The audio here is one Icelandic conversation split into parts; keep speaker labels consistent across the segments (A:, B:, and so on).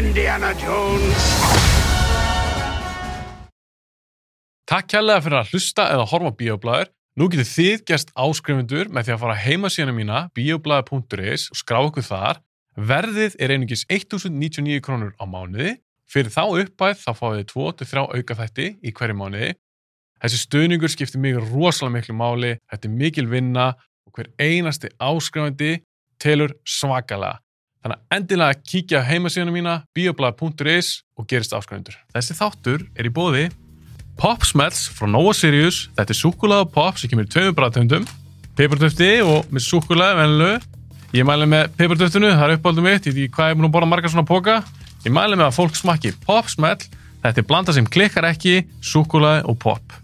A: Indiana Jones.
B: Takk kærlega fyrir að hlusta eða horfa á Bíoblæður. Nú getur þið gerst áskrifundur með því að fara á heimasíðuna mína bioblæður.is og skrá okkur þar. Verðið er einungis 1.099 krónur á mánuði. Fyrir þá uppæð þá fáið þið 2-3 auka þætti í hverju mánuði. Þessi stöðningur skiptir mig rosalega miklu máli, þetta er mikil vinna og hver einasti áskrifandi telur svakalega. Þannig að endilega kíkja á heimasíðuna mína bioblæður.is og gerist áskrifundur. Þessi þáttur er í bóði Pop Smells frá Nova Sirius. Þetta er súkkulaði og pop sem kemur í tveimur bræðtöndum. Peppartöfti og með súkkulaði venlu. Ég mæli með peppartöftinu, það er uppáldum mitt. Ég veit ekki hvað ég er búin að borða margar svona póka. Ég mæli með að fólk smakki Pop Smell. Þetta er blanda sem klikkar ekki, súkkulaði og pop.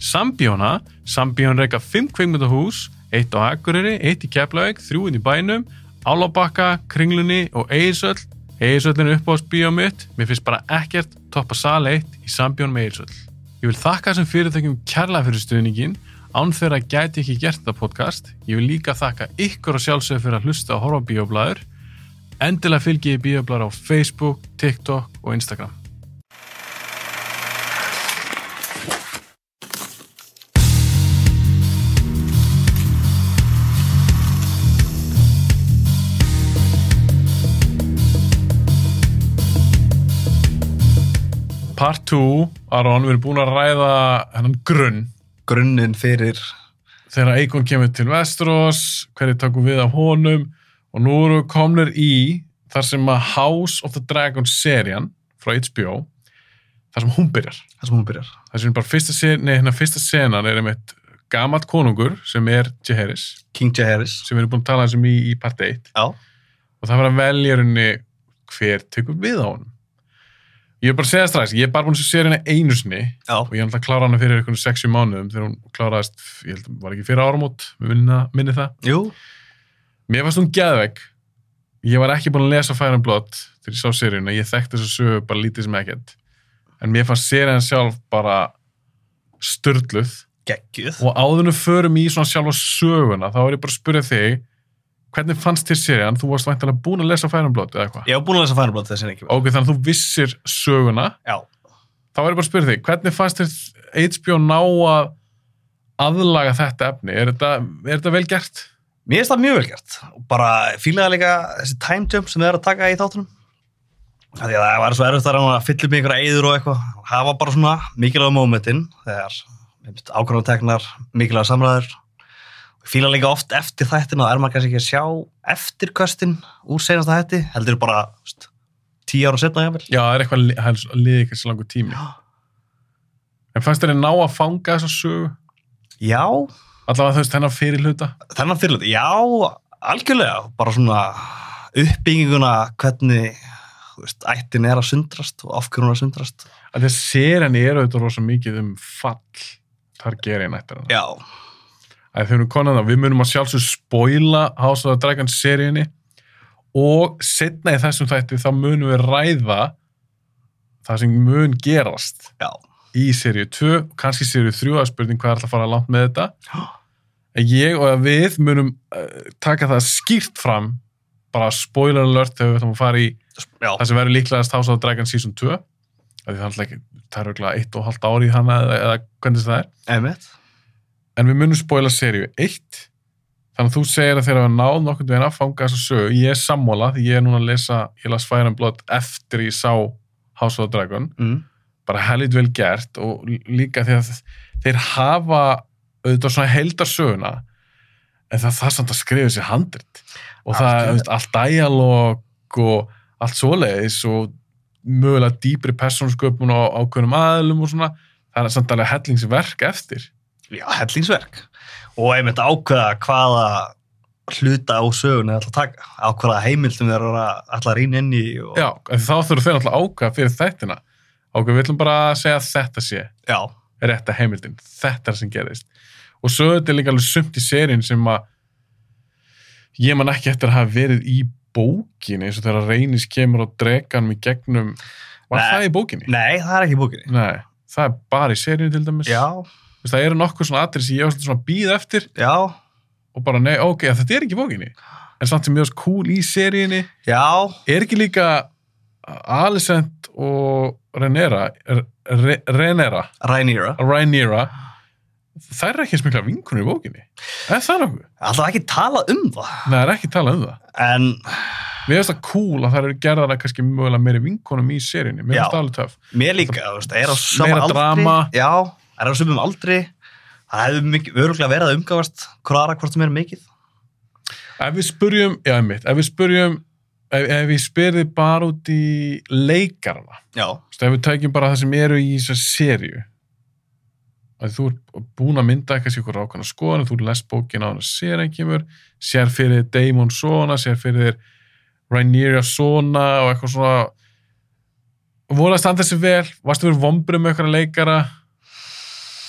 B: Sambjóna, Sambjón reyka 5 kveikmyndahús, eitt á Akureyri, eitt í Keflavík, þrjú inn í bænum, Álabakka, Kringlunni og Eirsöll. Eirsöllin er uppáðsbíó mitt, mér finnst bara ekkert toppa sal eitt í Sambjón með Eirsöll. Ég vil þakka þessum fyrirtækjum kærlega fyrir stuðningin, án þeirra gæti ég ekki gert þetta podcast. Ég vil líka þakka ykkur og sjálfsögur fyrir að hlusta og horfa á bíóblæður. Endilega fylgi ég bíóblæður á Facebook, TikTok og Instagram. Part 2, Aron, við erum búin að ræða hennan grunn
C: grunnin fyrir
B: þegar Eikon kemur til Vesteros, hverju takum við af honum og nú eru við komnir í þar sem að House of the Dragon serían frá HBO þar sem hún byrjar.
C: það sem hún byrjar
B: Þar sem bara fyrsta, sen, nei, hérna fyrsta senan er einmitt gamalt konungur sem er Jaehaerys
C: King J. Harris
B: sem við erum búin að tala þessum í, í part 1
C: já,
B: og það var að velja henni hver tekur við á honum. Ég er bara að segja strax, ég er bara búin að segja henni einu sinni
C: já,
B: og ég hann alltaf klára hana fyrir einhvern 60 mánuðum þegar hún kláraðist, ég held, var ekki fyrir áramót við minna, minni það.
C: jú
B: Mér fannst hún geðvegg ég var ekki búin að lesa Fire and Blood þegar ég sá seríuna, ég þekkti þess að sögu bara lítið sem ekkert, en mér fannst serían sjálf bara störluð
C: geggjuð
B: og áðunum förum í svona sjálfa söguna þá er ég bara að spyrja þig hvernig fannst þér serían, þú varst væntanlega búin að lesa Fire and Blood eða hvað?
C: ég hef búin að lesa Final Blood þessi ekki
B: Ok, þannig að þú vissir söguna
C: já,
B: þá er ég bara að spyrja þig, hvernig fannst þér HBO ná að aðlaga þetta efni? Er þetta, er þetta vel gert?
C: mér finnst það mjög vel gert og bara fílaði líka þessi time jump sem þið er að taka í þáttunum Af því að það var svo erfitt að reyna að fylla upp með einhverja eyður og eitthvað hafa bara svona mikilvæga momentin þegar ákvörðanteknar mikilvæga samræður fíla líka oft eftir þættin og er maður kannski ekki að sjá eftir köstin úr senasta hætti heldur bara þú veist, tíu ára setna jáfnvel
B: Já, það er eitthvað, það er svo- liðið eitthvað svo langur tími.
C: Já.
B: En fannst þér að ná að fanga þessa sögu?
C: já,
B: Allavega þú veist hennar fyrir hluta?
C: Þennan fyrirlut, já, algjörlega, bara svona uppbygginguna hvernig þú veist, ættin er að sundrast og af hverju hún er að sundrast.
B: Að því að serían er auðvitað rosa mikið um fall þar gerir ég nættir hann.
C: Já,
B: Að þau eru konan þá, við munum að sjálfsög spoila House of the Dragon seríunni og setna í þessum þætti þá munum við ræða það sem mun gerast
C: já,
B: í seríu 2 og kannski seríu 3 það er spurning hvað er alltaf að fara langt með þetta en ég og við munum uh, taka það skýrt fram bara spoiler alert þegar við ætlum að fara í
C: já,
B: það sem verður líklegast House of the Dragon season 2 af því það er alltaf ekki, það er auðvitað eitt og halvt ári í hana eða, eða hvernig sem það er
C: einmitt.
B: en við munum spoila seríu 1 þannig að þú segir að þegar við náðum nokkurn veginn að fanga þessa sögu, ég er sammála því ég er núna að lesa, ég las Fire and Blood eftir ég sá House of the Dragon
C: Mm.
B: bara helvit vel gert og lí- líka því að þeir hafa auðvitað svona heldarsöguna en það þarf samt að skrifa sér handrit og það
C: Algjörlega.
B: er auðvitað allt dialog og allt svoleiðis og mögulega dýpri persónsköpun og ákveðnum aðlum og svona það er samt alveg hellingsverk eftir
C: Já, hellingsverk. Og einmitt ákveða hvaða hluta á sögun er alltaf að taka, ákveða heimildum þeir eru að alltaf rýna inn í og
B: já, en þá þurfum þeir náttúrulega að ákveða fyrir þættina ákveð, við ætlum bara að segja að þetta sé
C: já,
B: rétta heimildin, þetta er sem gerðist og svo er þetta líka alveg sumt í serín sem að ég man ekki eftir að hafa verið í bókinni eins og þegar reynis kemur og dreganum í gegnum var
C: Nei.
B: það í bókinni?
C: nei, það er ekki í bókinni.
B: Nei, það er bara í serínu til dæmis
C: Já,
B: Þú veist, það eru nokkuð svona atrið sem ég var svolítið svona býð eftir
C: já,
B: og bara nei, ok, þetta er ekki í bókinni en samt sem ég varst cool í seríunni
C: já,
B: er ekki líka Alicent og Renera Re- Renera,
C: Rhaenyra.
B: Rhaenyra þær eru ekki eins mikla vinkunir í bókinni en það er okkur,
C: Alltaf ekki talað um það.
B: það er ekki talað um það
C: En
B: mér finnst það cool að það eru gerðar að kannski mögulega meiri vinkunum í serinni, mér finnst
C: Já.
B: það alveg töf
C: mér líka, þú veist, það er á sama
B: Meira
C: aldri.
B: drama.
C: Já, það er á sumum aldri. Það hefur mikið, öruglega verið að umgafast hvora hvort sem er mikið.
B: ef við spurjum, já einmitt, ef við spurjum ef, ef við spyrði bara út í leikarana,
C: Já.
B: Þú veist, ef við tækjum bara það sem eru í þessar serju að þú er búin að mynda eitthvað sér ykkur ákvæmna skoðan, þú lest bókin á hana sér en kemur, sér fyrir þér Daemon Sona, sér fyrir þér Rhaenyra Sona og eitthvað svona voru að standa þessi vel varstu verið vombrið með eitthvað leikara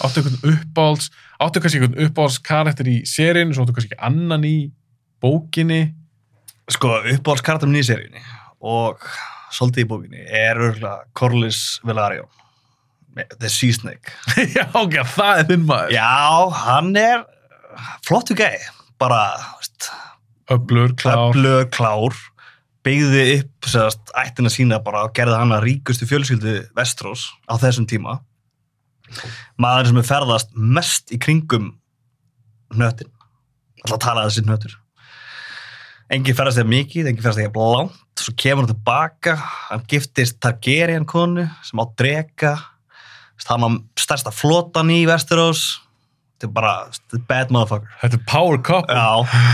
B: áttu eitthvað uppáhalds áttu kannski eitthvað uppáhalds karakter í seríinu svo áttu kannski annan í bókinni
C: Sko, uppáhaldskartum nýja seríunni og svolítið í bókinni er öruglega Corlys Velaryon. The Sea Snake.
B: já ok, það er þinn maður
C: Já, hann er flottu gæi. Bara, þú veist,
B: öblur, klár,
C: kleflu, klár byggði upp sérst, ættina sína bara og gerði hana ríkustu fjölskyldu Vestrós á þessum tíma maður sem er ferðast mest í kringum nötin alltaf talaði þessi nötur engin ferðast þegar mikið, engin ferðast þegar langt svo kemur hann tilbaka hann giftist Targaryen konu sem á drega hann á stærsta flotan í Vestrós þetta er bara þetta er bad motherfucker
B: þetta er power couple
C: já,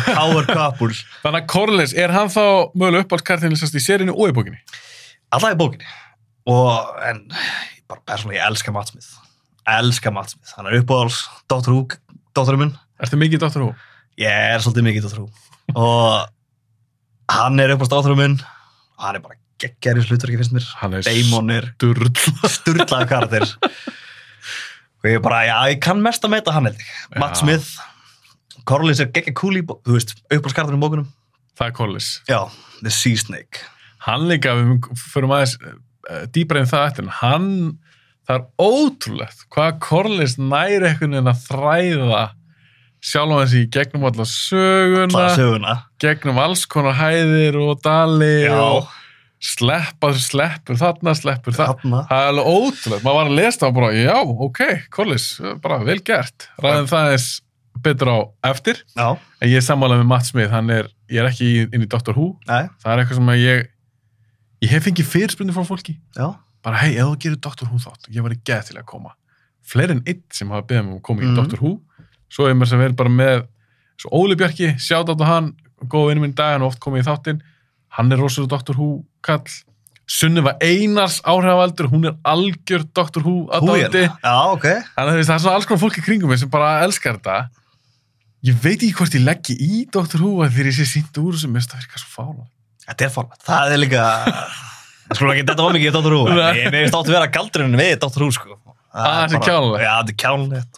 C: power couple
B: Þannig að Corlys, er hann þá mögulega uppáhaldskartinn í sérinu og í bókinni?
C: Alltaf í bókinni. Og, en, ég bara persónulega, ég elska Matt Smith. Elska Matt Smith. Hann er uppáhalds, Dr. Hook, dótturinn minn.
B: Ertu mikið Dr. Who?
C: Ég er svolítið mikið Dr. Hook. Og hann er uppáhalds dótturinn minn. Hann er bara geggjær í slutverki, finnst mér.
B: Hann er
C: Damon er
B: sturl.
C: sturlaður karakter. Og ég bara, já, ég kann mest að meita hann, held ég.
B: Já.
C: Matt Smith, Corlys er geggjær kúli, í bó- þú veist, uppáhalds karakterinn í bókunum.
B: Það er Corlys.
C: Já, The Sea Snake.
B: Hann líka, við förum aðeins uh, dýpar en það eftir, en hann, það er ótrúlegt hvað Corlys næri einhvern veginn að þræða sjálf hans í gegnum alla söguna,
C: Það er söguna.
B: gegnum alls konar hæðir og dali og sleppar, sleppur þarna, sleppur þarna.
C: þarna.
B: Það er alveg ótrúlega, maður var að lesa það og bara, já, ok, Collis, bara vel gert. Ræðum það eins betur á eftir,
C: Já,
B: en ég er sammála með Matt Smith, hann er, ég er ekki í- inn í Doctor Who,
C: nei,
B: það er eitthvað sem að ég, ég hef fengið fyrirspunni frá fólki,
C: já.
B: bara, hei, ef þú gerir Doctor Who þátt, ég var í geð til að koma. Fleiri en einn sem hafa beðið mig um að koma í
C: Mhm.
B: Doctor Who, svo er maður sem verið bara með, svo Óli Bjarki, sjátt á hann, góð vinnum minn í dag, hann er oft komið í þáttinn, hann er rosalega Doctor Who kall, Sunniva Einars áhrifavaldur, hún er algjör Dr. Who aðdátti.
C: Hújana. Já, ok.
B: Þannig að þú veist, það er svona alls konar fólk í kringum mig sem bara elskar þetta. Ég veit ekki hvort ég leggji í Dr. Who að þegar ég sé sínt úr sem mest að virka svo fála.
C: Þetta er format. Það er líka... Það skulum ekki, þetta var mikið í Dr. Who.
B: Nei.
C: Ég veist áttu að vera galdurinn við Dr. Who, sko.
B: Ah, þetta er
C: bara-
B: kjánalegt.
C: Já, þetta er kjánlegt.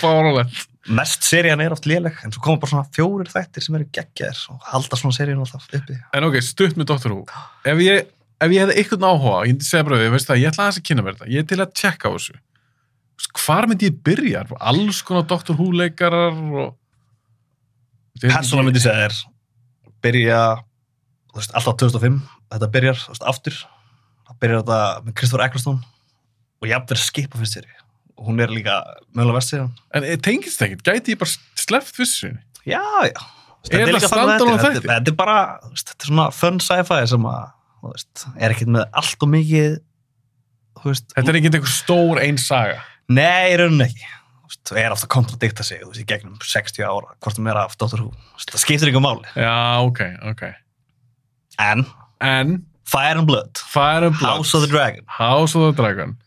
B: Fálalegt.
C: Mest serían er oft léleg, en svo koma bara svona fjórir þættir sem eru geggjaðir og halda svona serían alltaf uppi.
B: En ok, stutt með Dr. Who. Ef ég, ef ég hefði einhvern áhuga, ég myndi segja bara við, veist það, ég ætla aðeins að kynna mér þetta. Ég er til að tjekka á þessu. Þú veist, Hvar myndi ég byrja? Alls konar Dr. Who leikarar og... Ég veit ekki-
C: Persóna myndi segja þér, byrja, þú veist, alltaf 2005, þetta byrjar, þú veist, aftur. Það byrjar þetta með Kristoffer Eccleston og jafnverð skipa fyrst seri. Og hún er líka mögulega verst serían.
B: En eh, tengist ekkert, gæti ég bara sleppt vissu sinni?
C: Já, já. Þú veist,
B: Er
C: þetta
B: það
C: líka þannig
B: standalone
C: þetta er-
B: þættir?
C: Þetta þetta er bara, þú veist, þetta er svona fun sci-fi sem að, þú veist, er ekkert með allt og mikið, þú veist,
B: Þetta er ekki einhver stór einn saga.
C: nei, í rauninni ekki. Þú veist, það er aftur að kontradikta sig, þú veist, í gegnum 60 ára, hvort það meira af Dr. Who. Þú veist, Það skiptir ykkur máli.
B: Já, ok, ok.
C: En,
B: En
C: Fire and Blood,
B: Fire and Blood,
C: House of the Dragon.
B: House of the Dragon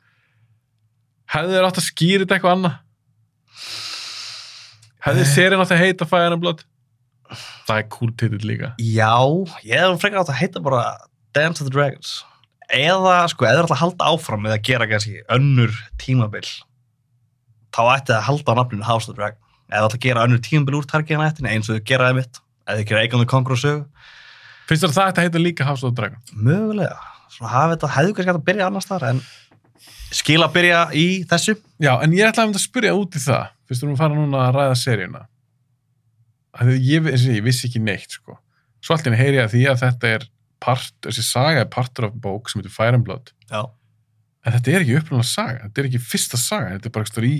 B: Hefðu þeir átt að skýra þetta eitthvað annað? Hefðu
C: Nei.
B: serien átt að heita Fire and Blood? Það er cool titill líka
C: Já, ég hefði frekar átt að heita bara Dance of the Dragons. Eða, sko, eða er alltaf að halda áfram með að gera kannski önnur tímabil, þá ætti það að halda á nafninu House of the Dragon. Eða alltaf að gera önnur tímabil úr targiðan eftir, eins og þau gera það mitt. Eða þau gera Eikon the Conqueror sögu.
B: Finnst þér að það ætti að heita líka House of the Dragon?
C: Mögulega. Svona hafi þetta, hefðu kannski hægt að byrja annars þar, en skil að byrja í þessu.
B: Já, en ég ætla að mynda að spyrja út í það Fyrst erum við að fara núna að ræða seríuna Þegar ég, eins og ég, ég vissi ekki neitt sko. Svo allt henni heyri ég að því að þetta er part, þessi saga er partur af bók sem heitir Fire and Blood
C: Já.
B: en þetta er ekki upprunalega saga, þetta er ekki fyrsta saga þetta er bara eitthvað í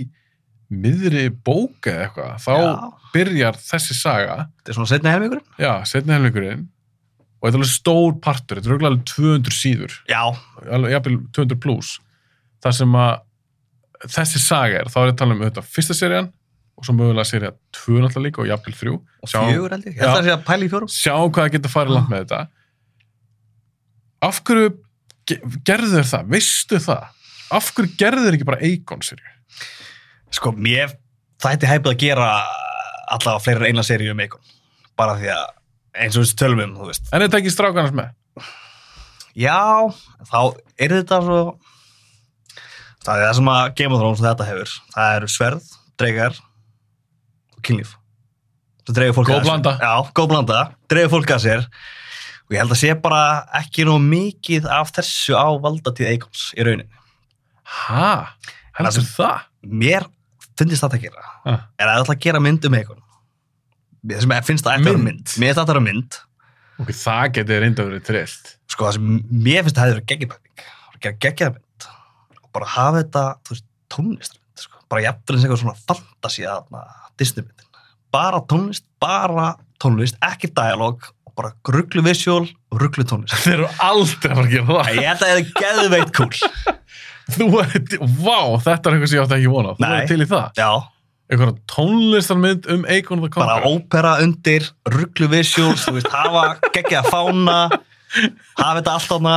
B: miðri bók eða eitthvað, þá
C: Já.
B: byrjar þessi saga,
C: Þetta er svona setna helmingurinn.
B: já, setna helmingurinn og þetta er alveg stór partur, þetta er örugglega alveg 200 síður,
C: Já.
B: alveg jafnvel 200 pluss þar sem að þessi saga er, þá er þetta tala um þetta fyrsta serían og svo mögulega serið 2 náttúrulega líka og jafnvel 3
C: Og
B: Sjáum.
C: fjögur held ég. Ég held
B: Já.
C: að sé að pæla í fjórum.
B: sjáum hvað það getur farið langt með þetta af hverju ge- gerðu þér það, veistu það af hverju gerðu þér ekki bara Eikon serju
C: Sko, mér þætti hæpið að gera allavega fleiri en eina seríu um Eikon. Bara því að, eins og við tölum um, þú veist.
B: en þetta ekki strákanars með
C: Já, þá er þetta svo... Það er það sem að Game of Thrones og þetta hefur. Það eru sverð, dreigar og kynlíf. Það dreigur fólk
B: Góð
C: að sér.
B: blanda.
C: Já, góð blanda. Dreigur fólk að sér. Og ég held að sé bara ekki nóg mikið af þessu á valdatíð Eikons í rauninni.
B: ha, heldur það
C: Mér finnst þetta að gera.
B: Ha.
C: er að ætla að gera mynd um Eikon það sem ég finnst að þetta vera
B: Mynd?
C: mynd mér finnst að þetta vera mynd
B: ok, það getur reynda verið trillt
C: sko það sem mér finnst að þetta vera geggjabækning að gera geggjaða mynd og bara hafa þetta þú veist tónlist sko. bara jafnvel eins eitthvað svona fantasi aðna Disney myndin bara tónlist bara tónlist ekki dialog og bara gruglu visual og ruglu tónlist
B: þeir eru aldrei að fara að gera það
C: ég held að þetta er geðveitt cool
B: þú er, vá, þetta er eitthvað sem ég átti ekki vona þú
C: Nei.
B: er til í það,
C: já
B: einhverja tónlistarmynd um Eikon the
C: bara
B: Conqueror
C: ópera undir, rugglu visuals, þú veist, hafa geggja fána, hafa þetta allt ána,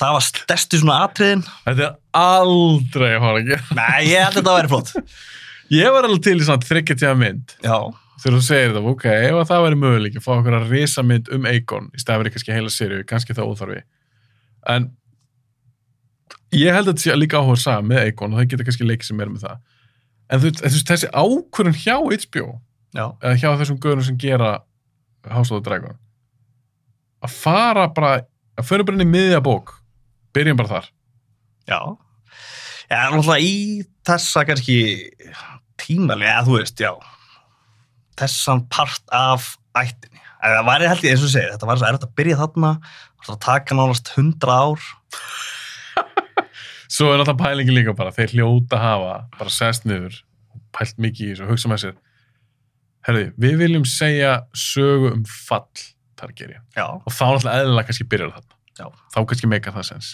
C: hafa stærstu svona atriðin.
B: þetta er aldrei að fara að gera
C: Nei, ég held að þetta væri flott.
B: ég var alveg til í svona þryggjartíða mynd
C: Já,
B: þegar þú segir það, ok, ef að það væri möguleik að fá okkur að risa mynd um Eikon í staðan verið kannski heila sériu, kannski það óþarfi en ég held að þetta sé líka áhuga að saga með Eikon og það geta kannski leikið sem er með það en þú veist, þú veist, þessi ákvörðun hjá HBO,
C: já,
B: eða hjá þessum göðunum sem gera House of the Dragon að fara bara að fyrir bara inn í miðja bók byrjum bara þar,
C: já. Ég er náttúrulega í þessa kannski tímalega, eða þú veist, já, þessan part af ættinni. En það væri held ég eins og segið, þetta var svo erfitt að byrja þarna, það var að taka nánast 100 ár.
B: svo er náttúrulega pælingi líka bara, þeir hljóta að hafa bara sest niður, pælt mikið í þessu og hugsa með sér herði, við viljum segja sögu um fall Targaryen
C: Já,
B: og þá náttúrulega eðlilega kannski byrjar þarna
C: Já.
B: þá kannski meika það sens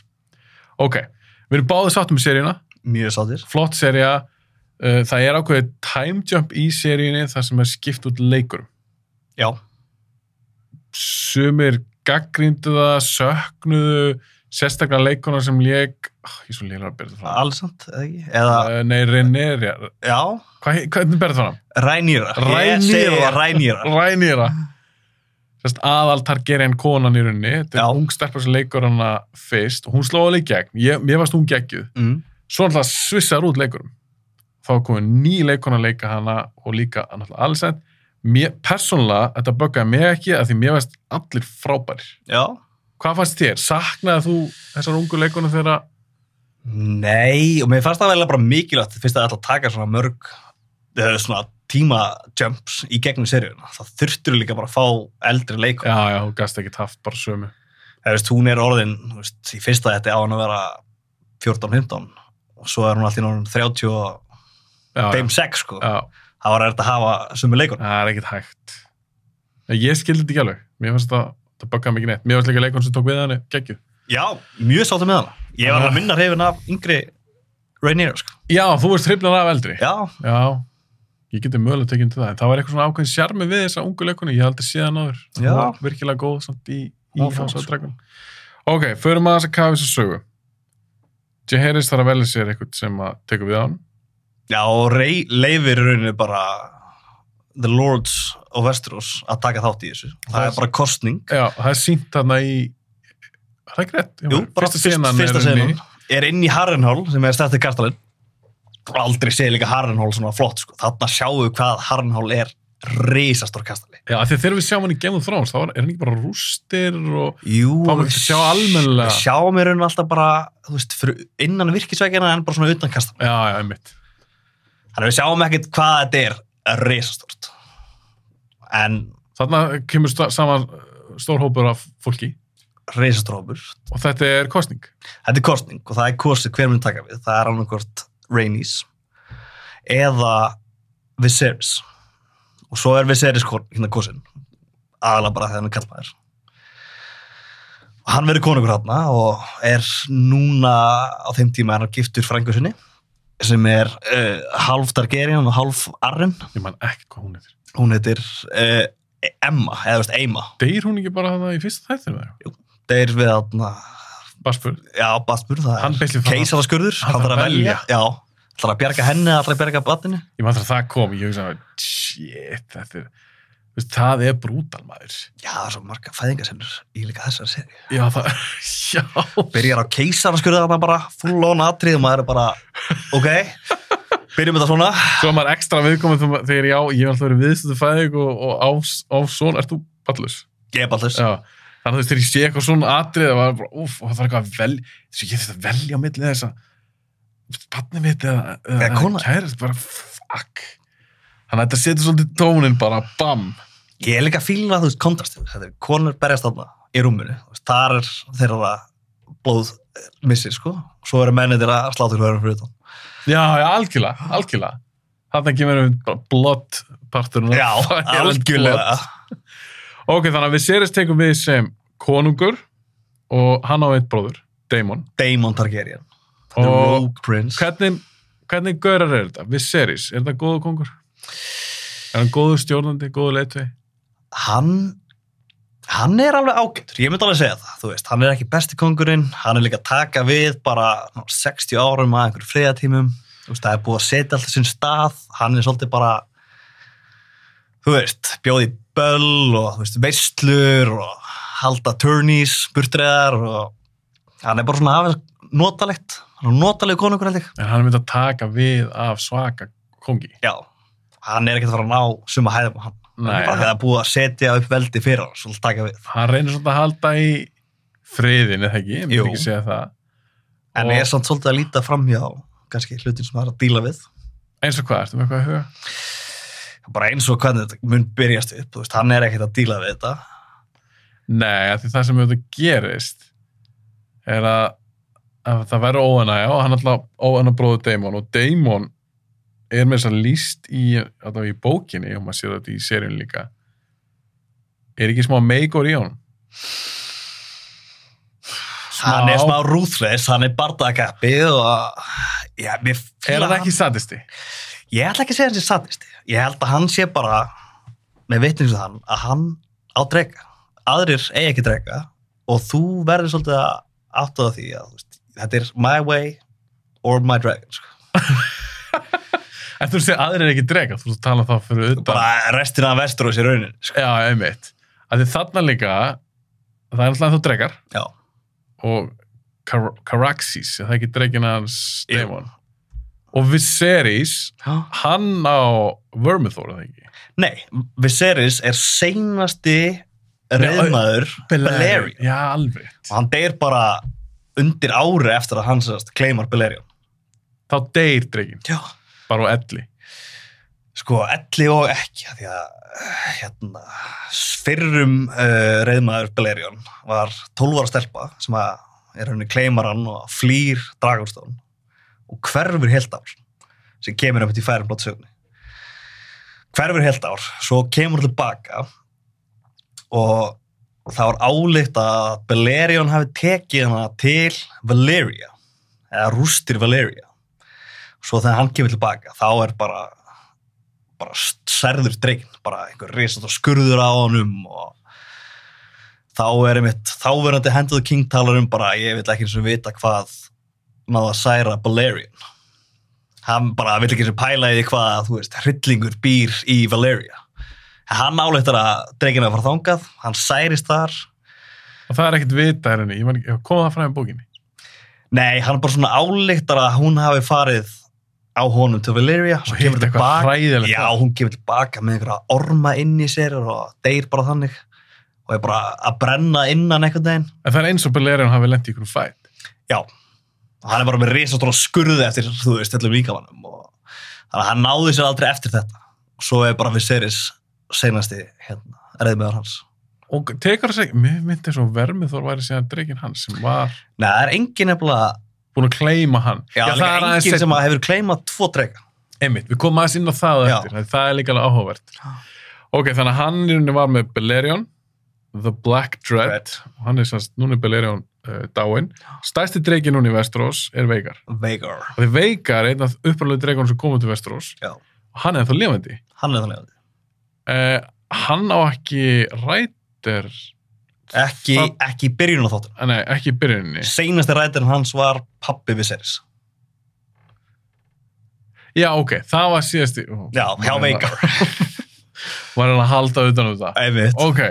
B: ok, við erum báðið sáttum með seríuna
C: mjög sáttir.
B: flott seria uh, það er ákveðið time jump í seríunni þar sem er skipt út leikur
C: Já,
B: sumir gaggríndu það, söknuðu sérstaklega leikuna sem leik ég er svo lélega að byrja það fram
C: allsamt, eða ekki? Eða,
B: Uh, Nei, Renera
C: já,
B: Hvað, hvernig berð það fram?
C: Rænýra.
B: Rhaenyra.
C: Ég segi Rænýra.
B: Rænýra Sest aðal Targaryen konan í rauninni þetta
C: Já.
B: er ung stelpa sem leikur hana fyrst og hún sló alveg í gegn, ég, ég varst hún geggjuð
C: Mm.
B: svo náttúrulega svissar út leikurum þá er komin ný leikona að leika hana og líka náttúrulega allsend mér, persónulega, þetta böggaði mig ekki af því mér veist allir frábærir
C: Já.
B: hvað fannst þér? Saknaði þú þessar ungu leikonu þegar
C: Nei, og mér fannst það vel bara mikilvægt fyrst að alltaf taka svona mörg eh, svona tíma jumps í gegnum seríuna. Það þurftur líka bara að fá eldri leikum.
B: já, já, hún gast ekki haft bara sömu
C: Þú veist, hún er orðin, þú veist, í fyrsta þetta á hann að vera 14-15 og svo er hún alltaf í náttúrulega 30 og
B: já, já,
C: þeim 6, sko.
B: já,
C: Það var erfitt að hafa sömu leikuna.
B: það er ekkert hægt ég skildi þetta ekki alveg mér fannst það, það böggaði mig ekki neitt mér fannst líka leikon sem tók við hann geggjuð
C: Já, mjög sáttum með hana. Ég var
B: Já.
C: að minna hrifin af yngri Rhaenyra, sko.
B: Já, þú ert hrifnar af eldri. Já.
C: Já,
B: ég geti mögulega tekið til það. En það var eitthvað svona ákveðin sjarmi við þessa ungu leikonu. Ég hef aldrei séð hann áður.
C: Já.
B: Hún var virkilega góð samt í, í
C: Áfram,
B: House of
C: sko.
B: Dragon. Ok, förum að þess að kafa þess að sögu. Jaehaerys þarf að velja sér eitthvað sem að tekur við á hann.
C: Já, og rey, leifir í rauninu bara The Lords of Westeros að taka þátt í þessu. Það,
B: Það er-
C: er bara kostning.
B: Já, það er sínt þarna í... Er það ekki rétt? Ég
C: Jú,
B: meina,
C: bara fyrst, fyrsta
B: er inni.
C: senan er inn í Harrenhal sem er stætti kastalinn. Og aldrei segir líka Harrenhal svona flott, sko. Þarna sjáum við hvað Harrenhal er reisastór kastali.
B: Já, af því að þegar við sjáum hann í Game of Thrones, þá er er hann ekki bara rústir og...
C: Jú,
B: Fáum við ekki að sjá almennilega.
C: Sjáum við rauninu alltaf bara, þú veist, fyrir innan virkisveikina en bara svona utan kastalinn.
B: Já, já, einmitt.
C: Þannig að við sjáum ekkert hvað þetta er reisastórt. En
B: uh, Þarna kemur sta- saman stór hópur af fólki.
C: reisastrópur.
B: Og þetta er kostning.
C: Þetta er kostning og það er kosið hver mun taka við. Það er annarkort Rainys eða Viserys. Og svo er Viserys kon- hérna kosin. Aðalega bara þegar hann er kallmaður. Og hann verður konungur hérna og er núna á þeim tíma er hann giftur frængu sinni sem er uh, half Targaryen og half Arryn.
B: Ég man ekki hvað hún heitir.
C: Hún heitir uh, Emma, eða þú veist Eima.
B: Deyr hún ekki bara þannig í fyrsta þættinu? eða?
C: Það er við að
B: Bara spurð.
C: Já, Batmur, það
B: Hann
C: er
B: byllir það.
C: keisaraskurður,
B: Hann
C: hann
B: þarf
C: þarf að
B: að
C: velja. Já, ætlar að bjarga henni, ætlar að bjarga batinu.
B: Ég man þegar það kom, ég hugsaði, shit, þetta er, þú veist, það er brútal maður.
C: Já, það er svo marga fæðingasennur í líka þessari seri.
B: Já, það, já.
C: Byrjar á keisaraskurður þarna bara, full on atrið og maður er bara, ok, byrjum þetta svona.
B: Svo er maður ekstra viðkomið þegar maður- þegar já, ég hef alltaf verið viðstöðu fæðing og, og á, á svona, ert þú ballus?
C: Ég er bara þess.
B: Já. Þannig að þú veist, þegar ég sé eitthvað svona atrið, það var bara, úf, og það var eitthvað að velja, þess að ég þurfti að velja á milli þess að, barnið mitt eða,
C: Eða kona.
B: kærist, bara, fuck. Þannig að þetta setur svolítið tónin bara, bam.
C: Ég er líka fílin að þú veist kontrastið, þetta er konur berjast þarna í rúminu. Þú veist, Þar er þeirra blóð eh, missir, sko. Svo eru mennir að slátur hverjum fyrir utan.
B: Já, já, algjörlega, algjörlega. Þannig að kemur við bara blott parturinn.
C: Já, algjörlega.
B: Ok, þannig að við sérist tekum við sem konungur og hann á eitt bróður, Daemon.
C: Daemon Targaryen. The
B: Og-
C: Rogue Prince.
B: Hvernig, hvernig gaurar er þetta? Við sérist, er þetta góðu kongur? Er hann góðu stjórnandi, góðu leitvei?
C: hann hann er alveg ágættur, ég myndi alveg segja það þú veist, hann er ekki besti kongurinn hann er líka að taka við bara ná, 60 árum að einhverjum friðatímum þú veist, það er búið að setja alltaf sinn stað hann er svolítið bara þú veist, bjóði böll og þú veist, veislur og halda turnies, burtreðar og hann er bara svona aðeins notalegt, hann er notaleg konungur held ég
B: En hann er myndið að taka við af svaka kongi.
C: já, hann er ekkert að fara að ná suma hæðum á hann,
B: Nei,
C: bara
B: hann,
C: það er búið að setja upp veldi fyrir hann, svolítið taka við
B: hann reynir svolítið að halda í friðin, eða ekki? Ég myndi
C: Jú.
B: ekki segja það.
C: En
B: Og-
C: er samt svolítið að líta framhjá kannski hlutin sem það er að díla við.
B: Eins og hvað, ertu með eitthvað að huga?
C: Bara eins og hvernig þetta mun byrjast upp, þú veist, hann er ekkert að díla við þetta.
B: Nei, af því það sem auðvitað gerist er að, að það verður óanægja og hann alltaf óanægja bróður Daemon og Daemon er með þess að líst í, alltaf í bókinni og maður sér þetta í seríun líka er ekki smá meikur í honum?
C: Hann er smá ruthless, hann er bardagakappi og já, mér
B: Er
C: fíla
B: hann ekki sadisti?
C: Ég ætla ekki að segja hann sé sadisti. Ég held að hann sé bara, með vitningum sem hann, að hann á drega. Aðrir eigi ekki drega og þú verður svolítið að áttaða því að þú veist, þetta er my way or my dragon, sko.
B: En þú veist að aðrir er ekki drega, þú veist að tala þá fyrir utan
C: Bara restina af vestur og sér raunin, sko.
B: Já, einmitt að því þarna líka það er alltaf þú dregar
C: Já.
B: og Kar Caraxes, er það ekki dregina hans
C: Jú.
B: Daemon og Viserys
C: Já.
B: hann á Vermithor, eða ekki?
C: Nei, Viserys er seinasti reyðmaður Balerion
B: Já, alveg.
C: og hann deyr bara undir ári eftir að hann sérst kleimar Balerion
B: Þá deyr dregin,
C: Já.
B: bara á elli.
C: Sko, elli og ekki af því að eh, hérna, fyrrum uh, reyðmaður Balerion var 12 ára stelpa sem að er henni kleimar hann og flýr Dragonstone og hverfur heilt ár sem kemur upp til færum blótt sögni hverfur heilt ár svo kemur hann tilbaka og það var álitt að Balerion hafi tekið hana til Valeria eða rústir Valeria svo þegar hann kemur tilbaka þá er bara bara særður dreikn bara einhver risast og skurður á honum og þá er einmitt þáverandi henduðu king talar um bara ég vil ekki eins og vita hvað náða að særa Balerion hann bara vil ekki eins og pæla í því hvað þú veist, hryllingur býr í Valeria hann áleittar að dreikin að fara þangað hann særist þar
B: Og það er ekkert vita hér henni, ég man ekki, kom það fram í bókinni.
C: nei, hann bara svona áleittar að hún hafi farið á honum til Valeria svo
B: Og hitt
C: kemur
B: eitthvað
C: tilbaka
B: fræðilegt.
C: Já, hún kemur tilbaka með einhverja orma inn í sér og deyr bara þannig og er bara að brenna innan einhvern veginn
B: En það er eins og Belerion hafi lent í ykkur fætt.
C: og hann er bara með risastóra skurði eftir, þú veist, öllum líkamannum og þannig að hann náði sér aldrei eftir þetta og svo er bara Viserys seinasti hérna, reyðmiðar hans
B: og tekur þess ekki, mér myndi svo vermið þó væri síðan dreikin hans sem var
C: Nei, það er engin nefnilega,
B: búin að kleima hann
C: já, já
B: það
C: engin
B: aðeins
C: sem að hefur kleimað tvo drega.
B: einmitt, við komum aðeins inn á það á
C: Já.
B: eftir, það er líka alveg áhugavert ok, þannig að hann í rauninni var með Belerion The Black Dread, og hann er sannst, núna er Belerion uh, dáin, stærsti dreikin núna í Vestrós er Veigar,
C: Veigar.
B: og því Veigar er einn af uppröðlega dreikunum sem komum til Vestrós
C: Já.
B: og hann er ennþá lifandi
C: Hann er þannig að
B: uh, hann á ekki rættir
C: ekki,
B: Það-
C: ekki í byrjun á þáttunum.
B: eh, nei, ekki í byrjuninni
C: Seinasti rætirinn hans var pappi Viserys.
B: já, ok, það var síðasti ó,
C: Já, hjá
B: var-
C: Veigar.
B: var hann að halda utan um það
C: Einmitt.
B: Ok,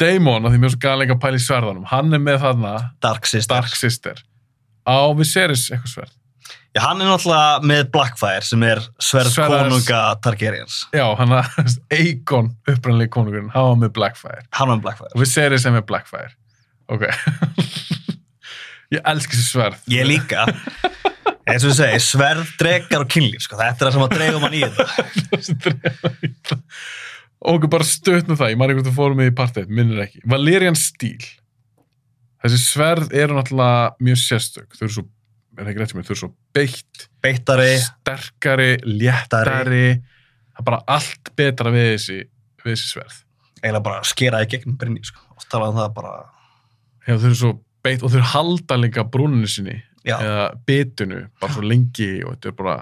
B: Daemon, að því mjög svo gæðan leika að pæla í sverðanum, hann er með þarna
C: Dark Sister.
B: Dark Sister á Viserys eitthvað sverð.
C: Já, hann er náttúrulega með Blackfire sem er sverð
B: Sverðs-
C: konunga Targaryens.
B: Já, hann að Eikon, upprannlega konungurinn, hann var með Blackfire.
C: Hann er með Blackfire.
B: Og Viserys er með Blackfire. Ok. Ég elski þessi sverð.
C: Ég líka. Eins og ég segi, sverð, dregar og kynlíf, sko. Þetta er það sem að dreigum hann í þetta.
B: Ok, bara stutt með það, ég maður eitthvað fórum með í partætt, minnir ekki. Valerian Steel. Þessi sverð eru náttúrulega mjög sérstök. Þau eru svo, er það ekki rétt sem ég, þau eru svo beitt
C: Beittari,
B: sterkari, léttari það er bara allt betra við þessi, við þessi sverð
C: eiginlega bara skeraði gegnum brinni, sko. Oft talaði um það bara,
B: Já, þau eru svo beitt og þau halda líka brúninu sinni
C: já,
B: eða bitinu, bara svo lengi og þetta er bara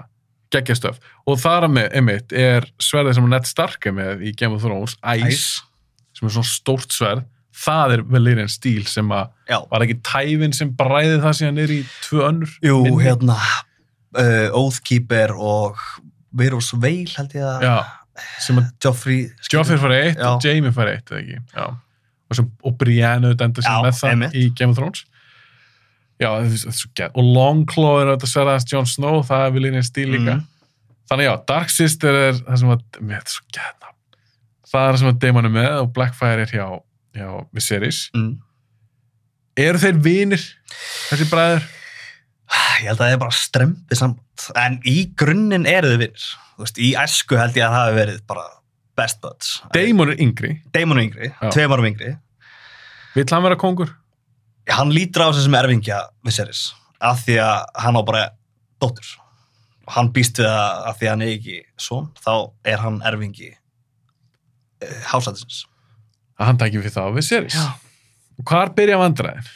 B: geggjastöf og þar með, einmitt, er sverðið sem Ned Stark er með í Game of Thrones Ice, sem er svona stórt sverð það er vel einn stíl sem að
C: já.
B: var ekki tæfin sem bræði það síðan er í tvö önnur
C: Jú,
B: minni?
C: hérna, uh, Oathkeeper og Virus Veil, held ég að,
B: Já,
C: sem að Joffrey...
B: Joffrey fær eitt
C: Já.
B: og Jamie fær eitt, eða ekki? Já. Og, sem, og Brienne auðvitað enda
C: Já,
B: sem með það
C: einmitt.
B: í Game of Thrones. Já, þetta er- þetta er svo gæð. Og Longclaw er auðvitað sverðast Jon Snow, það er viljinn einn stíl líka.
C: Mm.
B: Þannig já, Dark Sister er það sem að, mér þetta er svo gæðna. Það er það sem að Daemon er með og Blackfire er hjá, hjá Viserys.
C: Mm.
B: Eru þeir vinir, þessi bræður?
C: Ég held að það er bara strempið samt. En í grunninn eru þau vinnir. Þú veist, í æsku held ég að það hafi verið bara best buds.
B: Daemon er yngri,
C: Damon yngri,
B: Já.
C: tveim árum yngri.
B: vill hann vera kongur?
C: Hann lítur á sig sem erfingja Viserys. Af því að hann á bara dóttur. Og hann býst við að af því að hann er ekki son, þá er hann erfingi eh, hásætisins.
B: Að hann takir fyrir það á Viserys. Og hvar byrja vandræðin?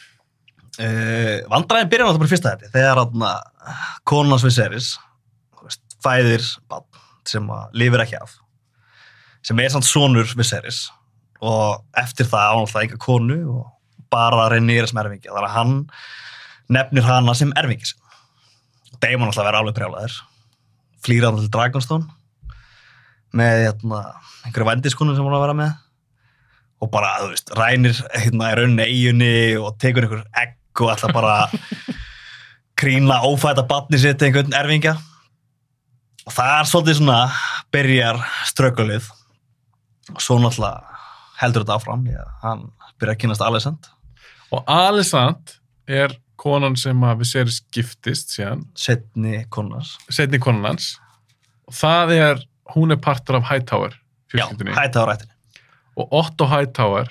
C: Uh, vandræðin byrjar náttúrulega bara í fyrsta þetta þegar atna, konans Viserys þú veist, fæðir bann sem að lifir ekki af sem er samt sonur Viserys og eftir það án alltaf enga konu og bara reynir sem erfingi þannig að hann nefnir hana sem erfingi sem Daemon alltaf verður alveg brjálæður flýra hann til Dragonstone með atna, einhverju vændiskunum sem hann var að vera með og bara, þú veist, rænir hérna í rauninni eiginni og tekur einhver egg og alltaf bara krýna ófæta batni sitt einhvern erfingja og það er svolítið svona byrjar ströggulið og svo náttúrulega heldur þetta áfram því að hann byrjar að kynast Alessand
B: Og Alessand er konan sem að Viserys giftist síðan,
C: setni konars
B: setni konan hans. Og það er, hún er partur af Hightower,
C: já,
B: fjölskyldunni.
C: hæta á rættinni
B: Og Otto Hightower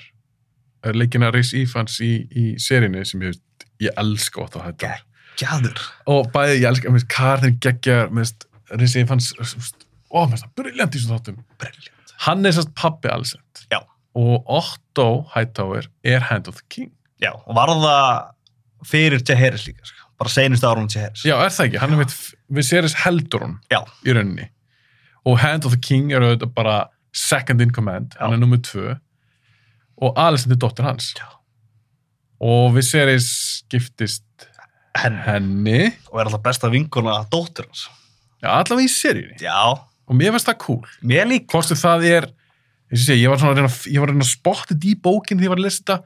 B: er leikinn að Rhys Ifans í, í serinni sem ég, ég elska Otto Hightower.
C: gæður,
B: Og bæði, ég elska, minnst, Karin geggjar, minnst, Rhys Ifans, eh, ó, minnst, briljant í svona þáttum.
C: briljant
B: Hann er sérst pappi Alessand.
C: Já.
B: Og Otto Hightower er Hand of the King.
C: já, og varða fyrir Jaheris líka, sko. bara seinustu árunum Jaheris
B: Já, er það ekki? Hann er mitt, við séris heldur hún
C: Já.
B: í rauninni. Og Hand of the King er auðvitað bara second in command,
C: Já.
B: hann er nummið tvö og Alicent er dóttir hans.
C: Já.
B: Og við séris giftist
C: henni,
B: henni,
C: og er alltaf besta vinkona dóttur hans
B: já, allavega í seríunni.
C: já,
B: Og mér finnst það cool.
C: mér líka
B: Hvort sem það er, eins og ég segi, ég var svona að reyna, að- ég var að reyna að spotta þetta í bókinn þegar ég var að lesa þetta.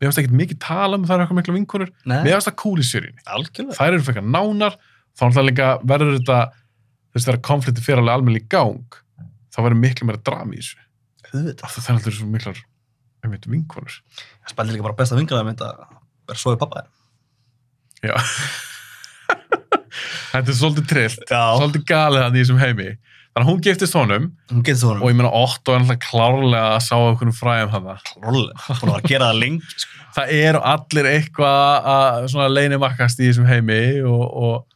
B: Mér finnst ekkert mikið tala um það er eitthvað mikla vinkonur.
C: Nei.
B: Mér finnst það cool í seríunni.
C: Algjörlega.
B: þær eru frekar nánar þá er það líka verður þetta þess að konflikti fyrir alveg almenni gang þá verður miklu meira drama í þessu
C: Auðvitað.
B: af því það er alltaf svo miklar einmitt vinkonur
C: Það spælir líka bara besta vingulega mynd að vera svo í pappa þér.
B: já þetta er svolítið trillt
C: Já.
B: svolítið galið hann í þessum heimi þannig Þannig að hún giftist honum
C: hún getur þú
B: og
C: honum
B: ég meina Otto er alltaf klárlega að sá okkur um fræðum hann það.
C: klárlega, búin að vera að gera það lengi sko.
B: Það eru allir eitthvað að svona leinimakkast í þessum heimi og, og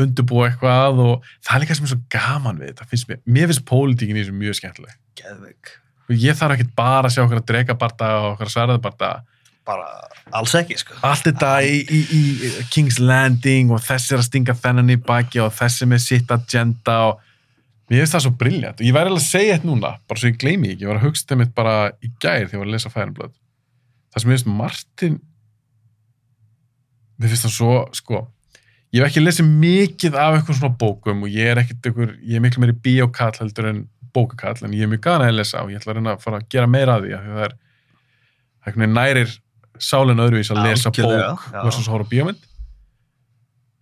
B: undurbúa eitthvað og það er líka sem er svo gaman við þetta, finnst mér. Mér finnst pólitíkin í þessum mjög skemmtileg.
C: Geðveik.
B: Og Ég þarf ekkert bara að sjá okkur að drega bardaga og okkur að sverða bardaga.
C: bara alls ekki sko.
B: allt þetta í, í, í King's Landing og þessi er að stinga þennan í baki og þessi með sitt agenda og mér finnst það svo briljant og ég væri alveg að segja þetta núna, bara svo ég gleymi ekki ég var að hugsa þetta mitt bara í gær þegar ég var að lesa Færinblöð það sem mér finnst Martin mér finnst það svo, sko ég hef ekki lesið mikið af eitthvað svona bókum og ég er ekkert einhver, ég er miklu meiri bíókall heldur en bókakall en ég er mjög gana að lesa og ég ætla að reyna að fara að gera meira að því af því að það er, það einhvern veginn nærir sálinn öðruvís að lesa
C: Algjörlega,
B: bók
C: já.
B: versus að horfa á bíómynd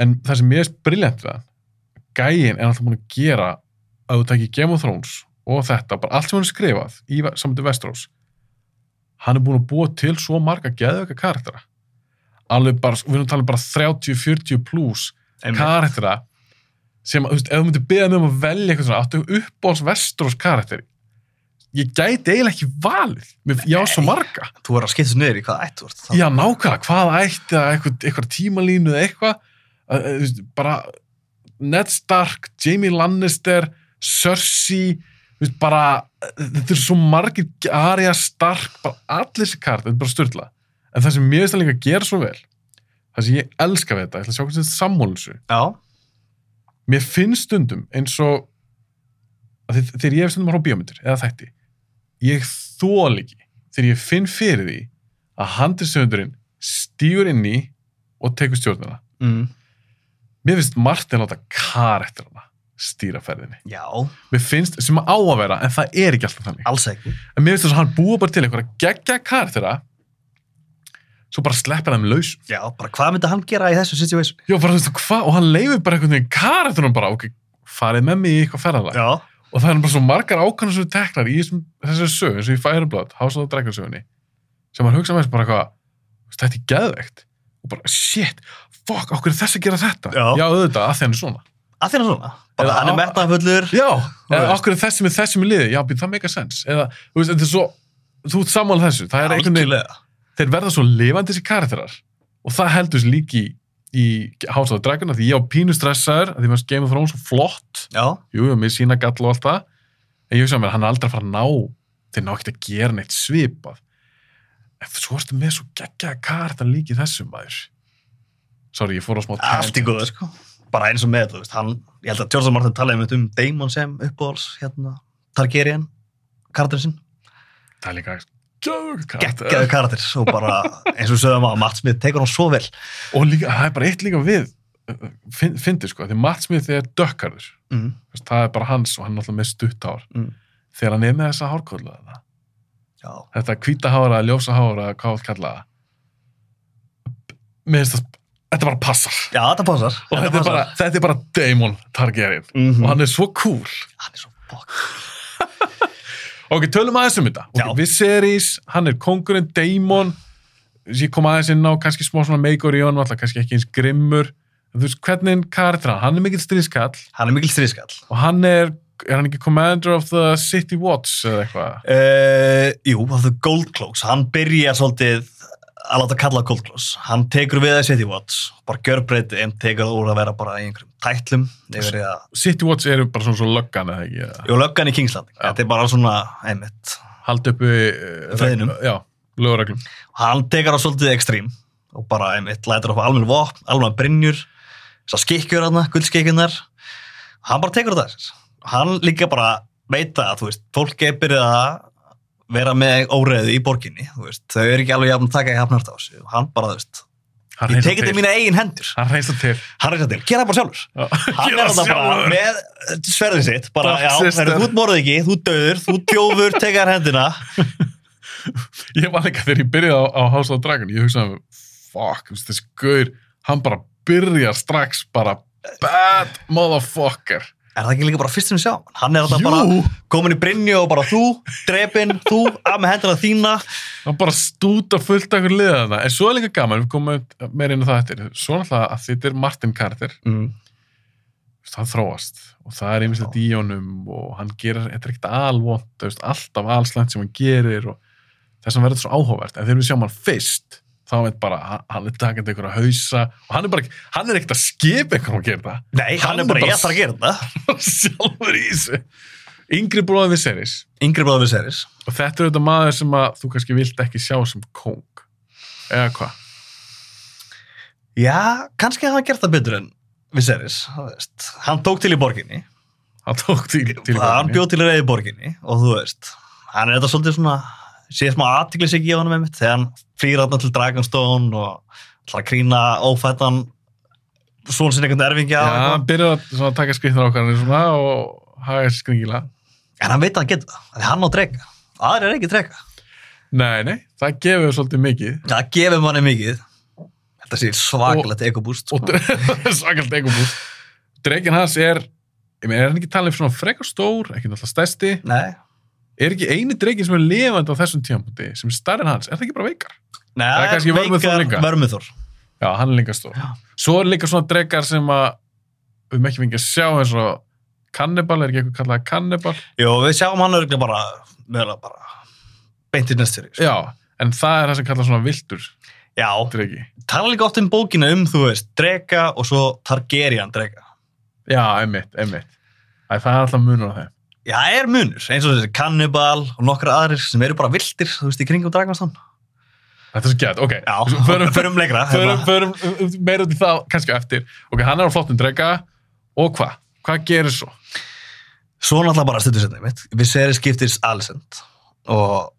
B: en það sem mér finnst briljant við hann gæin er alltaf búin að gera að þú takir Game of Thrones og þetta, bara allt sem hann er skrifað í samtid Vestrós hann er búin að búa til svo marga geðvöka karaktera alveg bara, við erum að tala um bara 30-40 pluss
C: Einmitt.
B: karaktera sem, þú veist, ef þú myndir beða mig um að velja eitthvað svona, áttu uppbóls Vestrós karakteri ég gæti eiginlega ekki valið, Mér- ég á svo
C: Nei.
B: marga
C: þú verður að skipta þessu niður í hvað ættu vart
B: Já, nákvæmlega, hvað ætti að eitthvað, eitthvað tímalínu eða eitthvað, að- að, þú veist, bara Ned Stark, Jamie Lannister, Cersei, þú veist, bara, þetta er svo margir, Arya Stark, bara allir þessi kart, þetta er bara styrla. En það sem mér finnst það líka að gera svo vel, það sem ég elska við þetta, ég ætla að sjá hvernig þetta sammólinsu,
C: já,
B: mér finnst stundum eins og að þið, þegar ég hef stundum að horfa á bíómyndir eða þætti, ég þól ekki þegar ég finn fyrir því að handriðsöndurinn stýur inn í og tekur stjórnina
C: mm.
B: mér finnst Martin láta kar eftir hana stýra ferðinni,
C: já
B: mér finnst sem að á að vera en það er ekki alltaf þannig
C: alls ekki
B: en mér finnst þess að hann búa bara til eitthvað geggja kar þeirra svo bara sleppir þeim laus
C: já, bara hvað myndi hann gera í þessu situation
B: já bara þú veist hvað og hann leifir bara einhvern veginn kar eftir hann bara ok, farið með mig í eitthvað ferðalag
C: já,
B: og það er bara svo margar ákvæmur sem eru teknar í þessum, þessari sögu eins og í Fireblad, House of the Dragon sögunni sem maður hugsa með þessu bara eitthvað þú veist, þetta er geðveikt og bara shit, fuck, okkur er þess að gera þetta
C: Já.
B: auðvitað, af því hann er svona
C: að þérna svona bara
B: Eða
C: hann
B: á-
C: er metnaðfullur
B: já,
C: veist.
B: eða okkur er þessi með þessum í liði já, býr, það make a sense eða, þú veist, þetta er svo, þú ert sammála þessu það er einhvern veginn,
C: Algjörlega.
B: þeir verða svo lifandi þessi karakterar og það heldur þessi líki í, í House of the Dragon af því ég á pínu stressaður, af því maður Game of Thrones svo flott
C: já,
B: jú, jú, mér sína gall og allt það en ég hugsa að mér, hann er aldrei að fara að ná þeir ná ekkert að gera neitt svipað en svo ertu með svo geggjaða kartan líki þessum maður sorry, ég fór á smá
C: allt í
B: tangent.
C: góðu sko bara eins og með þetta, þú veist, hann, ég held að Tjórsson Martin talaði um, um Damon sem uppbóðals hérna, Targaryen, karakterinn sinn
B: það er líka geggjaða
C: geggjaðu karakter og bara eins og við sögum að Matt Smith tekur hann svo vel
B: og líka, það er bara eitt líka við uh, fyn- fyndið sko, því Matt Smith er dökkarður
C: mm.
B: Þú veist, það er bara hans og hann er alltaf með stutt hár
C: Mm.
B: þegar hann er með þessa hárkóðla þarna
C: já,
B: þetta hvítahára, ljósahára, hvað allt kalla það. mér finnst það þetta bara passar
C: já, þetta passar
B: og þetta er, bara, þetta er bara Damon Targaryen
C: Mhm.
B: og hann er svo cool
C: hann er svo bók
B: ok, tölum aðeins um þetta okay,
C: Já.
B: Viserys, hann er kongurinn Damon ég kom aðeins inn á kannski smá svona meikur í honum, alltaf kannski ekki eins grimmur En þú veist, hvernig karakter er hann? Hann er mikill stríðskall
C: hann er mikil stríðskall
B: og hann er, er hann ekki commander of the city watch eða eitthvað
C: uh, jú, of the Gold Cloaks hann byrjar svolítið að láta kalla Gold Cloaks hann tekur við að City Watch bara gjörbreytið en tekur það úr að vera bara í einhverjum tætlum yfir í að
B: city watch eru bara svona svo löggan eða ekki eða
C: Jú, löggan í Kingsland,
B: Já.
C: þetta er bara svona einmitt,
B: haldi uppi eh,
C: Friðinum.
B: regl- já, lögureglum
C: hann tekar á svolítið ekstrím og bara einmitt lætur upp almenn vopn, almenn brinnjur þessar skikkjur hana, guldskikkjunar hann bara tekur það sér. hann líka bara veita að þú veist, fólk er byrjað að vera með óreðu í borginni þú veist, þau eru ekki alveg jafn að taka í hafnart á sig og hann bara, þú veist,
B: hann
C: ég
B: hreinsar
C: tekið þetta í
B: til.
C: mína eigin hendur
B: hann reynst það til
C: hann reyndar til, gera það bara sjálfur
B: Já.
C: hann
B: Gera
C: er þetta bara
B: sjálfur.
C: með eh, sverðið sitt bara,
B: Dark
C: já,
B: sister.
C: heyrðu, þú ert morðið ekki, þú döður þú tjófur, tekar hendina
B: ég var líka þegar ég byrjaði á, á House of the Dragon ég hugsaði mér, fuck, þú veist, þessi gaur hann bara byrjar strax bara bad motherfucker
C: Er það ekki líka bara fyrst sem við sjáum? hann? Hann er þetta
B: Jú.
C: bara komin í brinju og bara þú, drepin, þú, að með hendina þína.
B: hann bara stúta fullt af hverju liðana en svo er líka gaman, við komum meira inn á það eftir svo náttúrulega að þetta er Martin Carter
C: Mm.
B: það þróast og það er einmitt að díjónum og hann gerir, þetta er ekkert alvont þú veist, alltaf allslænt sem hann gerir og þess að verður þetta svo áhugavert en þegar við sjáum hann fyrst, þá veit bara hann- hann er takandi einhverja hausa og hann er bara, ekki- hann er ekkert að skipa einhverjum að gera það
C: Nei, hann,
B: Hann
C: er bara,
B: bara-
C: ég þarf að gera þetta.
B: sjálfur í þessu yngri bróðið við seris
C: Yngri bróður við seris.
B: og þetta er auðvitað maður sem að þú kannski vilt ekki sjá sem kóng eða hvað,
C: Já, kannski hafði hann gert það betur en við seris. Hann tók til í borginni.
B: hann tók til, til
C: það, hann bjóð til reyði borginni og þú veist, hann er þetta svolítið svona sé smá aðtiklis ekki á hann með mitt þegar hann flýr hann til Dragonstone og ætlar að krýna ófættan svona sinni einhvern
B: já,
C: erfingja og eitthvað.
B: hann byrjar að svona, taka skrifnir okkar svona, og haga þessi skringila
C: en hann veit að hann getur það, af því hann á drega aðrir er ekki drega,
B: nei, nei, það gefur svolítið mikið
C: það gefur manni mikið þetta sé svakalegt ekobúst sko.
B: og svakalt egobúst dregin hans er ég meina, er hann ekki talið um svona frekar stór ekki náttúrulega stærsti,
C: nei,
B: er ekki eini dregin sem er lifandi á þessum tímapunkti sem er stærri en hans, er það ekki bara veikar?
C: nei,
B: Það er kannski Vörmuþór líka.
C: vörmuþór
B: Já, hann er líka stór.
C: Já.
B: Svo er líka svona drekar sem að við erum ekki fengið að sjá eins og kannibal, er ekki eitthvað kallað kannibal?
C: Jó, við sjáum hann örgulega bara, mögulega bara beintir næstur
B: Já, en það er það sem kallað svona viltur
C: já,
B: dregi.
C: tala líka oft um bókina um, þú veist, drega og svo Targaryen drega.
B: Já, einmitt, einmitt. Æ, það er alltaf munur á þeim.
C: Já, það er munur, eins og þessi Cannibal og nokkra aðrir sem eru bara viltir, þú veist, í kringum Dragmastan.
B: Þetta er svo gett, ok.
C: Já,
B: Svo Förum, förum,
C: förum lengra.
B: förum,
C: hérna.
B: förum, förum meira út í það kannski á eftir. Ok, hann er á flottum drega og hvað? Hvað gerir svo?
C: Svo náttúrulega bara stuttur setnið mitt. Við seri skiptis Alicent og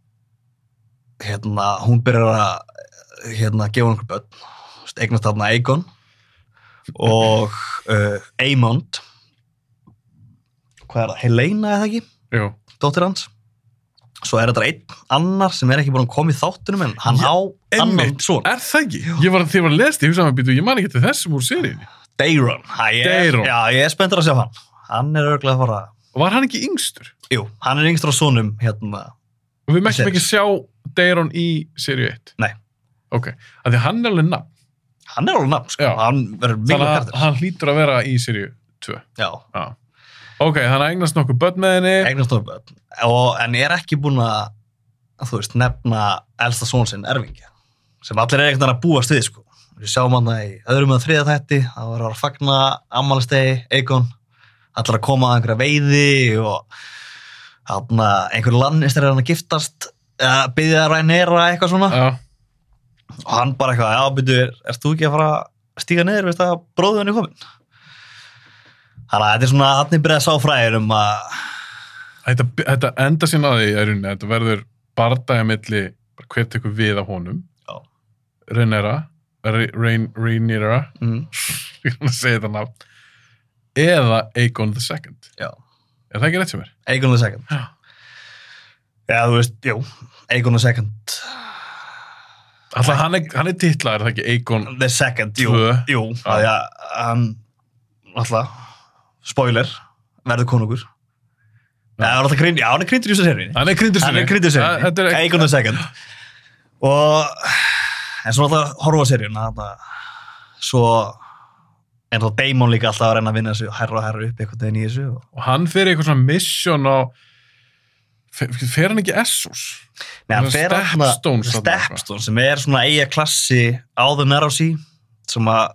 C: hérna, hún byrjar að hérna, gefa einhver börn, Þú veist, eignast þarna Aegon og uh, Aemond. Hvað er það? Helena eða ekki?
B: Jú.
C: dóttir hans svo er þetta einn annar sem er ekki búin að koma í þáttunum en hann
B: Já,
C: á annan
B: einmitt.
C: svona
B: Er það ekki? Ég var, þegar ég var að lesa því, ég hugsaði að býtu, ég man ekki til þessum úr seríunni.
C: Deiron Ha, ég-
B: Daeron.
C: já, ég er spenntur að sjá hann hann er örglega að fara
B: Var hann ekki yngstur?
C: jú, hann er yngstur á sonum hérna
B: Og við mættum
C: Series.
B: ekki sjá Deiron í seríu 1?
C: Nei.
B: Ok, af því hann er alveg nafn.
C: hann er alveg nafn sko.
B: Já.
C: hann verður miklu
B: Þannig að
C: kærtur
B: hann hlýtur að vera í seríu 2.
C: já,
B: Já. Ok, þannig að eignast nokkuð börn með henni.
C: eignast á börn og en er ekki búin að þú veist, nefna elsta son sinn erfingi sem allir er eitthvað að búast við sko við sjáum hann það í öðrum að þriða þætti það var að fagna ammalistegi Eikon, allir að koma að einhverja veiði og hann einhver landist er hann að giftast uh, byggði að rænera eitthvað svona
B: Já.
C: og hann bara eitthvað, já, byrju, er, ert þú ekki að fara að stíga niður, veist að bróðun er komin þannig að þetta er svona hann er byrjað að sá fræðir um að
B: Þetta, þetta enda sín að því, er unni, þetta verður bardagi milli, bara hver tekur við af honum.
C: Já.
B: Rhaenyra, Re- Rhaen- Rhaenyra,
C: mm,
B: ég er að segja þetta nafn, eða Aegon the Second.
C: já,
B: Er það ekki rétt sem er?
C: Eikon the second
B: Já.
C: Já, þú veist, jú, Aegon the Second
B: Alltaf hann er, hann er titlaður, er það ekki Aegon
C: The Second, jú,
B: Tvö.
C: jú
B: Já.
C: að því að hann alltaf, spoiler verður konungur
B: Já.
C: Já, hann er alltaf grind, já, hann er grindur í þessu serinni
B: Hann er kryndur
C: Hann er grindur í
B: Þa-
C: þessu
B: þetta er
C: serinni, Aegon the Second og en svo alltaf horfa á seríun svo en þá Daemon líka alltaf að reyna að vinna þessu og herra og herra upp eitthvað veginn í þessu og...
B: og hann fer í eitthvað svona mission á fer, fer hann ekki Essos
C: Nei, hann
B: Svona
C: fer þarna-
B: Stepstones þarna eitthvað.
C: Stepstone sem er svona eiga klassi áður nær á sí sem að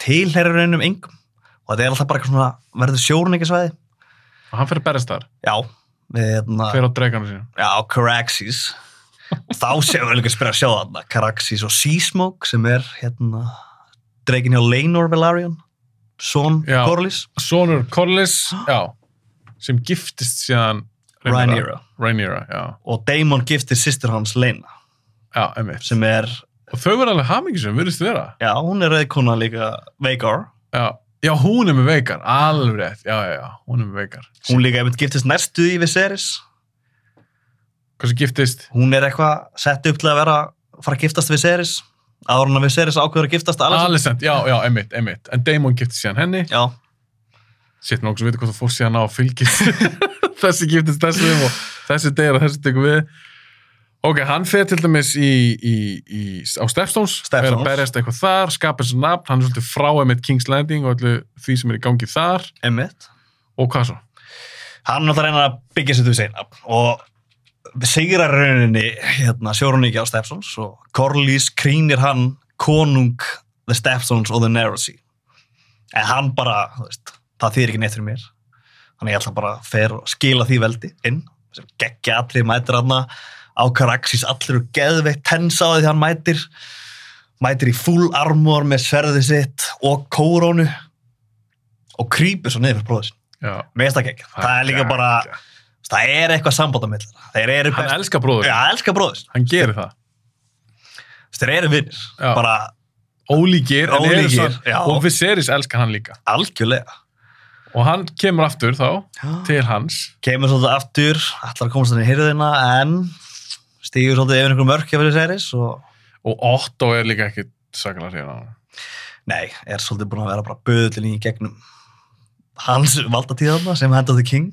C: tilherir einum engum og þetta er alltaf bara eitthvað svona verður sjórun ekki svæði
B: og hann fer að berjast þar,
C: já, við hérna
B: fer á dreganu sína
C: já, Caraxes þá séum við líka að spyrja að sjá þarna Caraxes og Seasmoke sem er hérna dreikin hjá Leinor Velaryon son
B: Já.
C: Corlys
B: Sonur Collis, já sem giftist síðan
C: Rhaenyra
B: Rhaenyra, já,
C: og Daemon giftir sýstur hans Leina
B: já, einmitt
C: sem er,
B: og þau verða alveg hamingisum, virðist þið vera
C: já, hún er reyðkona líka Veigar
B: já. já, hún er með veikar, alveg rétt já, já, já, hún er með veikar
C: hún líka einmitt giftist næstu í Viserys
B: hversu giftist,
C: hún er eitthvað sett upp til að vera að fara að giftast við Seris áður hann að við Seris ákveður að giftast Alessand
B: Alicent, já, já, einmitt, einmitt en Daemon giftist síðan henni
C: já,
B: sitt nokkuð sem veitir hvort þú fórst síðan á fylgis þessi giftist þessum og þessi deyra þessi tekur við Ok, hann fer til dæmis í, í, í, á Stepstones,
C: Stepstones.
B: er að berjast eitthvað þar, skapa þessu nafn, hann er svolítið frá emitt King's Landing og öllu því sem er í gangi þar
C: Einmitt.
B: og hvað svo?
C: Hann er náttúrulega að reyna að byggja sér til segna og sigrar í rauninni hérna, sjóruníkja á Stepstones og Corlys krýnir hann konung The Stepstones og The Narrow Sea. En hann bara, þú veist, það þýðir ekki neitt fyrir mér. Þannig ég ætla bara að fer og skila því veldi inn sem geggja allir mætir hann á Caraxis allir og geðveitt tens á því hann mætir mætir í full armor með sverðið sitt og kórónu og krýpur svo niður fyrir bróðið sin
B: Já,
C: Mér finnst það ekki. Það er líka bara, það er eitthvað sambandamill. Þeir eru
B: Hann
C: best.
B: elskar bróður,
C: Já, hann elskar bróður. sinn.
B: hann gerir það.
C: Þeir eru vinnir.
B: Já.
C: Bara
B: Ólíkir, en eru
C: Ólíkir,
B: samt-
C: já.
B: og Viserys elskar hann líka.
C: algjörlega.
B: Og hann kemur aftur þá til hans.
C: Kemur svolítið aftur, allar að komast þannig í hirðina, en stígur svolítið yfir einhverjum mörkja fyrir seris og
B: Og Otto er líka ekkit sakalega hrifinn á hann.
C: nei, er svolítið búin að vera bara böðullin í gegnum hans valdatíðarna sem Hand of the King.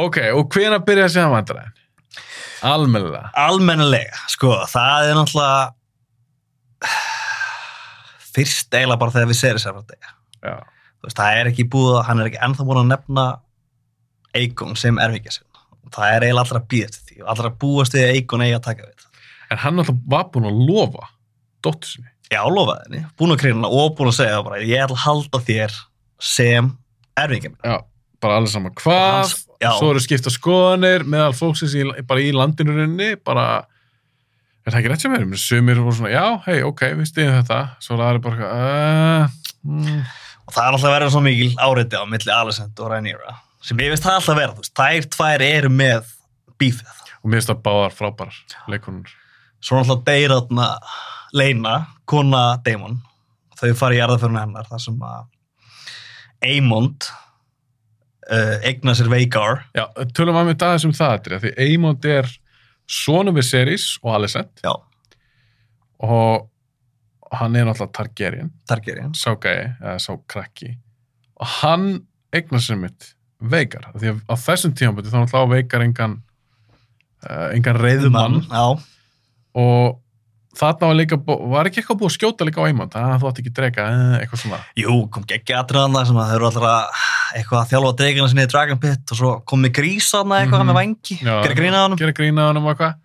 B: Ok, og hvenær byrja að segja vandræðin? Almennilega.
C: Almennilega, sko, það er náttúrulega fyrst eiginlega bara þegar við seris er að degja.
B: Já.
C: þú veist, það er ekki búið að hann er ekki ennþá búin að nefna Eikon sem erfingja sinn það er eiginlega allra að býða til því og allra að búast við að Eikon eigi að taka við
B: En hann alltaf var búinn að lofa dóttur sinni.
C: já, lofaði henni, búin að krýna og búin að segja bara, ég ætla að halda þér sem erfingja minn
B: Já. Bara allir saman hvað,
C: Hans- já.
B: svo eru skipta skoðanir meðal fólksins í, bara í landinu rauninni, bara er það ekki rétt sem er, menn sumir voru svona, já, hei, ok, við stiðum þetta, svo það er bara eitthvað, uh, mm,
C: og það er alltaf að vera svo mikil áreiti á milli Alessandro og Rhaenyra sem ég veist það alltaf að vera, þú veist, þær tvær eru með bífið,
B: og mér finnst það báðar frábærar leikonur.
C: svo er alltaf deyra þarna Leina, kona Daemon þau fara í jarðaförnu hennar þar sem að Aemond uh, eigna sér Veigar
B: Já, tölum að mynd aðeins um það þetta, því Eymond er sonum við Seris og Alicent
C: Já,
B: og hann er náttúrulega Targaryen,
C: Targaryen.
B: sá gæi, eða sá krakki og hann eignar sér mitt veikar, því að á þessum tímabötu þá náttúrulega á veikar engan uh, engan reyðumann
C: Já,
B: og þarna var líka, bú- var ekki eitthvað búið að skjóta líka á Eymond, að þú átt ekki drega eh, eitthvað svona,
C: jú, kom geggja aðriðan það sem að þau eru allra eitthvað að þjálfa degina sinni í Dragon Pit og svo kom með grísaðna eitthvað
B: Mhm.
C: með vangi,
B: Já.
C: gerði grínað honum.
B: gera grína hann um eitthvað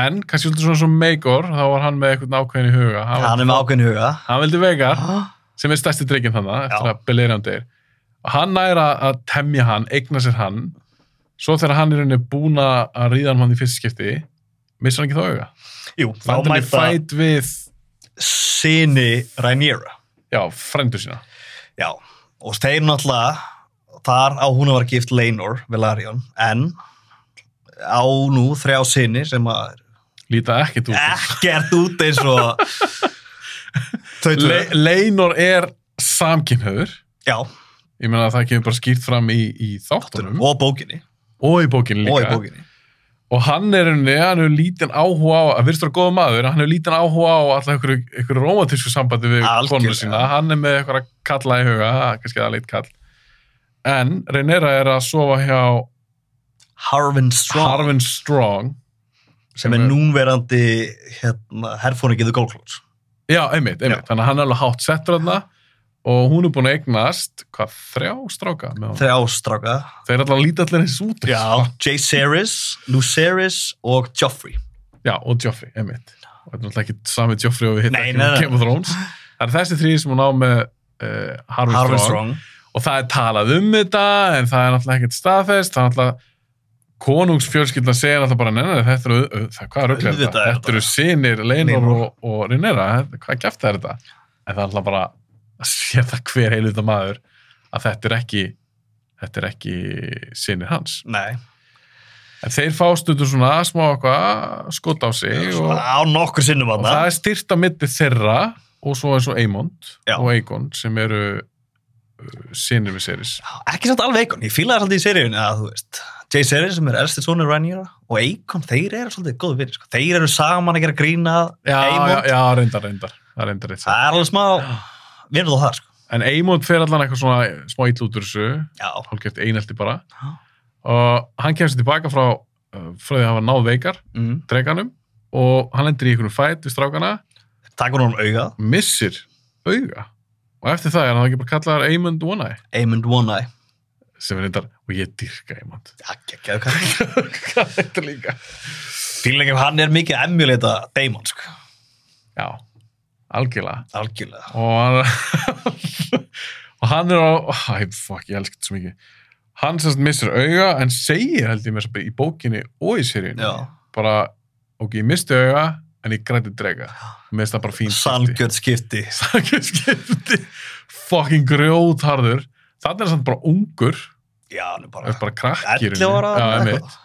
B: en kannski svolítið svona sem Megor þá var hann með eitthvað ákveðin í huga hann,
C: Hann er með ákveðin huga.
B: hann vildi veikar
C: Ah,
B: sem er stærsti dreikin þannig eftir
C: Já.
B: að Beleriand deyr og hann næra að temja hann, eigna sér hann svo þegar hann er henni búin að ríða hann í fyrsta skipti missa hann ekki þá auga
C: Jú,
B: þá
C: þá
B: hann er
C: mæta
B: fætt við
C: sinni Rhaenyra.
B: já, frændur sína
C: Já, og þeir náttúrulega, þar á hún að var gift Leinor, Velaryon, en á nú þrjá sinni sem að
B: líta ekkit út fyrir.
C: ekkert út eins og þau
B: Le
C: tvö.
B: Leinor er samkynhöður
C: Já,
B: ég meina að það kemur bara skýrt fram í, í þáttunum og,
C: og bókinni.
B: í bókinu líka
C: Og í bókinni.
B: og hann er henni, hann hefur lítinn áhuga á að virðist vera góða maður, en hann hefur lítinn áhuga á alltaf einhverju, einhverju romantísku sambandi við
C: Algjörlega.
B: konuna sína, hann er með eitthvað að kalla í huga, það er kannski það leitt kall en Rhaenyra er að sofa hjá
C: Harvin Strong.
B: Harvin Strong
C: sem er núnverandi hérna, herfóningið The Gold Clothes.
B: já, einmitt, einmitt, þannig að hann er alveg hátt settur þarna og hún er búin að eignast hvað, þrjá stráka með honum?
C: Þrjá stráka.
B: þeir er alltaf að líta allir eins út
C: Jay Seris, Lou Seris og Joffrey.
B: já, og Joffrey, einmitt og þetta er alltaf ekki sami Joffrey og við hittum
C: Nei,
B: ekki
C: nei,
B: með
C: nei.
B: Game of Thrones það er þessi þrý sem hún á með uh, Harvin,
C: Harvin
B: Strong.
C: Strong.
B: og það er talað um þetta en það er náttúrulega ekkert staðfest það er náttúrulega konungsfjölskyldna segir alltaf bara neina þetta eru au- það, hvað rugl er
C: Auðvitað
B: þetta,
C: er
B: þetta eru
C: þetta.
B: sinir Leinor
C: Leinor.
B: og, og Rinera hvað gæft það er þetta en það er alltaf bara að sér það hver heiluta maður að þetta er ekki þetta er ekki sinir hans
C: Nei,
B: en þeir fá stundur svona smá eitthvað skot á sig og,
C: svona á nokkur sinnum
B: og það
C: aðna.
B: er styrt á milli þeirra og svo eins og Eymond
C: Já.
B: og Eikon sem eru sinir við seris
C: Ekki samt alveg Eikon, ég fílaði svolítið í seríunni að þú veist, Jay Seris sem er elsti sonur Rhaenyra og Eikon, þeir eru svolítið góði vinni, sko. Þeir eru saman að gera grínað,
B: já, já,
C: Eymond.
B: já, reyndar, reyndar, það er reyndar eitt
C: Það er alveg smá vinnuð á það, sko.
B: en Eymond fer allan eitthvað svona smá ill út úr þessu
C: Já,
B: hálfgeft einelti bara
C: Já.
B: og hann kemst tilbaka frá uh, frá því að hann var náð veikar,
C: Mm.
B: dreganum og hann lendir í ykkur fæt við strákana
C: Takur honum augað.
B: missir auga og eftir það er hann ekki bara kallaðar Eymund One Eye
C: Aimund One Eye.
B: sem er reyndar, og ég dyrka Eymund
C: Já, geggjaðu kall.
B: þetta líka
C: Fíla ekki ef hann er mikið að emulata Damon, sko.
B: já, algjörlega
C: Algjörlega.
B: og hann og hann er á æ, fuck, ég elska þetta svo mikið hann semst missir auga en segir held ég mér svo í bókinni og í seríunni
C: Já.
B: bara, ok, ég misti auga en ég græti drega og mér finnst það bara fín skipti.
C: Sanngjörð skipti.
B: Sanngjörn skipti fucking grjótharður þannig er hann bara ungur
C: Já, hann er bara...
B: er bara krakkir
C: 11 ára.
B: já,
C: eða
B: einmitt.
C: eitthvað.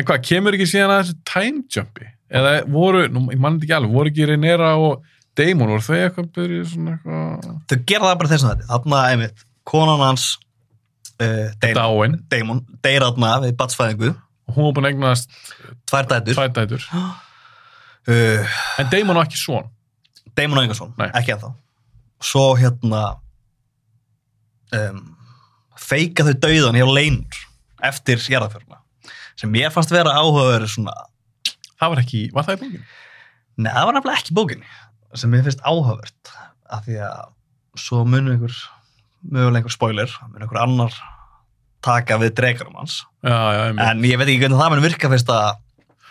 B: en hvað, kemur ekki síðan að þessu time jumpi eða voru, nú, ég mann þetta ekki alveg voru ekki Reynera og Damon voru þau eitthvað byrjuð svona eitthvað
C: Þau gera það bara þess að þetta. Þarna, einmitt, konan hans, uh, Damon,
B: dáin
C: Damon deyr þarna við batsfæðingu.
B: og hún var búin að eignast
C: Tvær dætur.
B: tvær dætur
C: Uh,
B: en Damon var ekki svon
C: Damon Engarsson,
B: Nei.
C: ekki ennþá. Svo hérna... Um, feika þau dauðan hjá Leinur eftir jarðaförna sem mér fannst vera áhugaverið svona
B: það var ekki, var það í bókinu?
C: Nei, það var nefnilega ekki bókinni sem mér finnst áhugavert af því að svo munu einhver mögulega einhver spoiler, munu einhver annar taka við dregarum hans
B: já, já, einmitt,
C: en ég veit ekki hvernig það mun virka fyrst að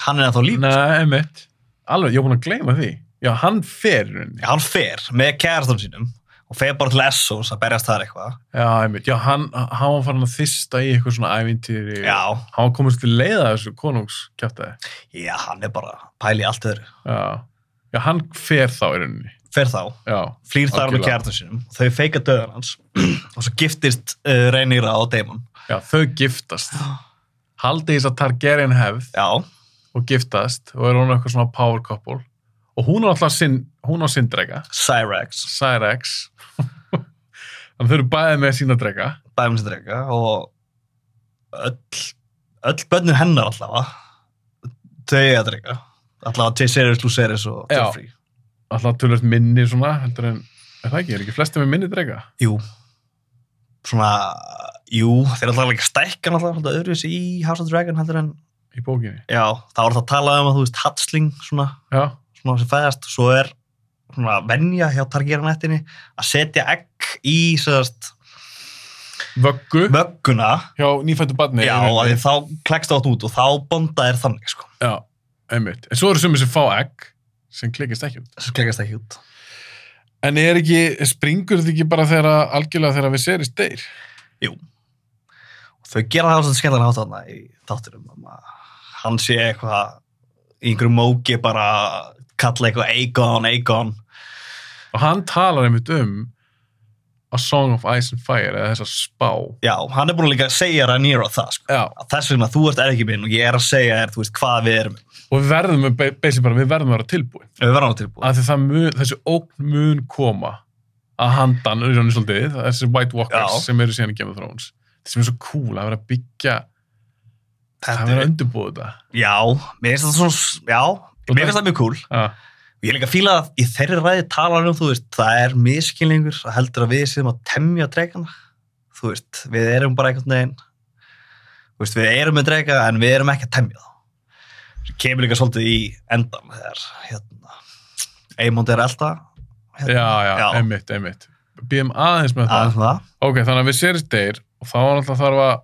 C: hann er ennþá líf
B: Nei, einmitt. alveg, ég var búin að gleyma því já, hann fer í rauninni.
C: Já, hann fer með kærastan sínum og fer bara til Essos að berjast þar eitthvað
B: já, einmitt, já, hann, hann var farin að þista í eitthvað svona ævintýri og
C: Já,
B: hann var komist til leiða þessu konungskjæftæði
C: já, hann er bara pæli í allt öðru
B: já. já, hann fer þá í rauninni
C: fer þá,
B: já,
C: flýr þar með
B: Algjörlega.
C: kærastan sínum þau feika döðan hans og svo giftist uh, Reynira og Damon
B: já þau giftast haldi þess að Targaryen hefð
C: Já,
B: og giftast og er hún eitthvað svona power couple og hún er alltaf sinn, hún á sinn drega
C: Cyrax
B: Cyrex þannig þau eru bæðið með sína drega
C: bæfumsindrega og öll, öll bönnur hennar allavega þau að drega allavega T-Series, Luceris og
B: Já.
C: Jeffrey
B: alltaf tölvöld minni svona heldur en, er það ekki, er ekki flesti með minni drega
C: Jú svona, jú, þeir allavega líka stækkan allavega alltaf öðruvísi í House of Dragon heldur en,
B: í bókinni
C: já, það var það að tala um að þú veist Hatsling svona,
B: já,
C: svona sem fæðast svo er svona venja hjá Targaryen-ættinni að setja egg í sérst
B: vöggu
C: vögguna
B: hjá nýfættu barni í
C: já, að
B: rauninni.
C: því þá klekst átt út og þá bonda er þannig sko,
B: já, einmitt en svo eru sumir sem fá egg sem klikist ekki út
C: sem klekast ekki út
B: en er ekki, springur þetta ekki bara þegar að- algjörlega þegar við serist deyr
C: þau gera það á svolítið skemmtilega hátt þarna í þátturum um að hann sé eitthvað í einhverju móki bara kalla eitthvað Aegon, Aegon
B: og hann talar einmitt um A Song of Ice and Fire eða þessa spá
C: já, hann er búin að líka að segja Rhaenyra það sko.
B: já,
C: Að þess vegna þú ert erki minn og ég er að segja þér, þú veist, hvað við erum
B: og við verðum að- basically bara, við verðum að vera tilbúin
C: við verðum á tilbúið
B: að það mun, þessi ógn mun koma að handan, í rauninni svolítið þessi White Walkers
C: Já.
B: sem eru síðan í Game of Thrones það sem er svo cool að vera að byggja að
C: Þetta
B: vera
C: er-
B: að undirbúa þetta
C: já, mér finnst það svona já,
B: Og
C: mér
B: það-
C: finnst það mjög cool
B: ah,
C: ég er líka að fíla að í þeirri ræði talar um, þú veist, það er miskilningur að heldur að við séum að temja dregana þú veist, við erum bara einhvern veginn þú veist, við erum með drega en við erum ekki að temja þá Sem kemur líka svolítið í endan þegar, hérna Eymond er elda
B: já, já,
C: Já.
B: einmitt, einmitt býðum aðeins með það
C: aðeins með það,
B: ok, þannig að við sérist deyr og þá er alltaf þarf að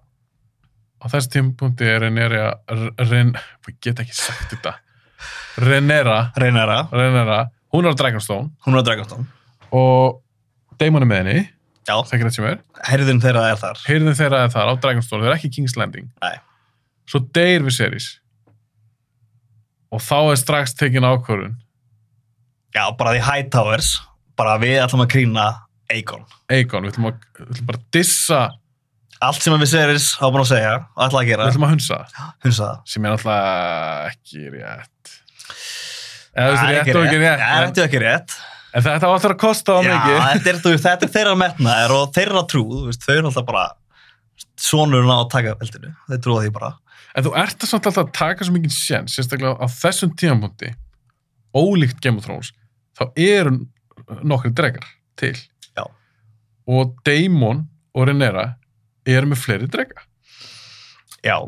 B: á þessi tímpunkti er Renera Ren, ég get ekki sagt þetta Renera,
C: Reynara,
B: Renera hún er á Dragonstone
C: hún er að drega þá
B: og Daemon er með henni
C: já,
B: þekkir þetta sem er
C: herðin þeirra er þar
B: heyrðin þeirra er þar á Dragonstone, þeir eru ekki í King's Landing
C: Nei.
B: svo deyr við seris og þá er strax tekin ákvörðun
C: já, bara því Hightowers bara við ætlum að krýna Aegon
B: Eikon, við ætlum, að, við ætlum bara að dissa
C: allt sem að við seris á búin að segja og ætla að
B: við
C: gera,
B: ætlum að hunsa það,
C: hunsa það
B: sem er alltaf ekki rétt eða þú
C: Það
B: veist,
C: er
B: rétt og ekki rétt
C: Það er
B: en,
C: þetta ekki rétt.
B: en þetta á aftur að kosta á
C: Já,
B: mikið
C: þetta er, þú veist, þetta er þeirra metnaðir og þeirra trú, þú veist, þau eru alltaf bara sonurinn á að taka veldinu. Þeir trúa því bara.
B: en þú ert að samt alltaf að taka svo mikið sjens sérstaklega á þessum tímapunkti ólíkt Game of Thrones þá eru nokkri dregar til
C: Já.
B: og Daemon og Renera eru með fleiri drega
C: Já,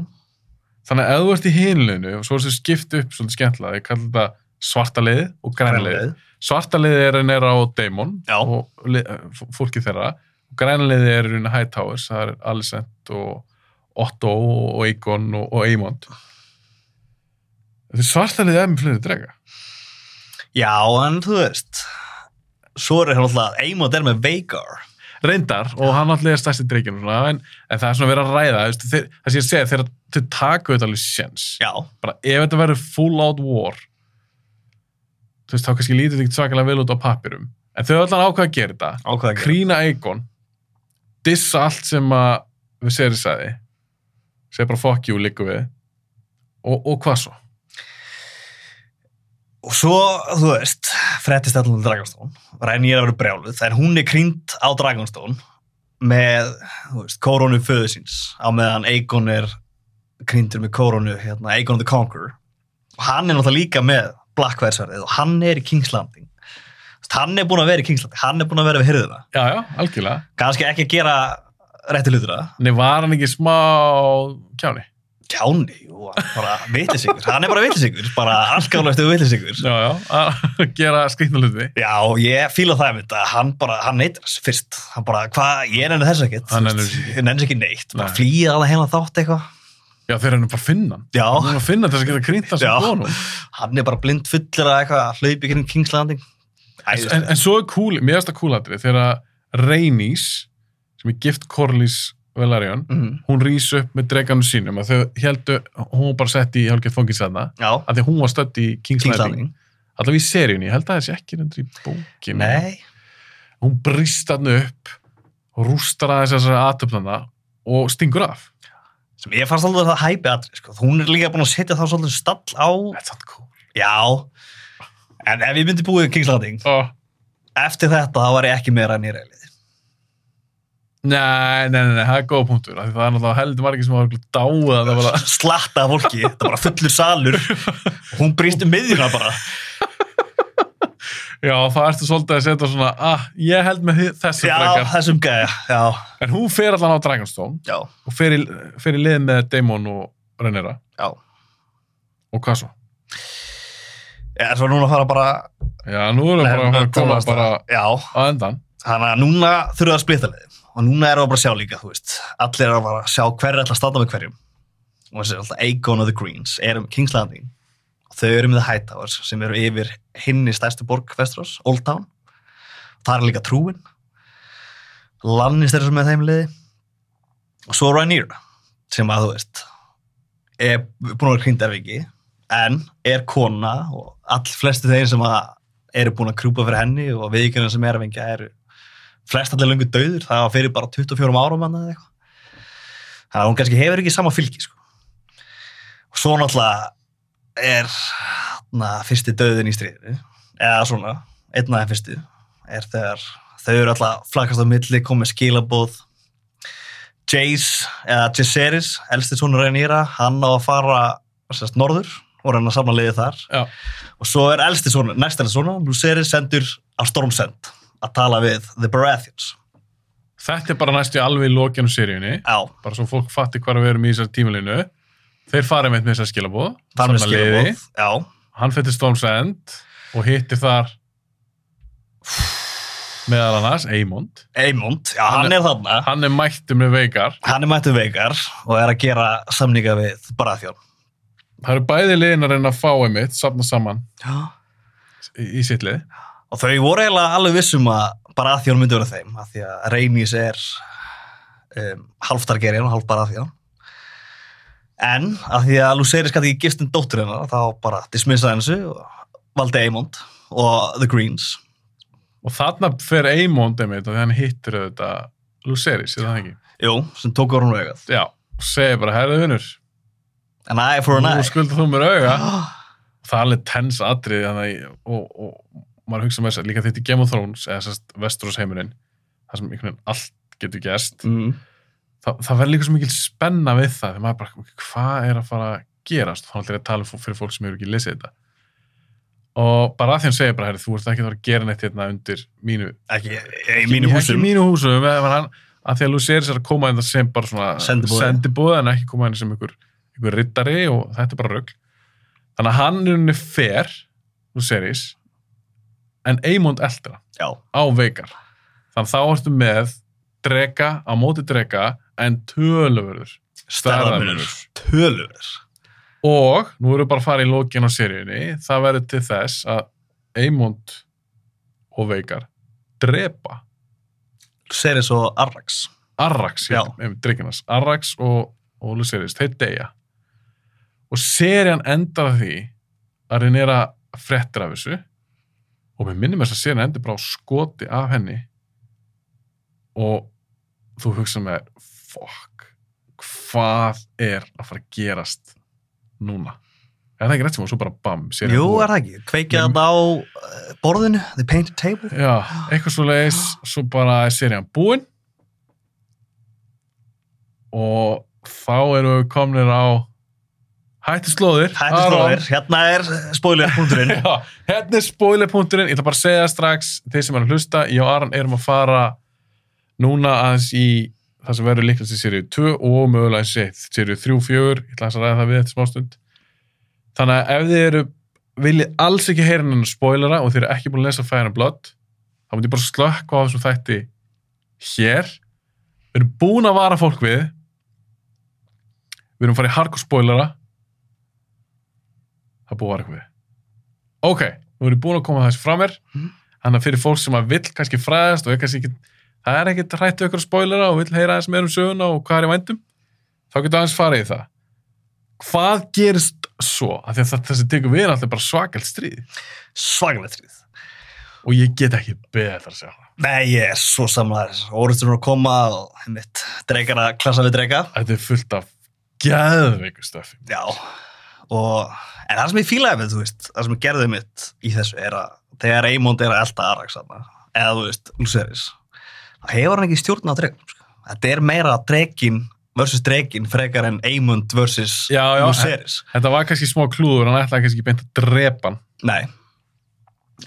B: Þannig að ef þú ert í hinleinu og svo er þessu skipt upp svolítið skemmtilega, ég kallar þetta svarta liðið og græna liðið. Svarta liðið er en er á Damon
C: Já.
B: og lið, f- fólkið þeirra. Græna liðið er en Hightowers, það er Alicent og Otto og Eikon og, og Eymond. Þetta svarta liðið er með fleiri drega.
C: Já, en þú veist Svo er hérna alltaf Eymond er með Veigar
B: Reyndar, og hann alltaf er stærsti dregin og svona, en, en það er svona verið að ræða, þú veist, þeir, það sé ég að segja, þeir, þeir taka auðvitað alveg sjens.
C: Já,
B: bara ef þetta verður full out war þú veist, þá kannski lítið þetta ekkert svakalega vel út á pappirum en þau allan ákveða að gera þetta
C: ákveða ekki
B: krýna Eikon dissa allt sem að við séri sagði segja bara fuck you líku við og, og hvað svo?
C: Og svo, þú veist, frettist allan til Dragonstone Rænir er að vera brjáluð Það er hún er krýnd á Dragonstone með, þú veist, kórónu föðu síns á meðan Eikon er krýndur með kórónu, hérna, Eikon the Conqueror og hann er náttúrulega líka með Blackfærsverðið og hann er í King's Landing Þú veist, hann er búin að vera í King's Landing hann er búin að vera við hirðina
B: Já, já, algjörlega
C: kannski ekki að gera rétti hlutur að
B: Nei, var hann ekki smá kjáni?
C: Kjáni, jú, hann er bara vitlisingur hann er bara vitlisingur, bara allgáðlega vitlisingur
B: Já, já, að gera skrifna hluti
C: Já, ég fíla það einmitt að hann bara, hann neytir þessu fyrst. Hann bara, hvað, ég nenni þess ekkert.
B: Hann
C: þú
B: nennir
C: veist,
B: þessu ekki.
C: Ég nenni þess ekki neitt. Bara
B: Nei.
C: flýja að það heila þátt eitthvað.
B: Já, þeir eru nú bara að finna hann
C: Já,
B: Þeir eru að finna þess að geta krýnt hann
C: Já.
B: sem konum
C: hann er bara blind fullur að eitthvað að hlaupi kring King's Landing. Æðislegt.
B: en, en svo er cool, mér finnst það cool atrið þegar að Rhaenys sem er gift Corlys Velaryon
C: Mhm.
B: hún rís upp með dreganum sínum að þau heldu, hún var bara sett í hálfgeitt fóngins þarna,
C: Já,
B: að því hún var stödd í King's,
C: King's
B: Landing,
C: Landing.
B: allavega í seríunni ég held að það sé ekki reyndur í bókinu
C: Nei,
B: hún brýst þarna upp og rústar aðeins þessari atöfnana og stingur af
C: sem ég fannst alveg það hæpi aðri, sko. Hún er líka búin að setja þá svolítið stall á.
B: That's not cool
C: Já, en ef ég myndi búið í King's Landing,
B: oh.
C: eftir þetta þá var ég ekki meira enn í reylið.
B: Nei, nei, nei, nei, það er góð punktur af því það er náttúrulega heldur margir sem var dáið að það var að
C: slatta af fólki, þetta var fullur salur hún brýst um miðjuna bara
B: Já, það ertu svolítið að setja svona ah, ég held með þi- þessu
C: já,
B: frekar."
C: þessum gæja já,
B: En hún fer allan á Dragonstone
C: já,
B: og fer í, fer í lið með Daemon og Rhaenyra.
C: já
B: Og hvað svo?
C: eða svo núna fara bara
B: Já, nú erum við bara að fara að koma bara
C: já,
B: á endan.
C: þannig að núna þurfum við að splita liðin og núna erum við bara að sjá líka, þú veist allir eru að bara að sjá hverju ætla að standa með hverjum og þessi er alltaf Aegon og the Greens erum King's Landing og þau eru með The Hightowers sem eru yfir hinni stærstu borg Vestros, Old Town það er líka trúin Lannister er sem er með þeim liði og svo Rhaenyra sem að þú veist er búin að vera hrindarviki en er kona og all flestu þeir sem að eru búin að krjúpa fyrir henni og viðkjörnum sem er að vingja eru flest allir löngu döður, það var fyrir bara 24 árum hann eða eitthvað þannig að hún kannski hefur ekki sama fylgi sko. og svo náttúrulega er na, fyrsti döðin í stríðinu eða svona, einn af þeim fyrstu er þegar þau eru alltaf flakast á milli, komið skilabóð Jace eða Jaceris, elsti sonur Rhaenyra hann á að fara sérst, norður og reyna að samla liðið þar
B: Já.
C: og svo er elsti sonur, næst elsti sonur Lucerys sendur á Stormsend að tala við The Baratheons
B: Þetta er bara næstu í alveg í lokinu seríunni.
C: Já,
B: Bara svo fólk fatti hvar við erum í þessari tímalinu. Þeir fara með með þessar skilabóð.
C: þar með
B: saman liði.
C: skilabóð Já,
B: Hann fyrir Storm's End og hittir þar meðal annars Eymond.
C: Eymond, já
B: Hann
C: hann er þarna
B: Hann er mættur með veikar.
C: hann er mættu veikar og er að gera samninga við Baratheon
B: Það eru bæði liðin að reyna að fá einmitt, safna saman í, í sitt lið.
C: og þau voru eiginlega alveg vissum að Baratheon myndi vera þeim af því að Rhaenys er um, half Targaryen og half Baratheon en af því að Lucerys gæti ekki gifst um dóttur hennar þá bara dismissaði hensu og valdi Eymond og The Greens
B: Og þarna fer Eymond einmitt og hann hittir auðvitað Luceris, er það ekki?
C: jú, sem tók voru hún augað
B: Já, og segir bara, herðu vinnur,
C: an eye for an
B: nú
C: eye
B: skuldar þú mér auga.
C: Ah,
B: Það er alveg tens atrið þannig, að- og, og, og maður hugsa með þess að líka þetta í Game of Thrones, eða sérst Vesturós heimurinn, þar sem einhvern veginn allt getur gerst.
C: mm.
B: Þa, það verður líka svo mikil spenna við það, þegar maður bara, ok, hvað er að fara að gerast? Þá er alltaf að tala um fó- fyrir fólk sem hefur ekki lesið þetta. Og bara að því hann segir bara, herri, þú ert ekki að fara að gera neitt hérna undir mínu
C: ekki, í mínu
B: ekki
C: húsum
B: í mínu húsum eða var hann, að því að Luceris er að koma inn það sem bara svona
C: Sendiboði.
B: sendiboði en ekki koma inn sem einhver, einhver einhver riddari og þetta er bara rugg þannig að hann er henni fer úr seris en Eymond eldra
C: Já.
B: á veikar þannig að þá ertu með drega á móti drega en tölvörður
C: Stærðarmunur. Tölur.
B: og nú erum við bara að fara í lokin á seríunni það verður til þess að Eymond og veikar drepa
C: Serið svo Arrax.
B: Arrax,
C: Já.
B: dreikinas, Arrax og og Lucerys, þeir deyja. Og serían endar á því að reyna er að frettir af þessu og mér minnum þess að serían endur bara á skoti af henni og þú hugsa með þér, fuck, hvað er að fara að gerast núna? Er það ekki rétt sem að svo bara bam, serían
C: Jú,
B: búin?
C: er það ekki? Kveikja þetta á eh, borðinu, the painted table.
B: Já, eitthvað svo leiðis, svo bara er serían búinn og þá erum við komnir á hættislóðir.
C: Þetta er slóðir. Hérna er spoiler.in.
B: Já, hérna er spoilerpunkturinn, ég ætla bara að segja það strax, þeir sem er að hlusta, ég og Aron erum að fara núna aðeins í það sem verður líkast í seríu 2 og mögulega í seríu 3-4, ég ætla aðeins að ræða það við eftir smástund. Þannig að ef þið eru, viljið alls ekki heyra hennan spoilera og þið eru ekki búin að lesa Fire and Blood, þá myndi ég bara slökka á þessum þætti hér. Við erum búin að vara fólk við, við erum farið hardcore spoilera, það er búið að vara ykkur við. Ok, nú erum við búin að koma þessu frá mér
C: Mhm.
B: Þannig að fyrir fólk sem að vill kannski fræðast og er kannski ekki, það er ekkit hrættu ykkur spoilera og vill heyra aðeins meira um söguna og hvað er í vændum þá getur aðeins farið í það Hvað gerist svo? Af því að það, þessi tekur við er alltaf bara svakalt stríð
C: Svakalegt tríð.
B: og ég get ekki betra að segja það
C: Nei, ég er svo samlæðis. Óristurinn að koma og mitt dreikar að klassa við dreika.
B: Þetta er fullt af geðveiku stöfi
C: Já. Og, en það sem ég fílaði við, þú veist, það sem ég gerði mitt í þessu er að þegar Eymond er að elda Arax þarna, eða þú veist, Ulseris, þá hefur hann ekki stjórn á dreikum. Sko. Þetta er meira dreikin versus dreikin frekar en Eymond versus
B: Já, já,
C: Ulseris.
B: Þetta var kannski smá klúður, hann ætlaði kannski beint að drepa hann
C: Nei.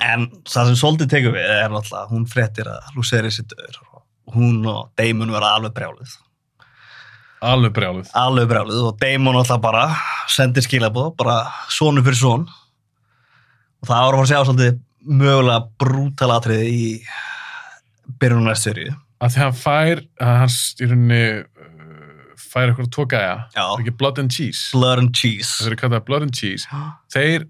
C: En það sem svolítið tekur við er náttúrulega að hún fréttir að Luceris er döður og hún og Damon verða alveg brjálið.
B: alveg brjáluð
C: Alveg brjálið og Damon alltaf bara sendir skilabóð, bara sonu fyrir son. Og það var að fara að sjá svolítið mögulega brútal atriði í byrjunum næst sérið.
B: að því hann fær, að hans í rauninni uh, fær eitthvað tvo gæja
C: Já.
B: Er ekki blood and cheese
C: Blood and Cheese.
B: þeir eru kallað Blood and Cheese,
C: Mm
B: þeir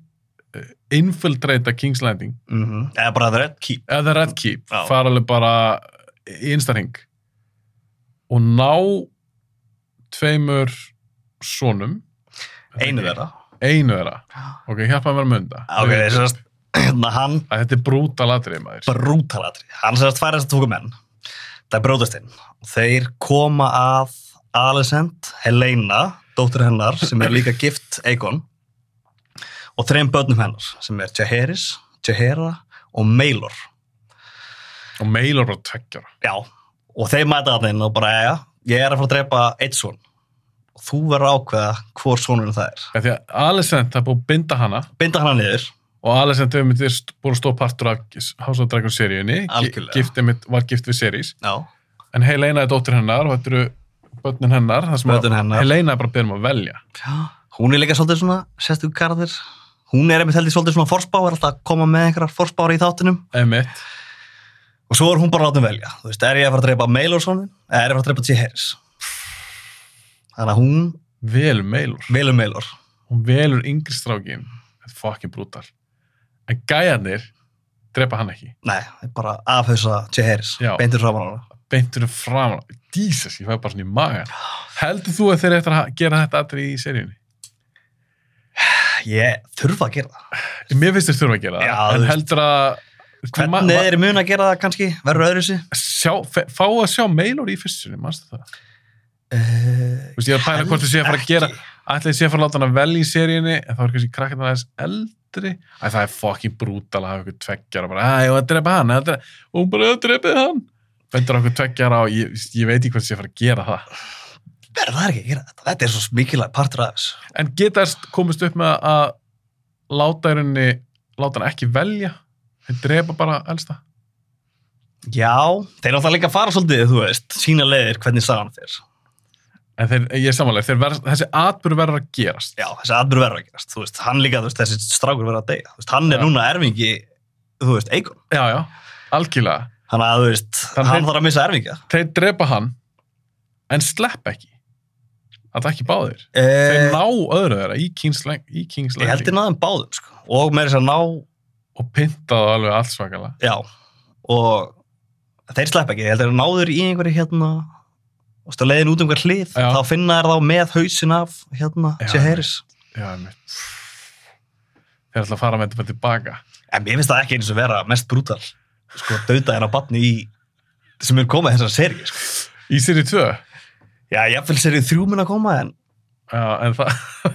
B: eh, infiltrata King's Landing
C: Mhm. Eða bara The Red Keep.
B: eða Red Keep,
C: Já.
B: fara alveg bara í instaring og ná tveimur sonum
C: Einu þeirra.
B: einu þeirra, ok, hjálpa mér að mynda
C: Ok, þess að hann
B: að þetta er brútal atrið maður
C: brútalatri. Hann sem að færa þess að tóku menn. Það er bróðast inn. Og þeir koma að Alicent, Helena, dóttir hennar, sem er líka gift Eikon, og þreim börnum hennar, sem er Jaheris, Jahera og Maelor.
B: og meilur bara tveggjara
C: Já, og þeir mæta að þeim og bara, já, ég er að fara að drepa eitt son. Og þú verður að ákveða hvor sonurinn það er.
B: því að Alicent er búið að binda hana
C: Binda hann niður.
B: og Alicent er myndir búin að stóð partur af House of Dragons seríunni
C: Algjörlega.
B: gift, einmitt- var gift við serís
C: Já.
B: En Helena er dóttir hennar og þetta eru börnin hennar, það sem að-
C: Börnin hennar.
B: Helena er bara að byrja um að velja.
C: Hún er líka svolítið svona, sérstu karðir. Hún er einmitt heldur svolítið svona forspár, er alltaf að koma með einhverjar forspár í þáttunum.
B: Emitt.
C: Og svo er hún bara látum velja. Þú veist, er ég að fara að dreipa Mailorsonin eða er ég að fara að dreipa T. Harris? Þannig að hún
B: Velur meilur.
C: velur Mailor.
B: Hún velur yngri strákin. Þetta er fucking brútal. En gæjarnir drepa hann ekki.
C: Nei, það er bara að afhauðsa T. Harris.
B: Já.
C: Beintur frá hana.
B: Beintur hann fram. Jesus, ég fæði bara svona í magan. Heldur þú að þeir eru eftir að gera þetta allir í seríunni?
C: Ég þurfa að gera það.
B: Mér finnst þeir þurfa að gera það.
C: Já,
B: en
C: þú veist.
B: heldur að...
C: Hvernig er mun að gera það kannski? Verður öðru sér?
B: Sjá, fe- fá að sjá meilur í fyrstunni, mannstu það? Þú veist, ég er að
C: Eh,
B: pæla hvort þið séu að fara að gera ætlaði sé að fara að láta hann að velja í seríunni en þá er kannski krakkan aðeins eldri Æ, það er fucking brútal að hafa ykkur tveggjara bara, æ, ég var að drepa hann að drepa. og hún bara, ég var að drepa hann bendur á okkur tveggjara og ég, ég veit ekki hvort sé að fara að gera það
C: Verður það ekki að gera þetta? Þetta er svo mikilvæg partur af þessu.
B: en getast komist upp með að láta henni láta hann ekki velja en drepa bara elsta
C: Já, þeir náttúrulega líka að fara svolítið, þú veist, sína leiðir hvernig sagan fyrr.
B: En þeir, ég er samanlega, þeir verð, þessi atbyrð verður að gerast.
C: já, þessi atbyrð verður að gerast, þú veist, hann líka, þú veist, þessi strákur verður að deyja, þú veist, hann er
B: Já.
C: núna erfingi, þú veist, Eikon,
B: Já, já, algjörlega.
C: þannig að, þú veist,
B: Þannig
C: hann
B: þeir-
C: þarf að missa erfingja.
B: Þeir drepa hann, en slepp ekki. Það er ekki báðir.
C: E,
B: Þeir ná öðru þeirra í Kings Lang- í Kings
C: ég held
B: Landing
C: ég náðum báðum, sko, og með þess að ná,
B: og pyntaðu alveg allsvakalega.
C: já, og þeir slepp ekki, ég held að þeir náður í einhverju hérna, þú veist, að leiðin út um hver hlið,
B: Já.
C: þá finna þeir þá með hausin af, hérna,
B: Já,
C: sé heyris.
B: Já, einmitt. Þeir ætla að fara með þetta bara tilbaka.
C: En mér finnst það ekki eins og vera mest brútal, sko, dauða hérna batni í, sem er komað þessar seri, sko.
B: Í sér í tvö.
C: Já, jafnvel serið þrjú mun að koma, en
B: Já, en það,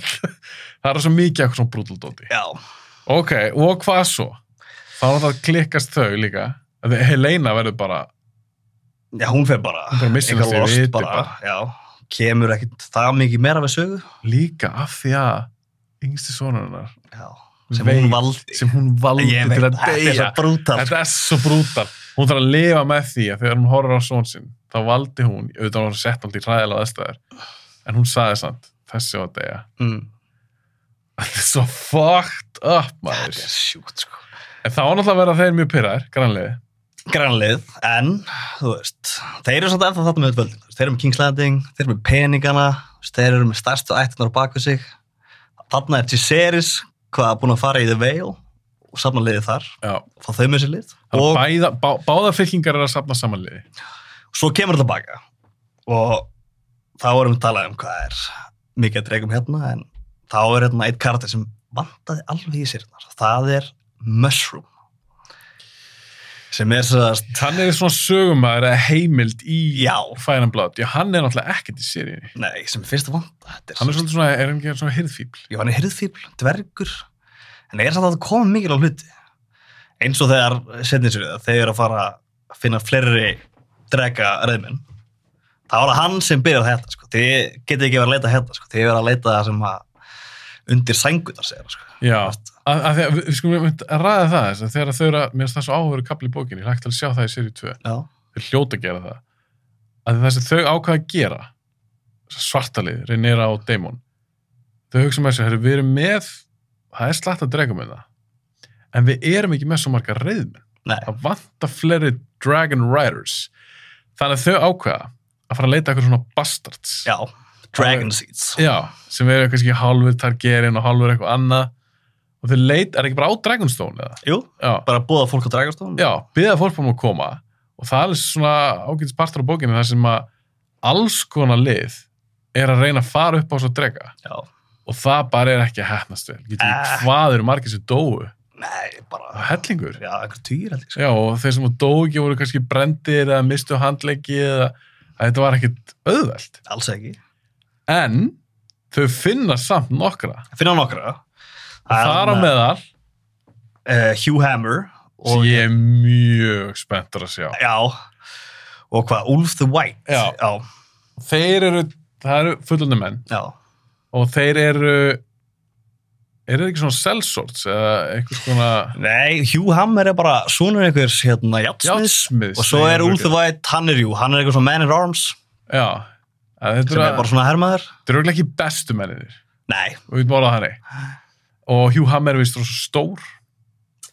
B: það er svo mikið eitthvað svona brutal dóti.
C: já,
B: Ok, og hvað svo? Þá er það klikkast þau líka. Að þau- Helena verður bara,
C: já, hún fer bara
B: Hún fer að missa
C: eitthvað
B: sig
C: lost
B: viti
C: bara,
B: bara.
C: já, kemur ekkit það mikið meira við sögu
B: líka af því að yngsti sonurinnar
C: já, sem
B: Veit.
C: hún valdi
B: sem hún valdi
C: ég veit,
B: til að
C: þetta er svo
B: deyja.
C: brútal
B: Þetta er svo brútal. Hún þarf að lifa með því að þegar hún horfir á són sinn, þá valdi hún, auðvitað hún var sett alltaf í hræðilega aðstæður, en hún sagði samt, þessi á að deyja.
C: mm,
B: Þetta er svo fucked up, maður.
C: þetta er sjúkt sko.
B: En þá náttúrulega verða þeir mjög pyrraðir, grannlega.
C: grannlið, en þú veist, þeir eru svolítið eftir þetta með öll völdin, þú veist, þeir eru með King's Landing þeir eru með peningana, þú veist, þeir eru með stærstu ættunar á baku sig þarna er Tiseris, hvað er búin að fara í The Veil og safna liðið þar
B: Já.
C: fá þau með sér lið
B: Og... Bæða, bá, báða fylkingar eru að safna samanliði.
C: svo kemur það baka og þá erum við talað um hvað er mikið að dregum hérna en þá er hérna eitt karakter sem vantaði alveg í sér hérna. það er Mushroom sem er sérst
B: Hann er svona sögumæður eða heimild í
C: já,
B: Fire and Blood. Já, hann er náttúrulega ekkert í seríunni.
C: nei, sem fyrst að vanta þetta er
B: Hann er
C: svolítið,
B: svolítið svona, er hann ekki svona hirðfíbl?
C: jú, hann er hirðfíbl, dvergur en er samt að það koma mikil á hluti eins og þegar setninsrið, þegar þeir eru að fara að finna fleiri drega reyðmenn þá er það hann sem byrjar þetta sko. þið getið ekki verið að leita hérna sko. þið verið að leita það sem að undir sængunar segir sko.
B: Já. Að, að því að við, við skulum mynd, að ræða það þess að þegar þau eru að, mér finnst það svo áhverju kapli í bókinni, ég hægt að sjá það í seríu 2.
C: Já.
B: Þau hljóta að gera það. Að þess að þau ákvaða að gera, svartalið, Rhaenyra og Daemon, þau hugsa með sér, "Heyrðu, við erum með, það er slætt að drega með það, en við erum ekki með svo marga reyðmenn.
C: Nei,
B: það vantar fleiri Dragon Riders þannig að þau ákveða að fara að leita eitthvað svona bastards
C: já, Dragon Seeds
B: Já, sem eru kannski hálfur Targaryen og hálfur eitthvað annað og þau leita, er ekki bara á Dragonstone eða?
C: Jú,
B: Já,
C: bara búða fólk á Dragonstone
B: já byggða fólk um að koma og það er alveg svona ágætis partur á bókinu þar sem að alls konar lið er að reyna að fara upp á svo drega
C: Já.
B: og það bara er ekki að hefnast vel getur
C: Ah.
B: ekki hvað eru margir sem dóu
C: Nei,
B: og
C: bara
B: hellingur
C: Já, einhver týr held ég sko.
B: Já, og þeir sem dó ekki voru kannski brendir eða mistu handleggi eða að þetta var ekkit auðvelt.
C: Alls ekki
B: En þau finna samt nokkra.
C: Finna nokkra
B: Og
C: Ah,
B: þar á meðal
C: uh, Hugh Hammer
B: sem ég er mjög spenntur að sjá.
C: Já Og hvað, Ulf the White
B: Já.
C: Já,
B: Þeir eru, það eru fullunum menn
C: já.
B: og þeir eru, eru þeir ekki svona sellsorts eða eitthvað svona
C: Nei, Hugh Hammer er bara Svonur einhvers hérna játtsmiðs
B: játsmiðs.
C: Og svo er Ulf the White, hann er jú Hann er eitthvað svona man in arms
B: Já, að
C: Sem
B: þetta
C: er
B: eru
C: bara svona hermaður
B: þeir eru örugglega ekki bestu menninir.
C: Nei,
B: Við veitum orðað þannig. Og Hugh Hammer er vist rosa stór.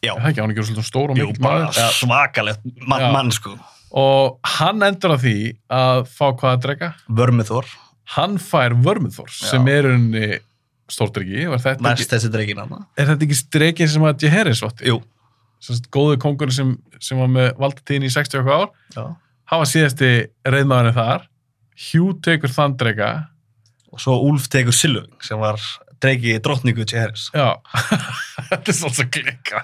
C: Já.
B: Er það ekki, hann er ekki svolítið stór og
C: jú,
B: mikill
C: bara
B: maður. Já.
C: svakalegt man,
B: Já.
C: mann sko
B: og hann endur á því að fá hvað að drega
C: Vörmithor,
B: hann fær vörmuþór
C: Já.
B: sem er unni stórdryggi er þetta,
C: næst
B: ekki,
C: þessi dreikin hann
B: er þetta ekki strekin sem að Jeheris vatti
C: Jú,
B: góðu kongur sem, sem var með valdatíðin í 60 okkur ár
C: já
B: hafa síðasti reyðmaðurinn þar Hugh tekur þann drega
C: Og svo Ulf tekur Silving sem var dreiki drottningu Tjeheris
B: já þetta er svolítið að klikka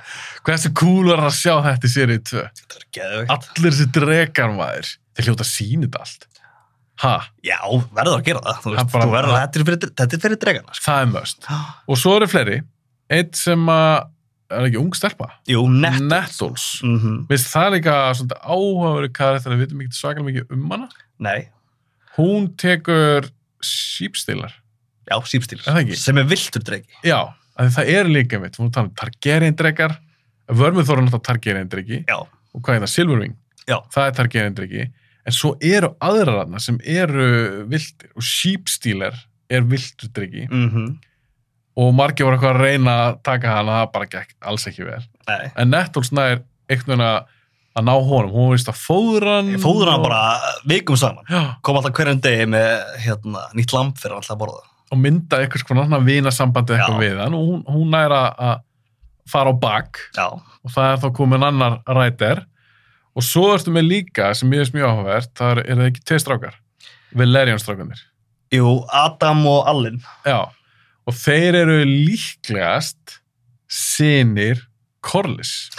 B: hversu cool er að sjá þetta í sérið 2
C: Þetta er geðveikt
B: allir þessi dregar maður þeir hljóta sýnit allt ha,
C: Já, verður að gera það, þú veist,
B: Það bara-
C: þú verður að þetta er fyrir, þetta er fyrir dregana, sko.
B: það er möst Og svo eru fleiri. Eitt sem að, er ekki ung stelpa?
C: Jú, nett.
B: Nettles.
C: Mm
B: Veist það er líka svona áhafur karakter þegar við vitum ekki svakalega mikið um hana.
C: Nei,
B: Hún tekur sípstilar.
C: já, sípstílur.
B: Er það ekki?
C: Sem er viltur dregi.
B: Já, af því það er líka mitt. Hún tala um Targaryen-drekar. Vörmið þóra náttúrulega Targaryen-dreki.
C: Já.
B: Og hvað er það? Silverwing.
C: Já.
B: Það er Targaryen-dreki. en svo eru aðrar aðna sem eru vildir og sheepstealer er vildur drikki
C: mm
B: og margir voru eitthvað að reyna að taka hana það bara gekk alls ekki vel
C: Nei.
B: en Nettles nær einhvern veginn að að ná honum, hún veist að fóðra hann
C: Ég fóður
B: og-
C: hann bara vikum saman.
B: já,
C: Kom alltaf hverjum degi með hérna, nýtt lamp fyrir hann alltaf að borða.
B: og mynda eitthvað svona annan vinasambandi eitthvað
C: Já.
B: við hann og hún, hún nær að að fara á bak
C: Já.
B: og það er þá komin annar rætir og svo ertu með líka sem ég veist mjög áhugavert, það eru- eru það ekki tveir strákar Valerian strákanir
C: Jú, Adam og Allin.
B: já, og þeir eru líklegast sinir Corlys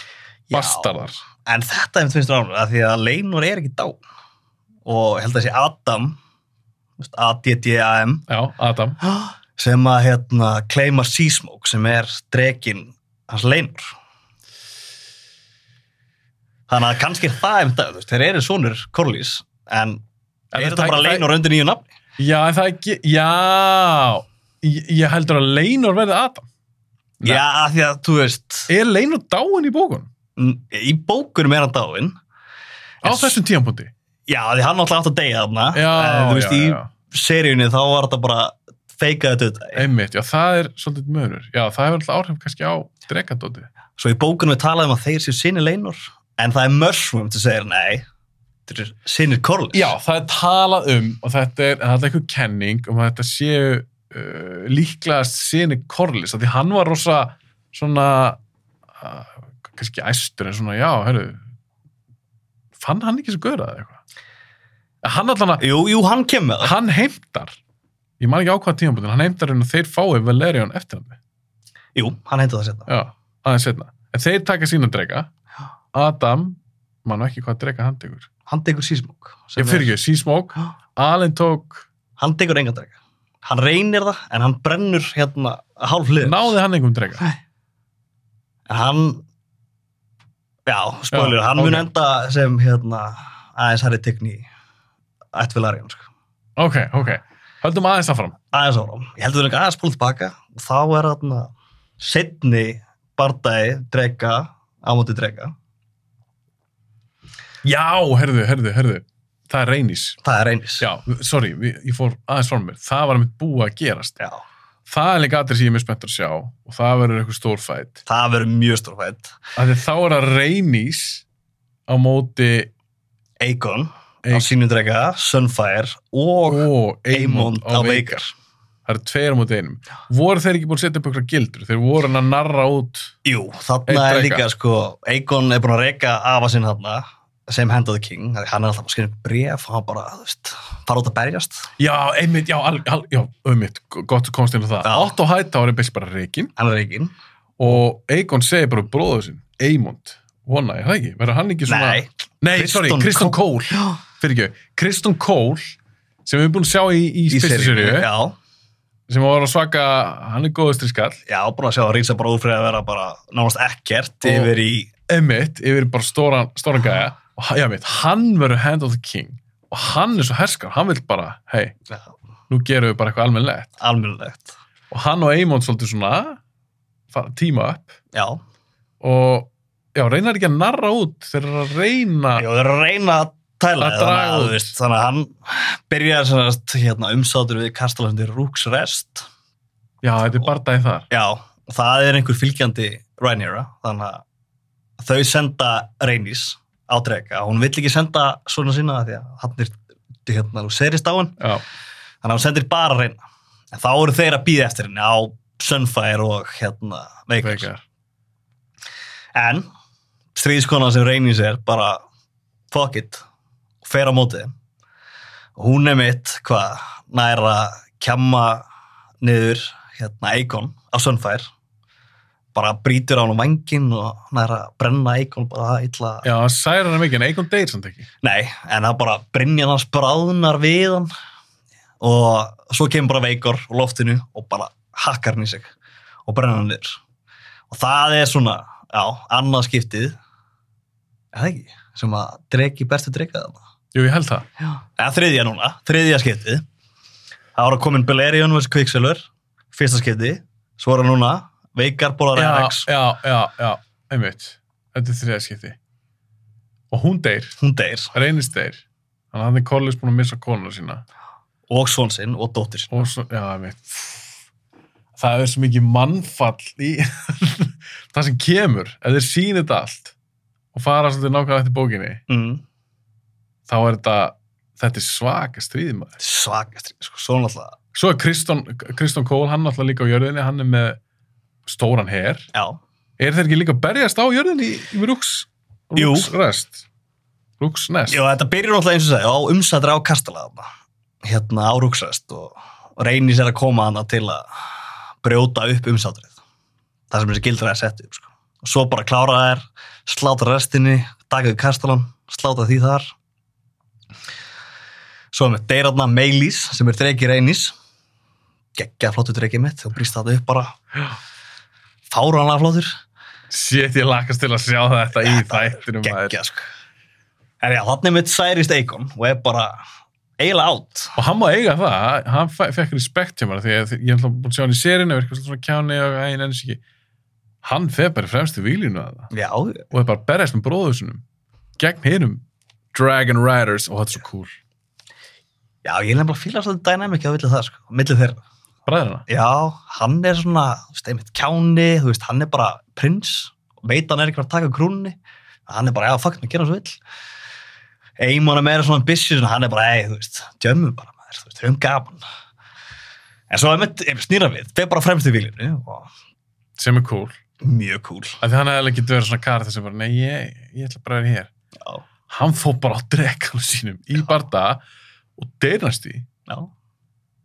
C: Já.
B: bastardar
C: En þetta er finnst ránur, af því að Leinur er ekki dá. Og ég held að sé Adam, þú veist, A-D-D-A-M,
B: já, Adam,
C: sem að hérna kleima Seasmoke, sem er drekinn hans Leinur. Þannig að kannski er það einmitt það, þú veist, þeir eru sonur Corlys, en
B: En
C: er
B: það-
C: þetta bara
B: það-
C: Leinur undir nýju nafni?
B: já, en það ekki já, ég, ég heldur að Leinor verði Adam Nei.
C: Já, af því að, þú veist,
B: er Leinor dáin í bókun
C: n- í bókunum er hann dáinn.
B: á
C: En s-
B: þessum tíampunkti
C: Já, af því hann náttúrulega átt að deyja þarna. en,
B: já,
C: þú
B: já,
C: veist,
B: já,
C: í
B: já.
C: seríunni þá var þetta bara feikaði döðdægi.
B: Einmitt, já, það er svolítið mönur. Já, það hefur alltaf áhrif kannski á dregandótið.
C: Svo í bókunum við talaðum að þeir séu sinni leinur, en það er mörsmum til að segja nei, þeir eru sinni korlis.
B: Já, það er talað um, og þetta er, þetta er eitthvað kenning, um að þetta séu uh, líklegast sinni Corlys, af því hann var rosa svona, uh, kannski æstur en svona, já, herru, fann hann ekki svo göra eða eitthvað? Hann allan að,
C: Jú, jú, hann kemur með það.
B: hann heimtar, ég man ekki á hvað tímabundin, hann heimtar henni að þeir fái Valerion eftir hann.
C: Jú, hann hendi það setna.
B: Já, aðeins setna. En þeir taka sína drega.
C: Já.
B: Adam, mann ekki hvað drega hann tekur.
C: Hann tekur sísmók.
B: Ég fyrir ekki, Seasmoke.
C: Já.
B: Allen tók,
C: Hann tekur engan drega. Hann reynir það, en hann brennur hérna hálf hlið.
B: náði hann einhvern drega.
C: Nei. En hann, já, spólur,
B: Já,
C: hann
B: ok.
C: mun enda sem hérna aðeins hæri tekni ættvilarjón, sko.
B: Ok, ok. Höldum aðeins það fram.
C: aðeins áram. Ég heldur að aðeins spólum tilbaka og þá er þarna setni bardagi drega á móti drega.
B: Já, herðu, herðu, herðu. Það er reynis.
C: Það er reynis.
B: Já, sorry, við, ég fór aðeins fram mér. Það var mitt búið að gerast.
C: Já.
B: Það er líka aðrið sem ég er mjög spenntur að sjá og það verður eitthvað stórfætt.
C: Það verður mjög stór fætt.
B: Af því Þá er það reynis á móti
C: Eikon á
B: Eik-
C: sínum drega, Sunfire og
B: og
C: Eimond á
B: Veikar.
C: veikar.
B: Það eru tveir á móti einum. Voru þeir ekki búin að setja upp eitthvað gildur? Þeir voru hann að narra út.
C: Jú,
B: Einn
C: þarna er
B: dreka.
C: líka sko, Eikon er búin að reyka afa sinn þarna sem Hand of the King, Af því hann er alltaf að skrifa bref og hann bara, þú veist, fara út að berjast.
B: Já, einmitt, já, al, al, já einmitt, gott að komast inn á það.
C: Já.
B: Otto Hightower er best bara reikinn
C: Hann er reykinn.
B: og Eikon segir bara bróður sinn, Eymond, vona, er það ekki? Verður hann ekki svona...
C: Nei,
B: Nei, sorry, Kristján
C: Kristján
B: Kól, fyrir ekki. Kristján Kól, sem við erum búin að sjá í, í, í fyrstu serju,
C: Já,
B: sem var að svaka, hann er góðustri skall,
C: já, búin að sjá að Rísa bara úr fyrir að vera bara nánast ekkert
B: Og-
C: yfir í
B: einmitt, yfir bara stóran, stóran gæja, og hann- já, mitt, hann verður Hand of the King og hann er svo herskar, hann vil bara, hei,
C: Já,
B: nú gerum við bara eitthvað almennlegt.
C: almennilegt.
B: og hann og Eymond svolítið svona fa- tíma upp
C: Já,
B: og já, reynar ekki að narra út þeir eru að reyna
C: ég er að reyna að tæla
B: Að
C: þig, þannig
B: draga
C: að,
B: út.
C: þú veist, þannig að hann byrjaði sannast, hérna, umsátur við kastalandir Rúks Rest.
B: já, þetta er bardagi þar
C: Já, og það er einhver fylgjandi Rhaenyra, þannig að þau senda Rhaenys á drega. Hún vill ekki senda svona sína af því að hann er, hérna, þú serist á hann,
B: já,
C: þannig að hún sendir bara Rhaena. En þá eru þeir að býða eftir henni á Sunfire og hérna, Veikar.
B: veikar
C: En stríðskona sem reynir sér bara fuck it og fer á móti þeim. og hún er mitt hvað næra að kjamma niður hérna Eikon á Sunfire bara brýtur á hann vangin og næra að brenna Eikon bara það illa
B: já, hann særa hann mikið en Eikon deyr samt ekki
C: Nei, en það bara brinjan hans bráðnar við hann og svo kemur bara veikor á loftinu og bara hakkar hann í sig og brenna hann niður. Og það er svona, já, annað skiptið, er það ekki, sem að dregi bestu dregað þarna.
B: jú, ég held það
C: Já. Eða þriðja núna, þriðja skiptið. Það voru komin Belerion vs. Quicksilver, fyrsta skiptið, svo voru núna veikar bólar
B: já,
C: RX,
B: já, já, já, einmitt þetta er þriðaskipti og hún deyr,
C: hún deyr.
B: reynist deyr Þannig að hann er Corliss búin að missa konuna sína.
C: og svon sinn og dóttir sinn
B: Og svo, já, einmitt. Það er svo mikið mannfall í það sem kemur. Ef þeir sýnir þetta allt og fara svolítið nákvæmlega eftir bókinni,
C: mm.
B: þá er þetta, þetta er svaka stríði maður.
C: svagastri, sko, svo náttúrulega
B: Svo er Kristján, Kristján Kól, hann náttúrulega líka á jörðinni, hann er með stóran her.
C: já,
B: Er þeir ekki líka að berjast á jörðinni í, í Rúks,
C: Jú.
B: Rúksrest? Rúksnest?
C: Jó, þetta byrjur náttúrulega eins og segja á umsættir á kastala þarna, hérna á rúksræst og reynir sér að koma hana til að brjóta upp umsættrið það sem þessi gildra er sett upp sko. og svo bara klára þær sláta restinni, taka við kastalan sláta því þar svo er með deyrarna Meilís sem er dregi reynís geggja flottu dregi mitt og brýst það upp bara fáranlega flottur
B: Shit, ég lakast til að sjá þetta í þættinum maður.
C: geggja sko en já, þannig mitt særist Eikon og er bara eiginlega átt
B: Og hann má eiga það, hann fe- fekk respekt hjá mér því að ég hef búin að sjá hann í serinu og er eitthvað svona kjáni og ægin enn ekki. Hann fer bara fremst í výlinu að það
C: já,
B: og er bara að berjast með bróðusunum gegn hinum Dragon Riders og þetta er svo cool.
C: já, ég er nefnilega að fíla svolítið dynamic á villu það sko, á milli þeirra
B: Bræðina.
C: já, hann er svona, þú veist, einmitt kjáni þú veist, hann er bara prins veit að hann er ekki að taka krúnni hann er bara, já, fuck, hann gera svo vill Eimon er meira svona ambitious en hann er bara, ei, þú veist, djömmum bara maður, þú veist, höfum gaman en svo einmitt, einmitt snýra við, þeir bara fremst í viljunni og
B: Sem er cool.
C: mjög cool
B: Af því hann hefði ekki verið svona karið sem bara, nei, ég, ég ætla bara að vera hér.
C: já,
B: Hann fór bara á drekanum sínum í barda og deyrnast í.
C: já,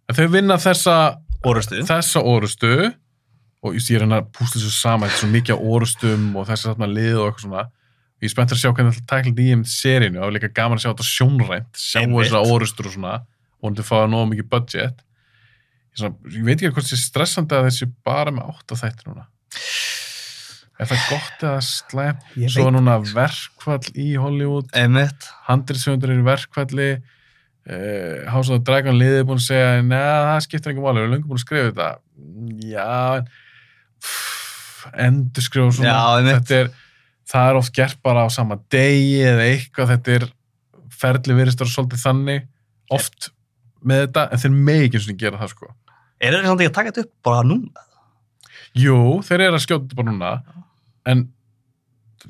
B: En þau vinna þessa
C: orustu
B: þessa orustu og ég ég er hérna að púsla þessu saman þetta er svo mikið á orustum og þessi þarna lið og eitthvað svona ég er spennt að sjá hvernig þetta tækla þetta í um serinu og líka gaman að sjá þetta sjónrænt sjá
C: Einmitt.
B: þessa orustur og svona og hann til að fá það nóg mikið budget ég, svona, ég veit ekki hvort þessi stressandi að þessi bara með átta þættir núna er það gott eða slæm svo
C: Ég veit sko.
B: er núna verkvall í Hollywood
C: Einmitt.
B: handriðsöndur eru í verkfalli uh, House of the Dragon liðið er búin að segja neða, það skiptir ekki máli, við erum löngu búin að skrifa þetta Mm, já en pff, endurskrifa og svona
C: Já, einmitt.
B: þetta er, það er oft gert bara á sama degi eða eitthvað, þetta er ferli virðist að vera svolítið þannig oft með þetta, en þeir megi ekki einu sinni gera það sko.
C: Er þeir samt ekki að taka þetta upp bara núna?
B: Jú, þeir eru að skjóta þetta bara núna en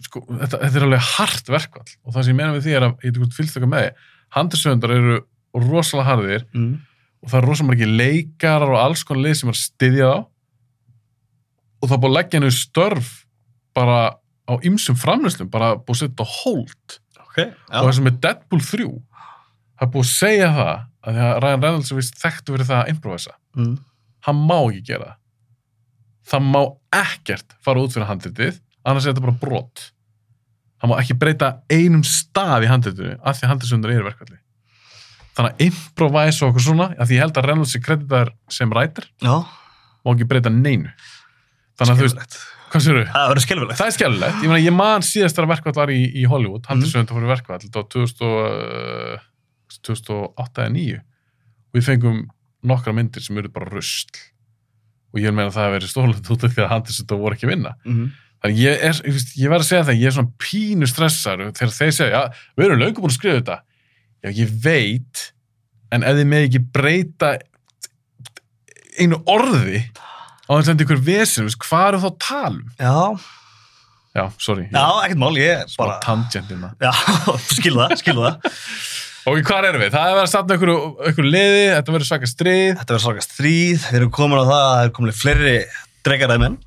B: sko, þetta, þetta er alveg hart verkvall og það sem ég meina við því er að, ég veit ekki fylgst okkar með því handisöndar eru rosalega harðir
C: Mm.
B: og það eru rosalega margir leikarar og alls konar lið sem er að styðja þá og það er búið að leggja henni störf bara á ymsum framleyslum, bara búið að setja á hold
C: Ok,
B: og það
C: já.
B: sem er Deadpool 3 það er búið að segja það að því að Ryan Reynolds er vist þekktu fyrir það að improvisa
C: Mm.
B: hann má ekki gera það það má ekkert fara út fyrir handritið annars er þetta bara brot hann má ekki breyta einum stað í handritinu af því að handrisundur eru verkvalli þannig að improvise og okkur svona af því ég held að Reynolds er kreditar sem writer
C: Já,
B: má ekki breyta neinu þannig að þú veist,
C: skelfilegt.
B: hvað sér þau?
C: Það verður skelfilegt.
B: Það er skellilegt, ég, meina, ég man síðast þegar verkvall var í, í Hollywood, handrisundur fór í verkvall þetta var 2000 og, eh, 2008 eða 2009 og við fengum nokkra myndir sem eru bara rusl og ég meina að það hefur verið stólið út af því að handrisundur voru ekki að vinna
C: Mm.
B: Þannig ég er, ég, veist, ég verð að segja það, ég er svona pínu stressar þegar þeir segja, já, við erum löngum búin að skrifa þetta. Já, ég veit, en ef þið með ekki breyta einu orði á þess að enda ykkur vesinu, veist, hvað eru þá að tala um?
C: Já,
B: Já, sorry,
C: já, ekkert mál, ég er
B: smá
C: bara...
B: tangentina.
C: Já, skilu það, skilu það.
B: Ok, hvað erum við? Það er verið að stafna ykkur, ykkur liði, þetta verður svaka stríð.
C: Þetta verður svakast stríð, við erum komin á það, að það er komin fleiri dregaræði menn,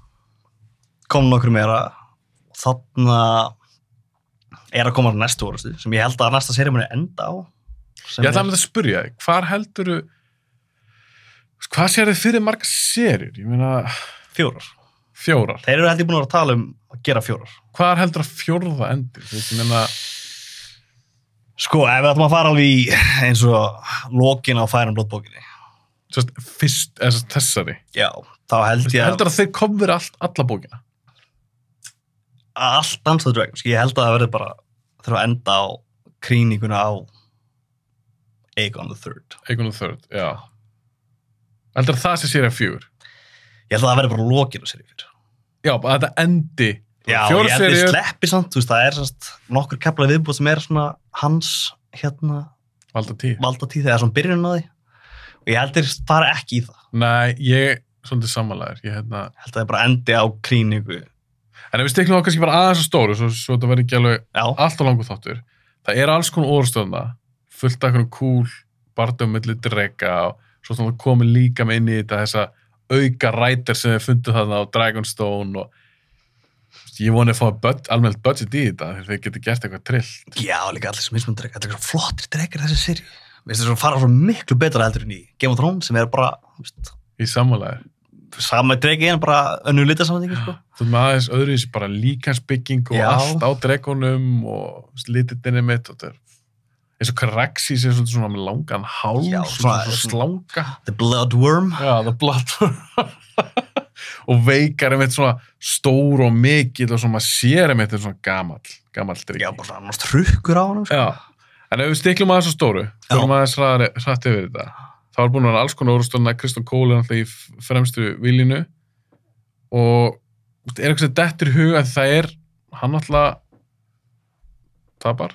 C: komin okkur meira, þarna er að koma næstu orðustu, sem ég held að næsta seri muni enda á. sem
B: Ég ætla
C: er-
B: að spyrja þig, hvar heldur hvað sér þið fyrir marga serir? Ég meina,
C: Fjórar.
B: fjórar.
C: Þeir eru held ég búin að vera að tala um að gera fjórar.
B: Hvar heldur að fjórða endur? Þú veist, ég meina...
C: Sko, ef við ætlum að fara alveg í eins og lokin á færum blóttbókinni,
B: Sest, fyrst, eða sest, þessari
C: já, þá held ég
B: heldur að þeir komur allt, alla bókina
C: að allt Dance of the Dragons, Sko, ég held að það verði bara þurfa að enda á krýninguna á Aegon the Third.
B: Aegon the Third, já heldur að það sé sér að fjör
C: Ég held að það verði bara lokin á serið fyrir.
B: já, bara að þetta endi
C: Já,
B: Fjórar
C: ég held að
B: seríur.
C: sleppi samt, þú veist, það er sannst nokkur kefla viðbúð sem er svona hans, hérna,
B: valda tíð.
C: valda tíð þegar svona byrjun á því og ég held þeir fara ekki í það
B: Nei, ég er svolítið sammálaður. Ég, hérna,
C: Ég held að þeir bara endi á klíningu
B: en ef við stiklum á kannski bara aðeins á stóru, svo, svo þetta verði ekki alveg
C: já,
B: allt og langur þáttur. Það er alls konar orðstöðna, fullt af einhverjum kúl, barndum milli drega og svo svona komið líka með inn í þetta þessa auka rætir sem við fundum þarna á Dragonstone og ég voni að fá bud, almennt budget í þetta þegar þeir geti gert eitthvað trill.
C: já, líka allir sem mismunum dregar allir svo flottir dregar þessi seri Mér finnst þess að fara svo miklu betra heldur en í Game of Thrones sem er bara þú veist,
B: Í sammálaður.
C: sama dregi en bara önnu litasamendingu sko.
B: Þú veist með aðeins öðru þessi bara líkansbygging og
C: Já.
B: allt á dregunum og slitinni mitt og þetta er eins og Caraxis er svolítið svona með langan háls
C: Já,
B: og svona,
C: svona-
B: svona slanga
C: The Bloodworm
B: Já, það blattur og veikar einmitt svona stór og mikill og svona maður sér einmitt þetta er svona gamall, gamall drikki
C: já, bara svona annars trukkur á hann sko.
B: Já, en ef við stiklum aðeins á stóru
C: Já.
B: fyrir maður aðeins hrætt yfir þetta þá er búin að vera alls konar orðstofna Kristján Kóli er alltaf í f- fremstu viljunu og er eitthvað sem dettur í hug að það er hann alltaf tapar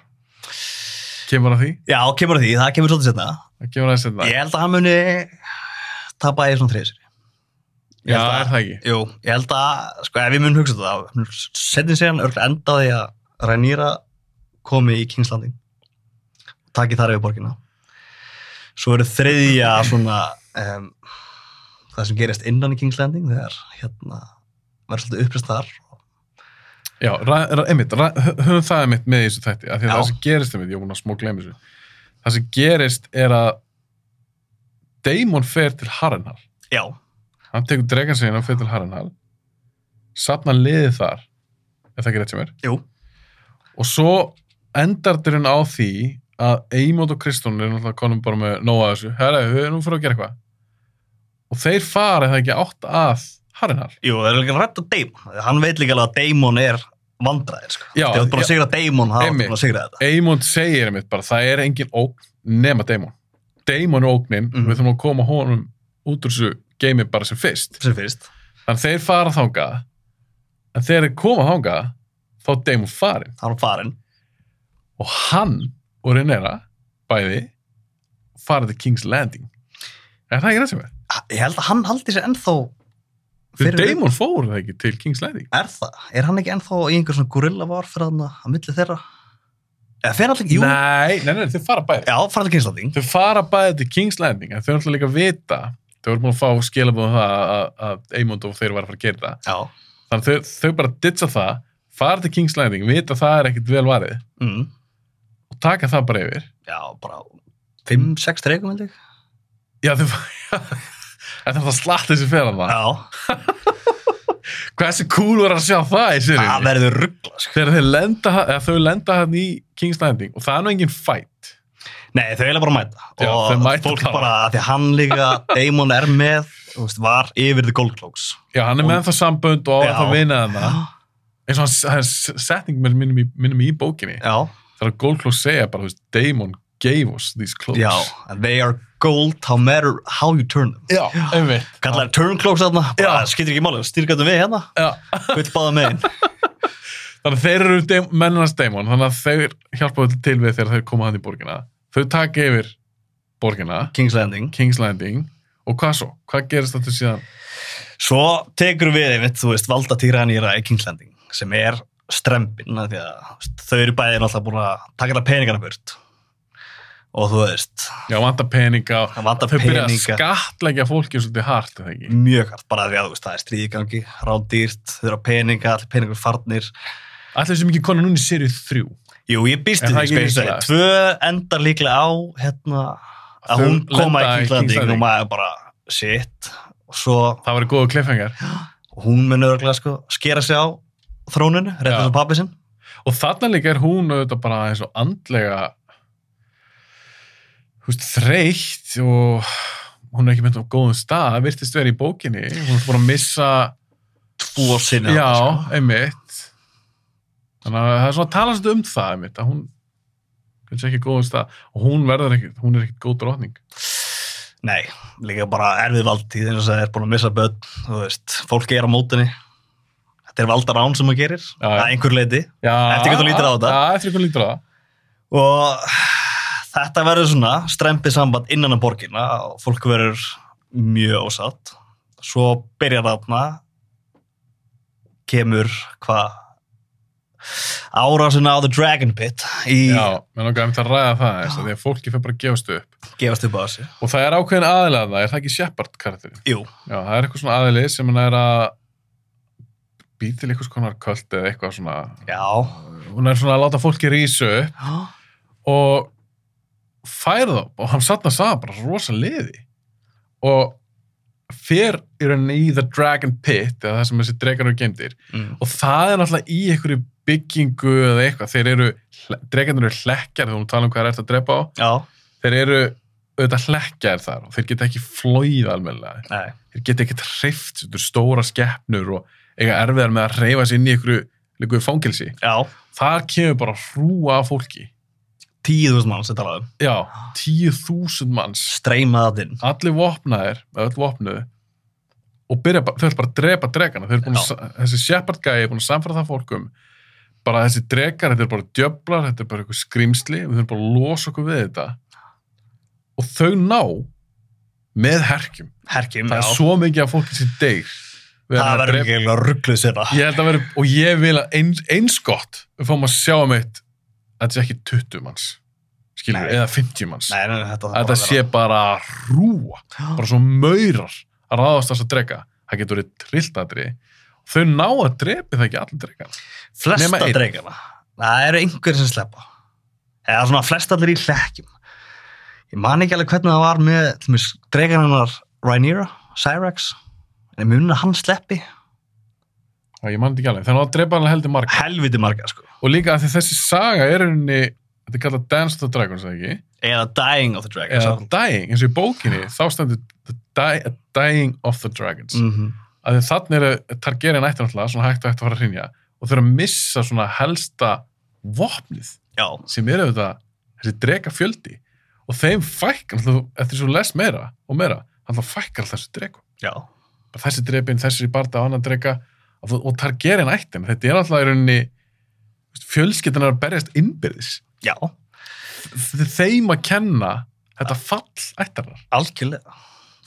B: kemur að því,
C: já, kemur að því, það kemur svolítið setna
B: það kemur aðeins þetta
C: ég held að hann muni tapa í svona þriðisir ég
B: Já,
C: held að-
B: er það ekki
C: Jú, ég held að, sko, ef ég mun hugsa þetta setjum sér hann örglega enda á því að Rhaenyra komi í Kingslandin taki þar yfir borgina svo eru þriðja svona um, það sem gerist innan í Kingslandin þegar hérna verður svolítið upprist þar
B: Já, ra- ra- einmitt, ra- hö- höfum það einmitt með í þessu þætti, af því að
C: Já.
B: það sem gerist einmitt, ég er búin að smá gleymi þessu, það sem gerist er að Daemon fer til Harrenhal,
C: já,
B: hann tekur dregansegin og fer til Harrenhal, safna liði þar, ef það ekki rétt sem er,
C: jú,
B: og svo endar dyrun á því að Eymót og Kristón er náttúrulega konum bara með nóa þessu, herra, við erum fyrir að gera eitthvað, og þeir fara eða ekki átt að Harrenhal.
C: jú, það er líka rætt að Daemon hann veit líka alveg að Daemon er vandræðir, sko,
B: Já,
C: þegar þú ert búin að
B: já.
C: sigra Daemon, það er
B: Einmitt.
C: búin að sigra þetta
B: Eymond segir einmitt bara, það er engin ógn nema Daemon. Daemon er ógnin,
C: Mhm.
B: við þurfum að koma honum út úr þessu geimi bara sem fyrst.
C: sem fyrst,
B: Þannig þeir fara þangað, en þegar þeir koma þangað, þá er Daemon farin.
C: það er hann farin
B: Og hann og Renera, bæði, farið til King's Landing. Er það ekki það sem er?
C: ég held að hann haldi sér ennþá
B: Fyrir Daemon fór það ekki til King's Landing.
C: Er það? Er hann ekki ennþá í einhver svona gorillavar fyrir hann að milli þeirra? Eða fyrir allir, jú,
B: Nei, nei, nei, þeir fara bæði.
C: já, fyrir allir kynslanding.
B: þau fara bæði til King's Landing en þau er alltaf líka að vita þau eru búin að fá skilabóðum það að- að Eymond og þeir var að fara að gera það
C: Já.
B: þannig að þau, þau bara ditsa það fara til King's Landing, vita að það er ekkit vel varið
C: Mm.
B: og taka það bara yfir
C: Já, bara 5-6 streikum held ég.
B: já þau þetta er það slatt þessi ferðan það
C: Já,
B: hversu cool var að sjá það í
C: það
B: sérinni
C: verður ruggla, sko.
B: þegar þau lenda, eða þau lenda hann í King's Landing og það er nú engin fight
C: Nei, þau eiginlega bara mæta.
B: Já,
C: og
B: þau mæta
C: fólk
B: bara.
C: bara. af því að hann líka, Damon er með, þú veist, var yfir The Gold Cloaks.
B: já hann er
C: Og-
B: með það sambönd og á
C: Já.
B: að það vinna hann
C: Já.
B: eins og hann- hann setning með minnum í, minnum í bókinni
C: Já,
B: þegar Gold Close segja bara, þú veist, Damon gave us these clothes.
C: já, and they are gold how matter how you turn them.
B: já, einmitt.
C: Kallar turn cloaks þarna, bara
B: Já.
C: skiptir ekki máli, styrkjandum við hérna,
B: Já.
C: gull báða megin.
B: Þannig að þeir eru dem- mennarnas Damon, þannig að þeir hjálpa öll til við þegar þeir koma hann í borgina. Þau taka yfir borgina,
C: King's Landing.
B: King's Landing, og hvað svo? Hvað gerist þetta síðan?
C: Svo tekur við einmitt, þú veist, valda týranýra í Kingslanding sem er strempin af því að þú veist, þau eru bæðin alltaf búin að taka það peningana burt og þú veist,
B: Já, vantar peninga.
C: það vantar
B: Þau byrja að
C: peninga
B: skattleggja fólki svolítið hart, eða ekki?
C: mjög hart, bara af því að þú veist, það er stríðgangi rándýrt, þau eru á peninga, allir peningur farnir
B: Allir sem ekki konar núna í serið þrjú.
C: Jú, ég býst
B: Er
C: við
B: það
C: því,
B: ekki
C: sko, ég segi,
B: líklegast?
C: tvö endar líklega á hérna,
B: Þau
C: að hún koma í
B: lenda í Kingslanding.
C: Kingslanding og maður bara, shit og svo,
B: Það var góðu kleffengar.
C: hún mun örglega sko, skera sig á þróninu,
B: Já.
C: rétt þess að pappi sinn
B: Og þarna líka er hún auðvitað bara eins og andlega þú veist, þreytt og hún er ekki myndið á góðum stað, það virtist verið í bókinni, hún er búin að missa,
C: tvo sinni
B: já,
C: þarna, sko.
B: einmitt. Þannig að það er svona að tala svolítið um það, einmitt, að hún kannski ekki á góðum stað og hún verður ekkert, hún er ekkert góð drotning.
C: Nei, líka bara erfið valdtíð eins og það er búin að missa börn, þú veist, fólk er á mótinni. Þetta er valdarán sem maður gerir,
B: Já, já.
C: að einhver leiti.
B: Já,
C: Eftir hvernig þú lítur á þetta.
B: Já, eftir hvernig þú lítur á það.
C: Og Þetta verður svona strempið samband innan að borginna og fólk verður mjög ósatt. Svo byrjar þarna, kemur hvað árásin á The Dragon Pit í
B: Já, menn okkar einmitt að ræða það þess að því að fólki fyrir bara að gefast upp
C: gefast upp á þessu.
B: og það er ákveðin aðilega það, er það ekki Shepard karakterin?
C: Jú,
B: Já, það er eitthvað svona aðili sem hann er að býta til eitthvað konar kvöld eða eitthvað svona
C: já.
B: hún er svona að láta fólki rísu upp og fær þá og hann satt að sagða bara rosa liði og fer í rauninni í The Dragon Pit eða það sem þessi dregar eru gemdir
C: Mm.
B: og það er náttúrulega í einhverju byggingu eða eitthvað, þeir eru dregarnir eru hlekkjar, þú tala um hvað það er að drepa á
C: Já,
B: þeir eru auðvitað hlekkjar þar og þeir geta ekki flóið almennilega
C: nei.
B: þeir geta ekkert hreift, þetta eru stóra skeppnur og eiga erfiðar með að hreifa sér inn í einhverju, einhverju fangelsi
C: Já,
B: þar kemur bara hrúa af fólki
C: tíðust mann sem talaði um.
B: já, tíu þúsund manns
C: Streymaði þinn.
B: allir vopnaðir, eða öll vopnuðu og byrja bara, þau eru bara að drepa dregana, þau eru búin að,
C: Já.
B: sa- þessi Shepard gæi er búin að samfæra það fólkum bara þessi dregar, þetta eru bara djöflar þetta eru bara eitthvað skrimsli, við þurfum bara að losa okkur við þetta og þau ná með herkjum,
C: Herkjum,
B: það
C: já.
B: er svo mikið af fólki sem deyr við
C: það
B: erum að
C: verður
B: drepa-
C: ekki eiginlega ruggluð sér það.
B: ég held að vera, og ég vil að eins, eins gott, við fáum að sjá um eitt að þetta sé ekki 20 manns skilur,
C: Nei.
B: við, eða 50 manns
C: Nei, nei, þetta,
B: að þetta sé bara rúa bara svo maurar að ráðast þess að drega það getur verið trilladri þau ná að drepi það ekki allir drega nema
C: Flesta
B: einn.
C: dreikana. Það eru einhverjir sem sleppa. Eða svona flest allir í hlekkjum. Ég man ekki alveg hvernig það var með dreikaninnar Rhaenyra, Cyrax. En ég muni að hann sleppi
B: og ég mann þetta ekki alveg, þeir ná að drepa alveg heldur marga
C: helviti marga, sko.
B: og líka að því þessi saga er unni þetta er kallað Dance of the Dragons eða ekki
C: Eða Dying of the Dragons.
B: eða Dying, eins og í bókinni þá stendur the di Dying of the Dragons mm.
C: Mm -hmm.
B: að þannig eru Targaryen ætti náttúrulega svona hægt og hægt að fara að hrinja og þau eru að missa svona helsta vopnið
C: Já,
B: sem eru auðvitað þessi drega fjöldi og þeim fækkar alltaf, eftir svo les meira og meira hann þá fækkar alltaf þessu dregu
C: já.
B: bara þessi drepin, þessi í barða og annan drega og, þú- og Targaryen ættin þetta er alltaf í rauninni fjölskyldunar að berjast innbyrðis
C: Já,
B: Þ- þeim að kenna þetta fall ættarar
C: algjörlega.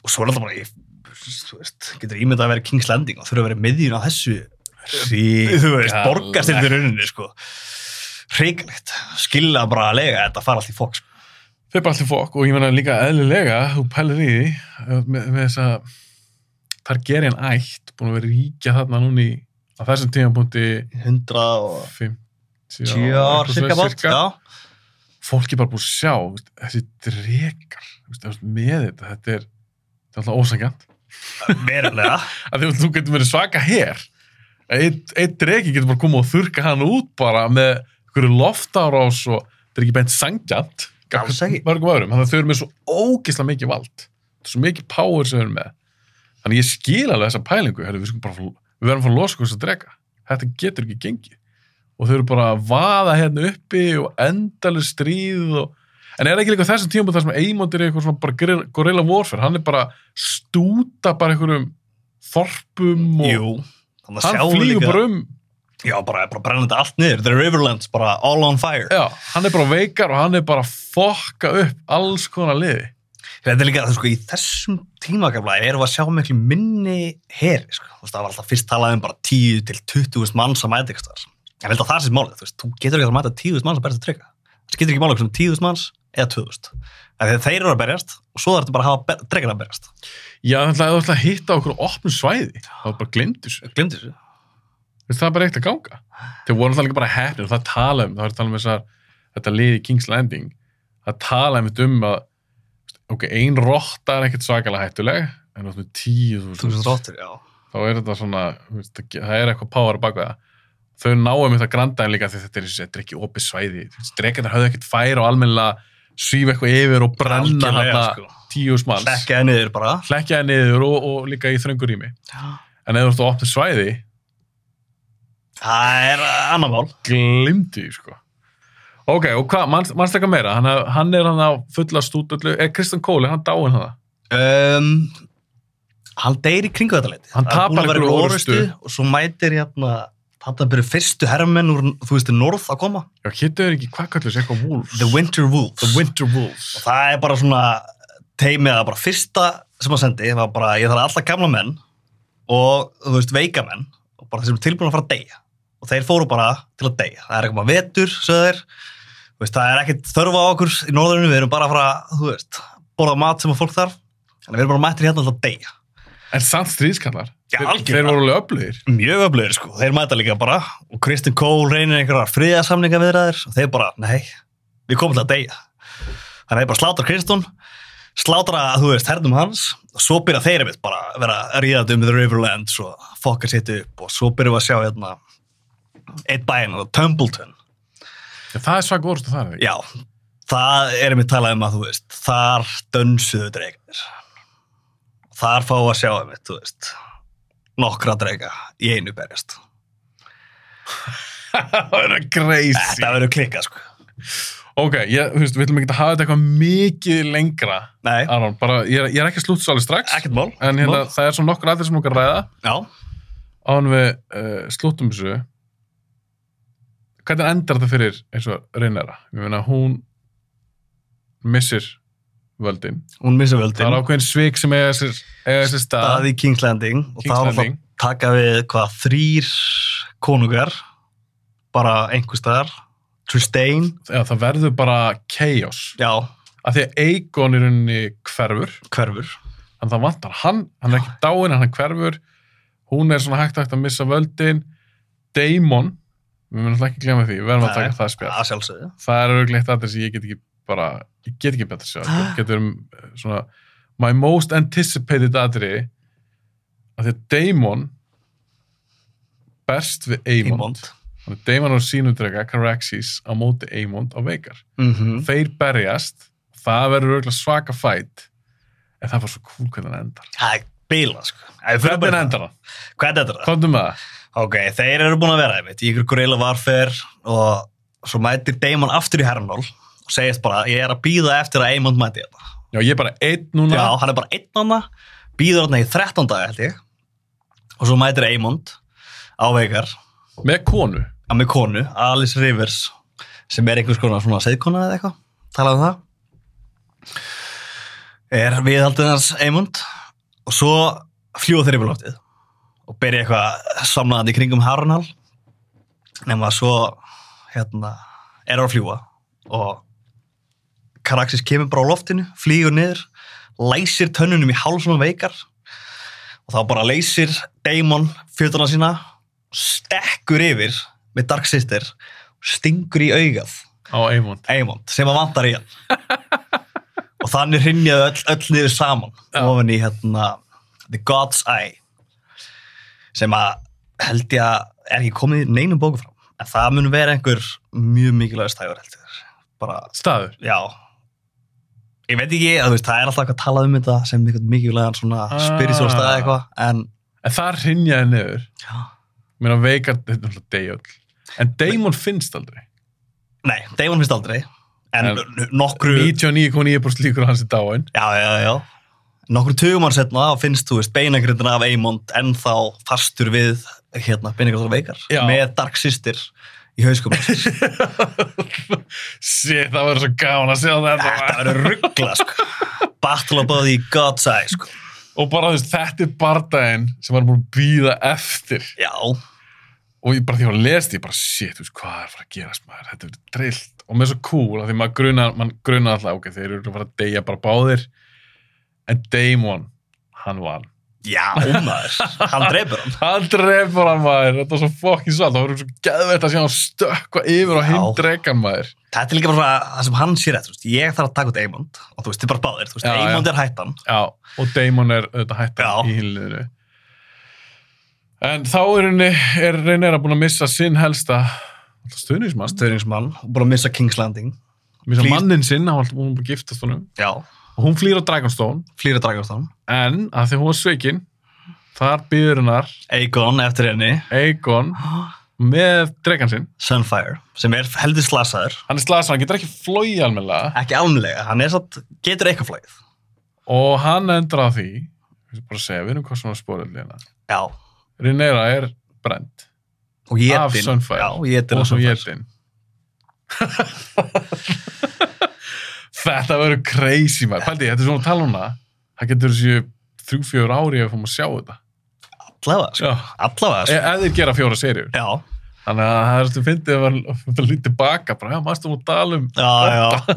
C: Og svo er alltaf bara, ég, þú veist, getur ímyndað að vera King's Landing og þurfa að vera í miðjun á þessu þú veist, borgast þetta í rauninni sko. hrigalegt skilja bara að lega þetta fara allt í fólk sko.
B: þau bara allt í fokk og ég menna líka eðlilega þú pælir í því eh, með, með þess að Targaryen ætt búin að vera ríkja þarna núna í á þessum tímapunkti
C: 100 og 10
B: 50
C: ár cirka bát já,
B: fólk er bara búið að sjá þú veist, þessi drekar þú veist, þú veist, með þetta, þetta er þetta er alltaf ósangjant
C: verulega
B: að því að þú getur verið svaka hér einn ein dreki getur bara komið og þurka hann út bara með einhverju loftárás og þetta er ekki beint sangjant
C: Alls ekki.
B: mörgum öðrum, þannig að þau eru með svo ógislega mikið vald svo mikið power sem þau eru með þannig að ég skil alveg þessa pælingu Heru, við, skulum bara, fá- við verðum að fá að losa okkur þess að drega þetta getur ekki gengið og þau eru bara að vaða hérna uppi og endalur stríð og... en er ekki líka á þessum tíma þar sem Eymond er í eitthvað svona bara gorilla- gorilla warfare hann er bara að stúta bara einhverjum þorpum og
C: jú, þannig að
B: hann
C: sjá
B: flýgur
C: líka
B: bara um
C: já, bara, bara brenna þetta allt niður the riverlands, bara all on fire
B: já, hann er bara veikar og hann er bara að fokka upp alls konar liði
C: þetta er líka, þú sko, í þessum tímakafla erum við að sjá miklu minni heri sko. Þú veist, það var alltaf fyrst talað um bara 10 til 20 manns að mæta eitthvað en held að það sé málið, þú veist, þú getur ekki að mæta 10 manns að berjast að trygga, það getur ekki málið sem 10 manns eða 20 en þegar þeir eru að berjast og svo þarf þetta bara að hafa tryggar að berjast
B: já, þannig að þú ætla að hitta okkur opnum svæði þá er bara glindur sér
C: glemdi þessu
B: Veist, það er bara eitt að ganga þeir voru alltaf líka bara hefnir og það tala um það er að tala um þessar, þetta liði King's Landing það tala um þetta um að ok, ein rotta er ekkert svakalega hættuleg en þú ert með tíu
C: Þúsund
B: þúsund
C: róttur, já
B: þá er þetta svona, þú veist, það ge- það er eitthvað power á bak við það þau náum þetta grandaðin líka því þetta er, þetta er ekki opið svæði drekarnir höfðu ekkert færa og almennilega svífa eitthvað yfir og brenna
C: Algjörlega,
B: hana
C: sko.
B: tíu smanns,
C: Slekkaði niður bara
B: hlekkja það niður og, og líka í þröngur rými en ef þú ert á opnum svæði
C: Það er annar mál
B: glimti því sko ok, og hvað, manns- manstu eitthvað meira hann, hann er hann á fulla stúdöllu er Kristján Kóli, hann dáinn hann
C: um, Hann deyr í kringu þetta leiti
B: Hann
C: Það er búin
B: tapar
C: að vera
B: einhverju
C: orrustu
B: orrustu.
C: Og svo mætir hérna Þetta byrju fyrstu herrmenn úr, þú veist, norð að koma.
B: Já, hittu er ekki hvað kallur þessi eitthvað Wolves.
C: The Winter Wolves.
B: The Winter Wolves.
C: Og það er bara svona teimið að bara fyrsta sem að sendi var bara, ég þarf alltaf gamla menn og, þú veist, veika menn og bara þeir sem er tilbúin að fara að deyja. Og þeir fóru bara til að deyja. Það er eitthvað bara vetur, sögðu þeir. Þú veist, það er ekkert þörfa á okkur í norðurinu, við erum bara að fara, þú veist, borða mat sem að fólk þarf. En við erum bara mættir hérna til að deyja.
B: En samt stríðskallar.
C: Já,
B: Þeir-
C: algjörlega.
B: Þeir voru alveg öflugir.
C: mjög öflugir sko, þeir mæta líka bara og Kristinn Kól reynir einhverjar friðarsamlinga viðraðir og þeir bara, nei, við komum til að deyja þannig að þeir bara slátra Kristinn slátra, þú veist, hernum hans og svo byrja þeir einmitt bara að vera að ríðað um the Riverlands og fokka sitt upp og svo byrjum við að sjá hérna eitt bæinn, hérna, Tumbleton
B: Já, það er svag orðst og það er ekki.
C: já, það er einmitt talað um að þú veist, þar dönsuðu dregnir þar fá að sjá einmitt, þú veist nokkra drega í einu berjast
B: það verður crazy.
C: Þetta verður klikkað, sko.
B: Ok, ég, þú veist, við ætlum ekki að hafa þetta eitthvað mikið lengra,
C: Nei,
B: Aron. Bara, ég, er- ég er ekki slútt svo alveg strax.
C: ekkert mál.
B: En hérna,
C: Mál.
B: það er svona nokkur aðeins sem okkar ræða.
C: Já,
B: án við uh, slúttum þessu hvernig endar þetta fyrir eins og reynara ég meina hún missir völdin
C: hún missa
B: það
C: völdin.
B: er ákveðin svik sem eiga sér, eiga sér stað
C: Það í King's Landing og
B: King's
C: þá var það
B: Landing.
C: taka við hvað þrýr konungar, bara einhvers staðar, Tristane,
B: Já, það verður bara chaos
C: já,
B: af því að Eikon í rauninni hverfur
C: hverfur.
B: en það vantar hann, hann er ekki dáinn en hann hverfur hún er svona hægt hægt að missa völdin Daemon við munum alltaf ekki glemja því, við verðum að
C: Nei.
B: taka það spjall
C: Já, sjálfsögðu.
B: það er auðvitað eitt aðeins sem ég get ekki bara, ég get ekki betra sjá
C: Ah.
B: getur um eh, svona my most anticipated aðri að því að Daemon berst við Eymond
C: Ímond.
B: Þannig að Daemon og sínundrega Caraxes á móti Eymond á veikar
C: Mhm.
B: þeir berjast, það verður auðvitað svaka fætt en það var svo cool hvernig hann endar
C: Það er bíla, sko.
B: hvernig hann endar hann,
C: Hvernig endar það?
B: komdu með það
C: Ok, þeir eru búin að vera einmitt í ykkur gorilla varfer og svo mætir Damon aftur í Hernál og segist bara, ég er að býða eftir að Eymond mæti hérna." þetta.
B: já, ég er bara einn núna
C: Já, hann er bara einn hana, býður hann í 13 dag held ég og svo mætir Eymond á veikar
B: með konu
C: að með konu, Alice Rivers sem er einhvers konar svona seðkona eða eitthvað, talaðu um það er viðhaldið hans Eymond og svo fljúa þeir yfir loftið og byrja eitthvað samlaðan í kringum Harunal nema svo hérna, er að fljúa og Karaxis kemur bara á loftinu, flýgur niður læsir tönnunum í hálsum veikar og þá bara leysir Daemon fjötuna sína stekkur yfir með Dark Sister stingur í augað
B: á Eymond
C: Eamond sem að vantar í hann og þannig hrinjaðu öll, öll niður saman
B: Já.
C: ofan í hérna The God's Eye sem að held ég að er ekki komið í neinum bóku fram en það mun vera einhver mjög mikilvægur stæður held ég bara
B: staður
C: já ég veit ekki, að, þú veist, það er alltaf eitthvað talað um þetta sem einhvern mikilvægan svona
B: Ah.
C: ah. spyrisjóð stað eitthvað, en
B: en það rinjaði niður
C: já.
B: Mér að veikar, þetta er náttúrulega deyjöld. En Damon finnst aldrei.
C: nei, Damon finnst aldrei en,
B: En-
C: nokkru
B: 99,9% líkur að hans er dáin.
C: já, já, já nokkru tugum hann setna þá finnst, þú veist, beinagrindina af Eymond ennþá fastur við hérna, beinagrindina veikar
B: Já.
C: með Dark Sister í hauskum
B: Shit, það verður svo gaman að sjá þetta.
C: þetta verður ruggla, sko Battle of Body God's Eye, sko
B: Og bara þú veist, þetta er bardaginn sem var búin að býða eftir.
C: já,
B: Og ég bara því að lest, ég bara shit, þú veist, hvað er að fara að gerast maður? Þetta verður drillt. Og með svo cool, af því maður grunar, mann grunar alltaf, ok, þeir eru að fara að deyja bara báðir. En Damon, hann vann.
C: já, maður hann dreipur hann
B: Hann drefur hann maður, þetta var svo fokkin salt, það voru svo geðveitt að sjá hann stökkva yfir og hinn
C: Já.
B: drekan maður.
C: þetta er líka bara svona það sem hann sér eftir, þú veist, ég þarf að taka út Eymond og þú veist, þið bara báðir, þú veist,
B: Já, já.
C: Eymond er hættan
B: Já, og Damon er auðvitað hættan
C: Já.
B: í hinliðinu. En þá er henni, er reynir að búin að missa sinn helsta stuðnismann,
C: stöðningsmann, búin að missa King's Landing
B: missa
C: Flýr-
B: mannin sinn, hann var alltaf búin að giftast honum.
C: já,
B: Og hún flýr á Dragonstone,
C: flýra dragastán
B: en að því hún var sveikin, þar býður hennar
C: Aegon eftir henni
B: Aegon með drekan sinn.
C: Sunfire, sem er heldur slasaður
B: Hann er slasað, hann getur ekki flóið almennilega
C: ekki alveg, hann er satt, getur eitthvað flagið
B: og hann endur á því, hérna. ég skal bara segja, við erum hvað svona spórið lína.
C: já,
B: Rinera er brend
C: og ég
B: Af Sunfire.
C: já, ég
B: og svo
C: ég
B: Jedin Þetta verður crazy maður, pældi, þetta er svona að tala um það það getur þessu þrjú, fjör ári ef fórum að sjá þetta
C: allavega, sko.
B: Já.
C: allavega
B: e
C: sko.
B: ef þeir gera fjóra serjur
C: já,
B: þannig að það er þetta fyndið að vera- þetta lítið baka, bara, já, maður stofum að tala um
C: já, já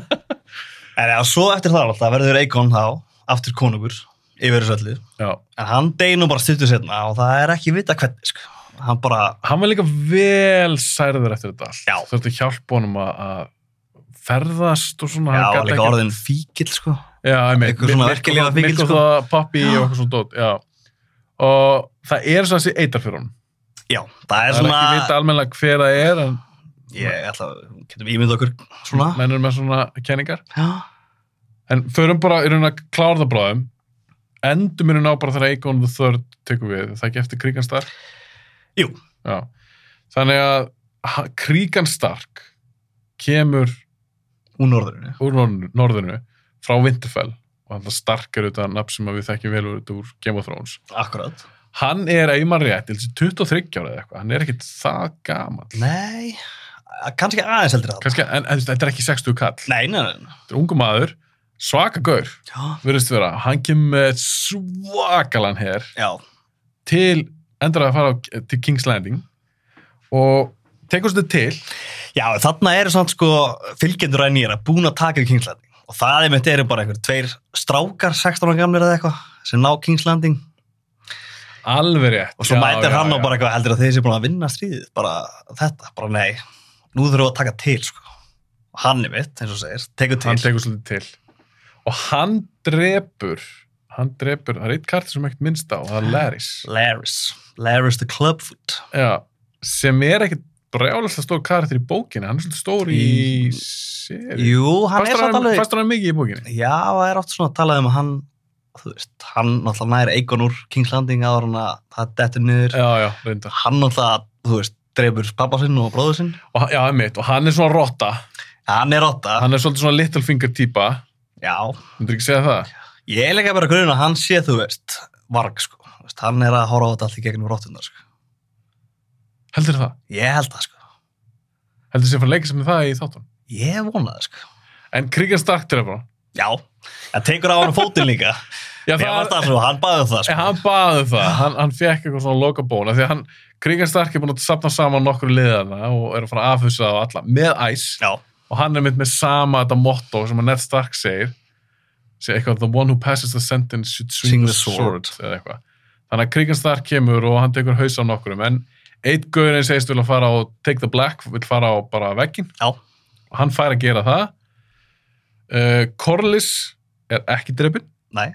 C: en já, svo eftir það alltaf verður Eikon þá aftur konungur yfir þessu öllu
B: já,
C: en hann deyr nú bara stuttur setna og það er ekki vita hvernig sko. hann bara,
B: hann var líka vel særður eftir þetta allt
C: Já.
B: þú ert að hjálpa honum að- að ferðast og svona
C: já,
B: hann gat
C: líka
B: ekki-
C: orðin fíkil sko.
B: Já, einmitt.
C: Eitthvað svona verkjalyfja fíkil,
B: Mikko
C: sko.
B: það pappi
C: Já.
B: og eitthvað svona dót, já. Og það er svo þessi eitar fyrir honum.
C: já, það er
B: Það er
C: svona
B: ekki vita almennilega hver það er, en
C: ég ætla, að- getum ímynd okkur svona
B: menn er með svona kenningar.
C: já,
B: En förum bara í raun að klára það bráðum. Endum í raun á bara þegar Eikon the Third tekur við. Er Það ekki eftir Kríkan Stark?
C: Jú.
B: Já. Þannig að ha- Kríkan Stark kemur
C: úr norðurinu
B: úr norðinu, norðinu frá Winterfell og þannig að Stark er auðvitað nafn sem að við þekkjum vel út úr Game of Thrones.
C: akkurat,
B: hann er einmann rétt, ég held að sé 23 ára eða eitthvað, hann er ekkit það gamall
C: nei að- kannski aðeins heldur það
B: kannski, en, en þú veist, þetta er ekki 60 kall
C: nei, nei, nei, nei.
B: þetta er ungu maður, svaka gaur
C: Já,
B: verðist vera, hann kemur með svakalan her
C: já,
B: til, endur að fara á, til King's Landing og tekur þetta til
C: já, þarna eru samt sko fylgjendur að nýra búin að taka við King's Landing og það einmitt eru bara einhver tveir strákar 16 ára gamlir eða eitthvað sem ná King's Landing
B: alveg rétt
C: og svo mætir hann og bara eitthvað heldur að þeir sé búin að vinna stríðið bara þetta, bara nei nú þurfum við að taka til sko og hann er mitt, eins og þú segir, tekur til
B: hann tekur svolítið til og hann drepur hann drepur, það er eitt kartur sem ekkert minnst á og það er Larrys
C: Laris, Laris the Clubfoot
B: Já, sem er ekkert brjálæslega stór karakter í bókinni, hann er svolítið stór í,
C: Í-
B: í seri.
C: Jú, hann er samt alveg
B: Fastur hann mikið í bókinni?
C: Já, það er oft svona að tala um að hann þú veist, hann náttúrulega næri Eikon úr King's Landing áður hann að það dettur niður
B: Já, já, reyndar.
C: hann náttúrulega, þú veist, drefur pappa sinn og bróður sinn
B: Og, hann- já, mitt, og hann er svona rotta,
C: hann er åtta,
B: hann er svolítið svona littlefinger típa,
C: já
B: myndir ekki segja það?
C: ég er leika bara grunn að hann sé, þú veist varg, sko, Þú veist, hann er að horfa á þetta allt í gegnum róttundar, sko
B: Heldur það?
C: ég held það, sko,
B: Heldur sér fann leika sem það í þáttunum?
C: ég vona það, sko
B: En Krigan Stark til bara.
C: já, það tekur á hann fótinn líka
B: Já,
C: ég var
B: það,
C: það, sko, hann baði það,
B: en
C: sko
B: hann baði það, hann, hann fekk eitthvað svona lokabón, af því að hann, Krigan Stark er búin að sapna saman nokkru liðana og er að fara að afhusa á alla, með æs.
C: já,
B: og hann er mynd með sama þetta motto sem að Ned Stark segir segir eitthvað, the one who passes the sentence should swing
C: Swing
B: the
C: the
B: sword, eða eitthvað þannig að Krigan Stark kemur og hann tekur haus á nokkrum en eitt gaurinn segist vil að fara á take the black, vil fara á bara veggin
C: já,
B: og hann fær að gera það uh, Corlys er ekki drefin
C: næ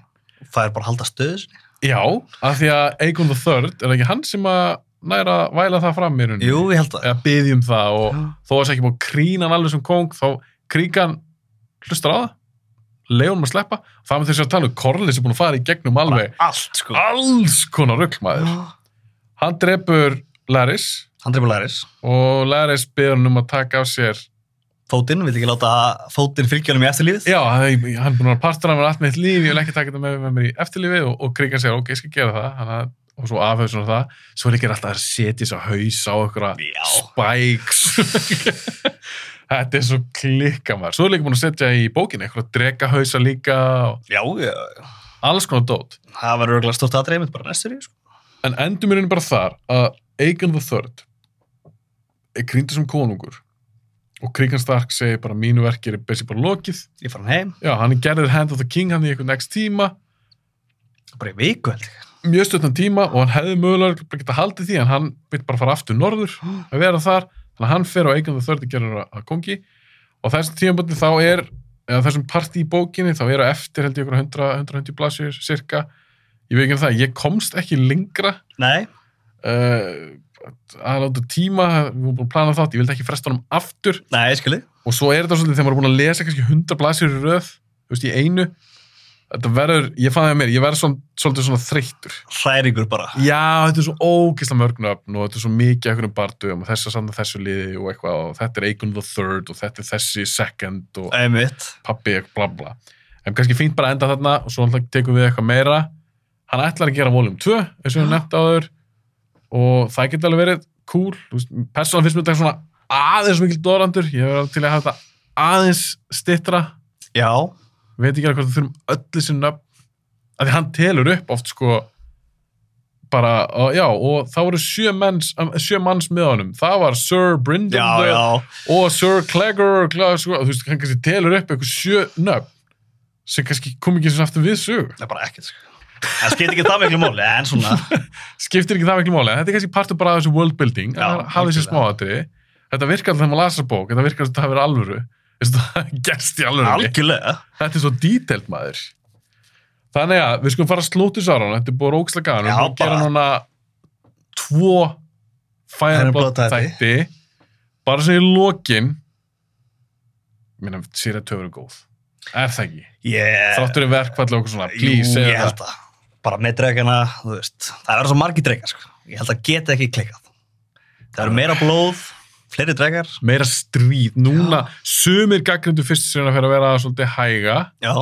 C: það er bara að halda stöðu sinni
B: já, af því að Aegon the Third er það ekki hann sem að næra væla það fram í rauninni
C: jú, ég held það
B: eða byðjum það og
C: Já.
B: þó að það sé ekki búið að krína hann alveg sem kong þá kríkan hlustar á það leiðum að sleppa það með þess að tala um Corlys er búin að fara í gegnum alveg
C: allt, sko
B: alls konar ruggmaður
C: hann
B: hann drefur Larys
C: drefur Laris
B: og Larys byður hann um að taka af sér
C: fótinn, vil ekki láta fótinn fylgja honum í eftirlífið
B: já, hann er hann er búin að partra með allt mitt líf ég vil ekki taka þetta með, með mér í eftirlífi og, og kríkan segir ok, ég skal gera það Þannig, að- og svo afhauð svona það svo er ekki alltaf að setja þess að haus á okkur að
C: Já.
B: spikes þetta er svo klikka maður svo er líka búin að setja í bókinni eitthvað dregahausa líka og
C: Já, já,
B: alls konar dót
C: það var örgulega stórt aðdreið mitt bara næstur í, sko.
B: en endur mér bara þar að Aegon the Third er krýndur sem konungur og Kríkan Stark segir bara mínu verki er besi bara lokið
C: Ég fór hann heim,
B: já, hann er gerðið Hand of the King hann í eitthvað next tíma
C: bara í viku held ég.
B: mjög stöttan tíma og hann hefði mögulega bara geta haldið því en hann vill bara fara aftur norður að vera þar þannig að hann fer á Eikon the Third að gera að kongi og þessum tímaböndi þá er eða þessum partí í bókinni þá eru eftir held ég okkur 100-100 blasjur cirka ég veit ekki um það, ég komst ekki lengra
C: Nei,
B: uh, að láta tíma við vorum búin að plana þátt, ég vildi ekki fresta honum aftur
C: nei, skilji.
B: og svo er þetta svolítið þegar maður er búin að lesa kannski 100 blasjur í röð, þú veist, í einu þetta verður, ég fann það mér, ég verður svol- svolítið svona þreyttur
C: Hræringur bara.
B: Já, þetta er svo ógisla mörgnöfn og þetta er svo mikið ekkur um barndöfum og þess að samna þessu liði og eitthvað og þetta er Aegon the Third og þetta er þessi Second og
C: Einmitt.
B: pappi eitthvað bla bla. En kannski fínt bara að enda þarna og svo alltaf tekum við eitthvað meira. Hann ætlar að gera volum 2 eins og við nefnt áður og það geti alveg verið cool Þú veist, persónan finnst mér þetta svona aðeins mikil dórandur ég hefur til að hafa þetta aðeins stittra
C: Já,
B: veit ekki alveg hvort við þurfum öllu sinni nöfn að því hann telur upp oft sko bara, og, já, og það voru sjö, menns, sjö manns með honum það var Sir Brindam
C: já, já.
B: og Sir Clegger Clegger, sko, þú veist, hann kannski telur upp eitthvað sjö nöfn sem kannski kom ekki sem aftur við sög
C: Það er bara ekkert, sko. Það skiptir ekki það miklu máli, en svona,
B: skiptir ekki það miklu máli, en þetta er kannski partur bara af þessu world building,
C: Já,
B: að hafa þessi
C: algjörlega.
B: smáatri þetta virkar alltaf þegar maður lasa bók þetta virkar alltaf það hafi verið alvöru Eins og það hafi gerst í alvöru
C: algjörlega.
B: þetta er svo detailed maður þannig að við skulum fara að slóti sá hann þetta er búið rókslega gaman,
C: Já,
B: við erum að gera
C: bara-
B: núna tvo
C: Fire and
B: fæðanblóð
C: Blood þætti.
B: þætti bara sem í lokin minna, sér að töfur er góð er það ekki?
C: Ég,
B: þráttur er verkfall og okkur svona, please,
C: Eh, jú,
B: segja
C: ég held
B: það
C: að, bara með dregana, þú veist, það verður svo margi dregar, sko. Ég held að geta ekki klikkað. Það verður meira blóð, fleiri dregar,
B: meira stríð, núna sumir gaggrindu fyrst sem að fyrir að vera svolítið hæga
C: já,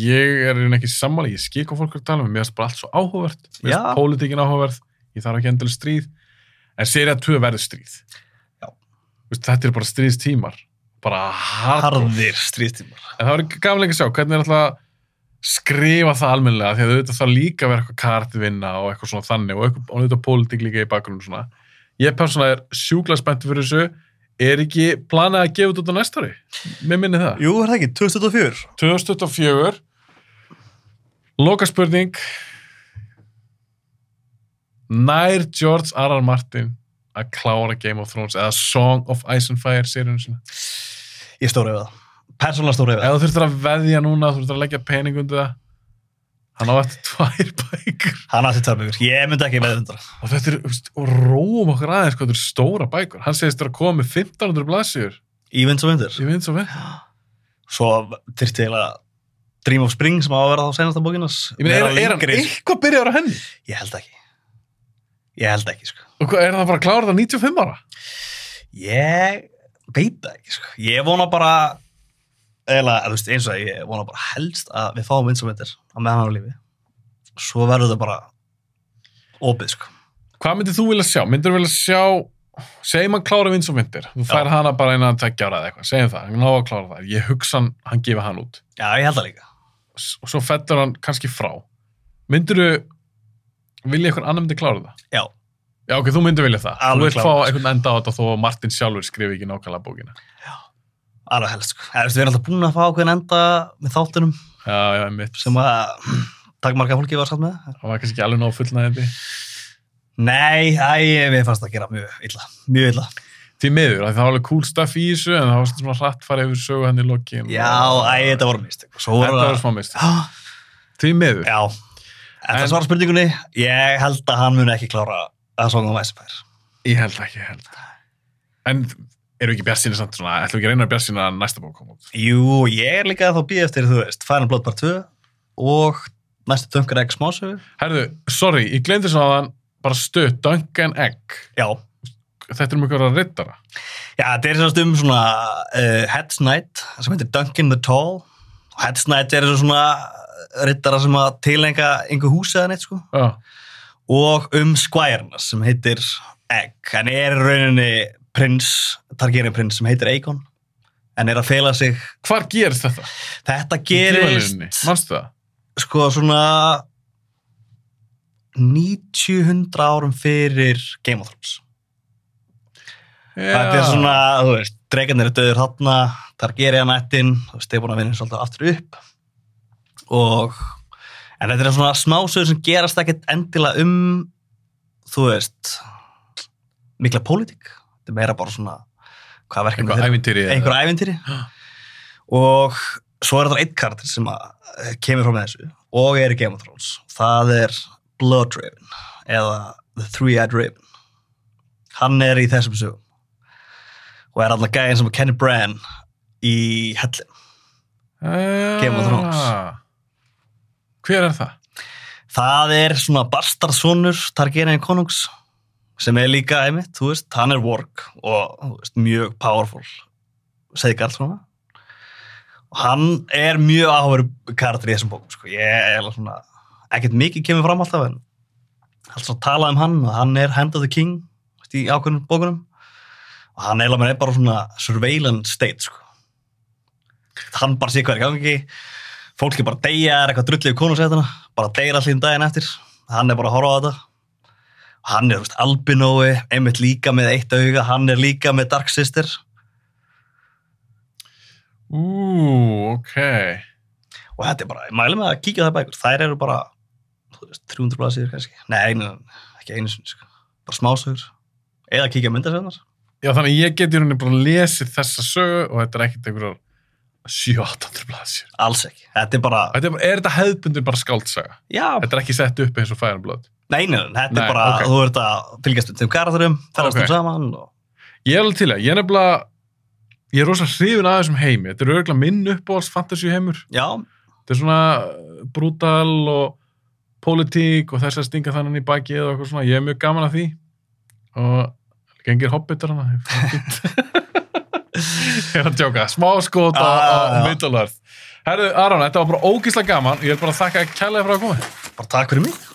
B: ég er í rauninni ekki sammála, ég skil hvað fólk er að tala um, mér finnst bara allt svo áhugavert mér
C: Já.
B: finnst pólitíkin áhugaverð, ég þarf ekki endilega stríð en serið að tvö verður stríð
C: Já.
B: Vist, þetta er bara stríðstímar bara harð en
C: harðir stríðstímar.
B: það var gamlega að sjá, hvernig er alltaf að skrifa það almennilega, því að auðvitað það líka að vera eitthvað kartvinna og eitthvað svona þannig og eitthvað, og auðvitað pólitík líka í bakgrunum svona ég persónulega er sjúklega spennt fyrir þessu er ekki planað að gefa þetta næst ári, mér minni það
C: Jú, er það ekki, 2004?
B: 2024 Loka spurning Nær George R. R. Martin að klára Game of Thrones eða Song of Ice and Fire seríunum sinna
C: Ég stóri við það. Persónulega stóri við það.
B: eða þú þurftur að veðja núna þú þurftur að leggja pening undir það hann á eftir tvær bækur
C: Hann aðtýtt þar mjögur. Ég myndi ekki með undra.
B: og þetta er, þú veist, og róum okkur aðeins hvað þetta er stóra bækur, hann segist þér að koma með 1500 blaðsýr,
C: Ívins og myndir.
B: ég veit svo veit
C: Svo þyrfti eiginlega Dream of Spring sem á að vera þá senasta bókinas.
B: ég meina, er, er hann eitthvað byrjar á henni
C: Ég held ekki. Ég held ekki, sko.
B: og hvað, er það bara að klára það 95 ára
C: Ég veit það ekki, sko. Ég vona bara, eða, þú veist, eins og það, ég vona bara helst að við fáum eins og myndir á meðan á lífi. Svo verður það bara opið, sko.
B: Hvað myndir þú vilja sjá? Myndir þú vilja sjá, segjum hann klára vins og myndir, þú fær hana bara innan tveggja ára eða eitthvað, segjum það, hann ná að klára það, ég hugsa hann, hann gefa hann út
C: Já, ég held það líka.
B: S- og svo fellur hann kannski frá. Myndir þú vilja eitthvað annar myndi klára það?
C: Já.
B: Já, ok, þú myndir vilja það. þú
C: Alveg
B: vilt fá
C: klárlega.
B: einhvern enda á þetta þó að Martin sjálfur skrifi ekki nákvæmlega bókina.
C: Alveg helst, sko. Eða, þú veist, við erum alltaf búin að fá okkur enda með þáttunum
B: Já, já, mitt.
C: sem að takmarka fólki var satt með.
B: Það var kannski ekki alveg nóg fullnæðandi.
C: Nei, æ, við fannst það gera mjög illa. Mjög illa.
B: Því miður, af því það var alveg cool stuff í þessu en það var svona hratt farið yfir sögu henni í lokin.
C: Já, æ, þetta voru mist. Svo
B: Þetta
C: voru
B: var smá mist.
C: það... Ah,
B: Því miður.
C: Já, en það
B: En-
C: svara spurningunni, ég held að hann muni ekki klára að songa um Æsifær.
B: Ég held ekki, ég held það. En eru ekki bjartsýna samt svona, ætlum við ekki að reyna að bjartsýna að næsta bók koma út?
C: Jú, ég er líka þá býð eftir, þú veist, Fire and Blood Part 2 og næstu Dunker Egg smásögu.
B: Herðu, sorry, ég glemdi svona að hann bara stutt Duncan Egg.
C: Já,
B: Þetta er um einhverja rittara.
C: já, þetta er sérst um svona uh, Heads Knight sem heitir Duncan the Tall. Og Heads Knight er svona rittara sem að tilenga einhver húsi eða neitt, sko.
B: Já,
C: og um skværna sem heitir Egg. Hann er í rauninni prins, Targaryen prins sem heitir Aegon en er að fela sig.
B: hvar gerist þetta?
C: Þetta
B: Í tímalínunni,
C: gerist
B: Manstu það?
C: sko svona 900 árum fyrir Game of Thrones.
B: Já.
C: Þetta er svona, þú veist, dregarnir er döður þarna, Targaryen-ættin, þú veist, þeir búin að vinna svolítið aftur upp og en þetta er svona smásögur sem gerast ekkert endilega um þú veist mikla pólitík, þetta er meira bara svona hvað verkefni
B: Eitthvað
C: þeirra,
B: ævintýri. eða-
C: einhver ævintýri og svo er þetta einn karakter sem að, eh, kemur frá með þessu og er í Game of Thrones, það er Blood Raven eða The Three-Eyed Raven hann er í þessum sögum og er alltaf gæðin sem Kenny Bran í hellin,
B: Já.
C: Game of Thrones.
B: Hver er það?
C: það er svona bastardsonur Targaryen konungs sem er líka einmitt, þú veist, hann er work og þú veist, mjög powerful segið svona og hann er mjög áhverju karakter í þessum bókum sko. ég er eiginlega svona, ekkert mikið kemur fram alltaf en alltaf að tala um hann og hann er Hand of the King oft í ákveðnum bókunum og hann eiginlega með er bara svona surveillance state sko. hann bara sé hvað er í gangi fólk er bara að deyja er eitthvað drullið í konusætuna bara deyja allir daginn eftir hann er bara að horfa á þetta og hann er þú veist, albinói, einmitt líka með eitt auga hann er líka með Dark Sister
B: Ú, ok.
C: og þetta er bara, ég mæli með að kíkja það bækur þær eru bara þú veist, 300 blaðsýður kannski, nei, einu, ekki einu sinni sko. bara smásögur eða kíkja myndasöðunar
B: Já, þannig að ég get í rauninni bara lesið þessa sögu og þetta er ekkert einhverjar 700-800 blaðsir.
C: Alls ekki. Þetta er bara,
B: Þetta er, bara, er þetta hefðbundin bara skaldsaga?
C: já,
B: Þetta er ekki sett upp eins og Fire and Blood?
C: neinu, þetta
B: Nei,
C: er bara,
B: ok.
C: þú ert að fylgjast með þeim karakterum, ferðast
B: Ok.
C: þeim saman og
B: Ég er alveg til að, ég er nefnilega, ég er rosalega hrifin að þessum heimi. Þetta er örgulega minn uppáhalds fantasy heimur.
C: já,
B: Þetta er svona uh, brutal og pólitík og þess að stinga þannig í bakið og eitthvað svona. Ég er mjög gaman að því og gengir hobbitar hana. ég fann fínt. Ég er að tjóka, smá skot á,
C: Ah,
B: á
C: já.
B: middalörð. Herðu, Aron, þetta var bara ógíslega gaman. Ég er bara að þakka kærlega fyrir að koma.
C: bara takk fyrir mig.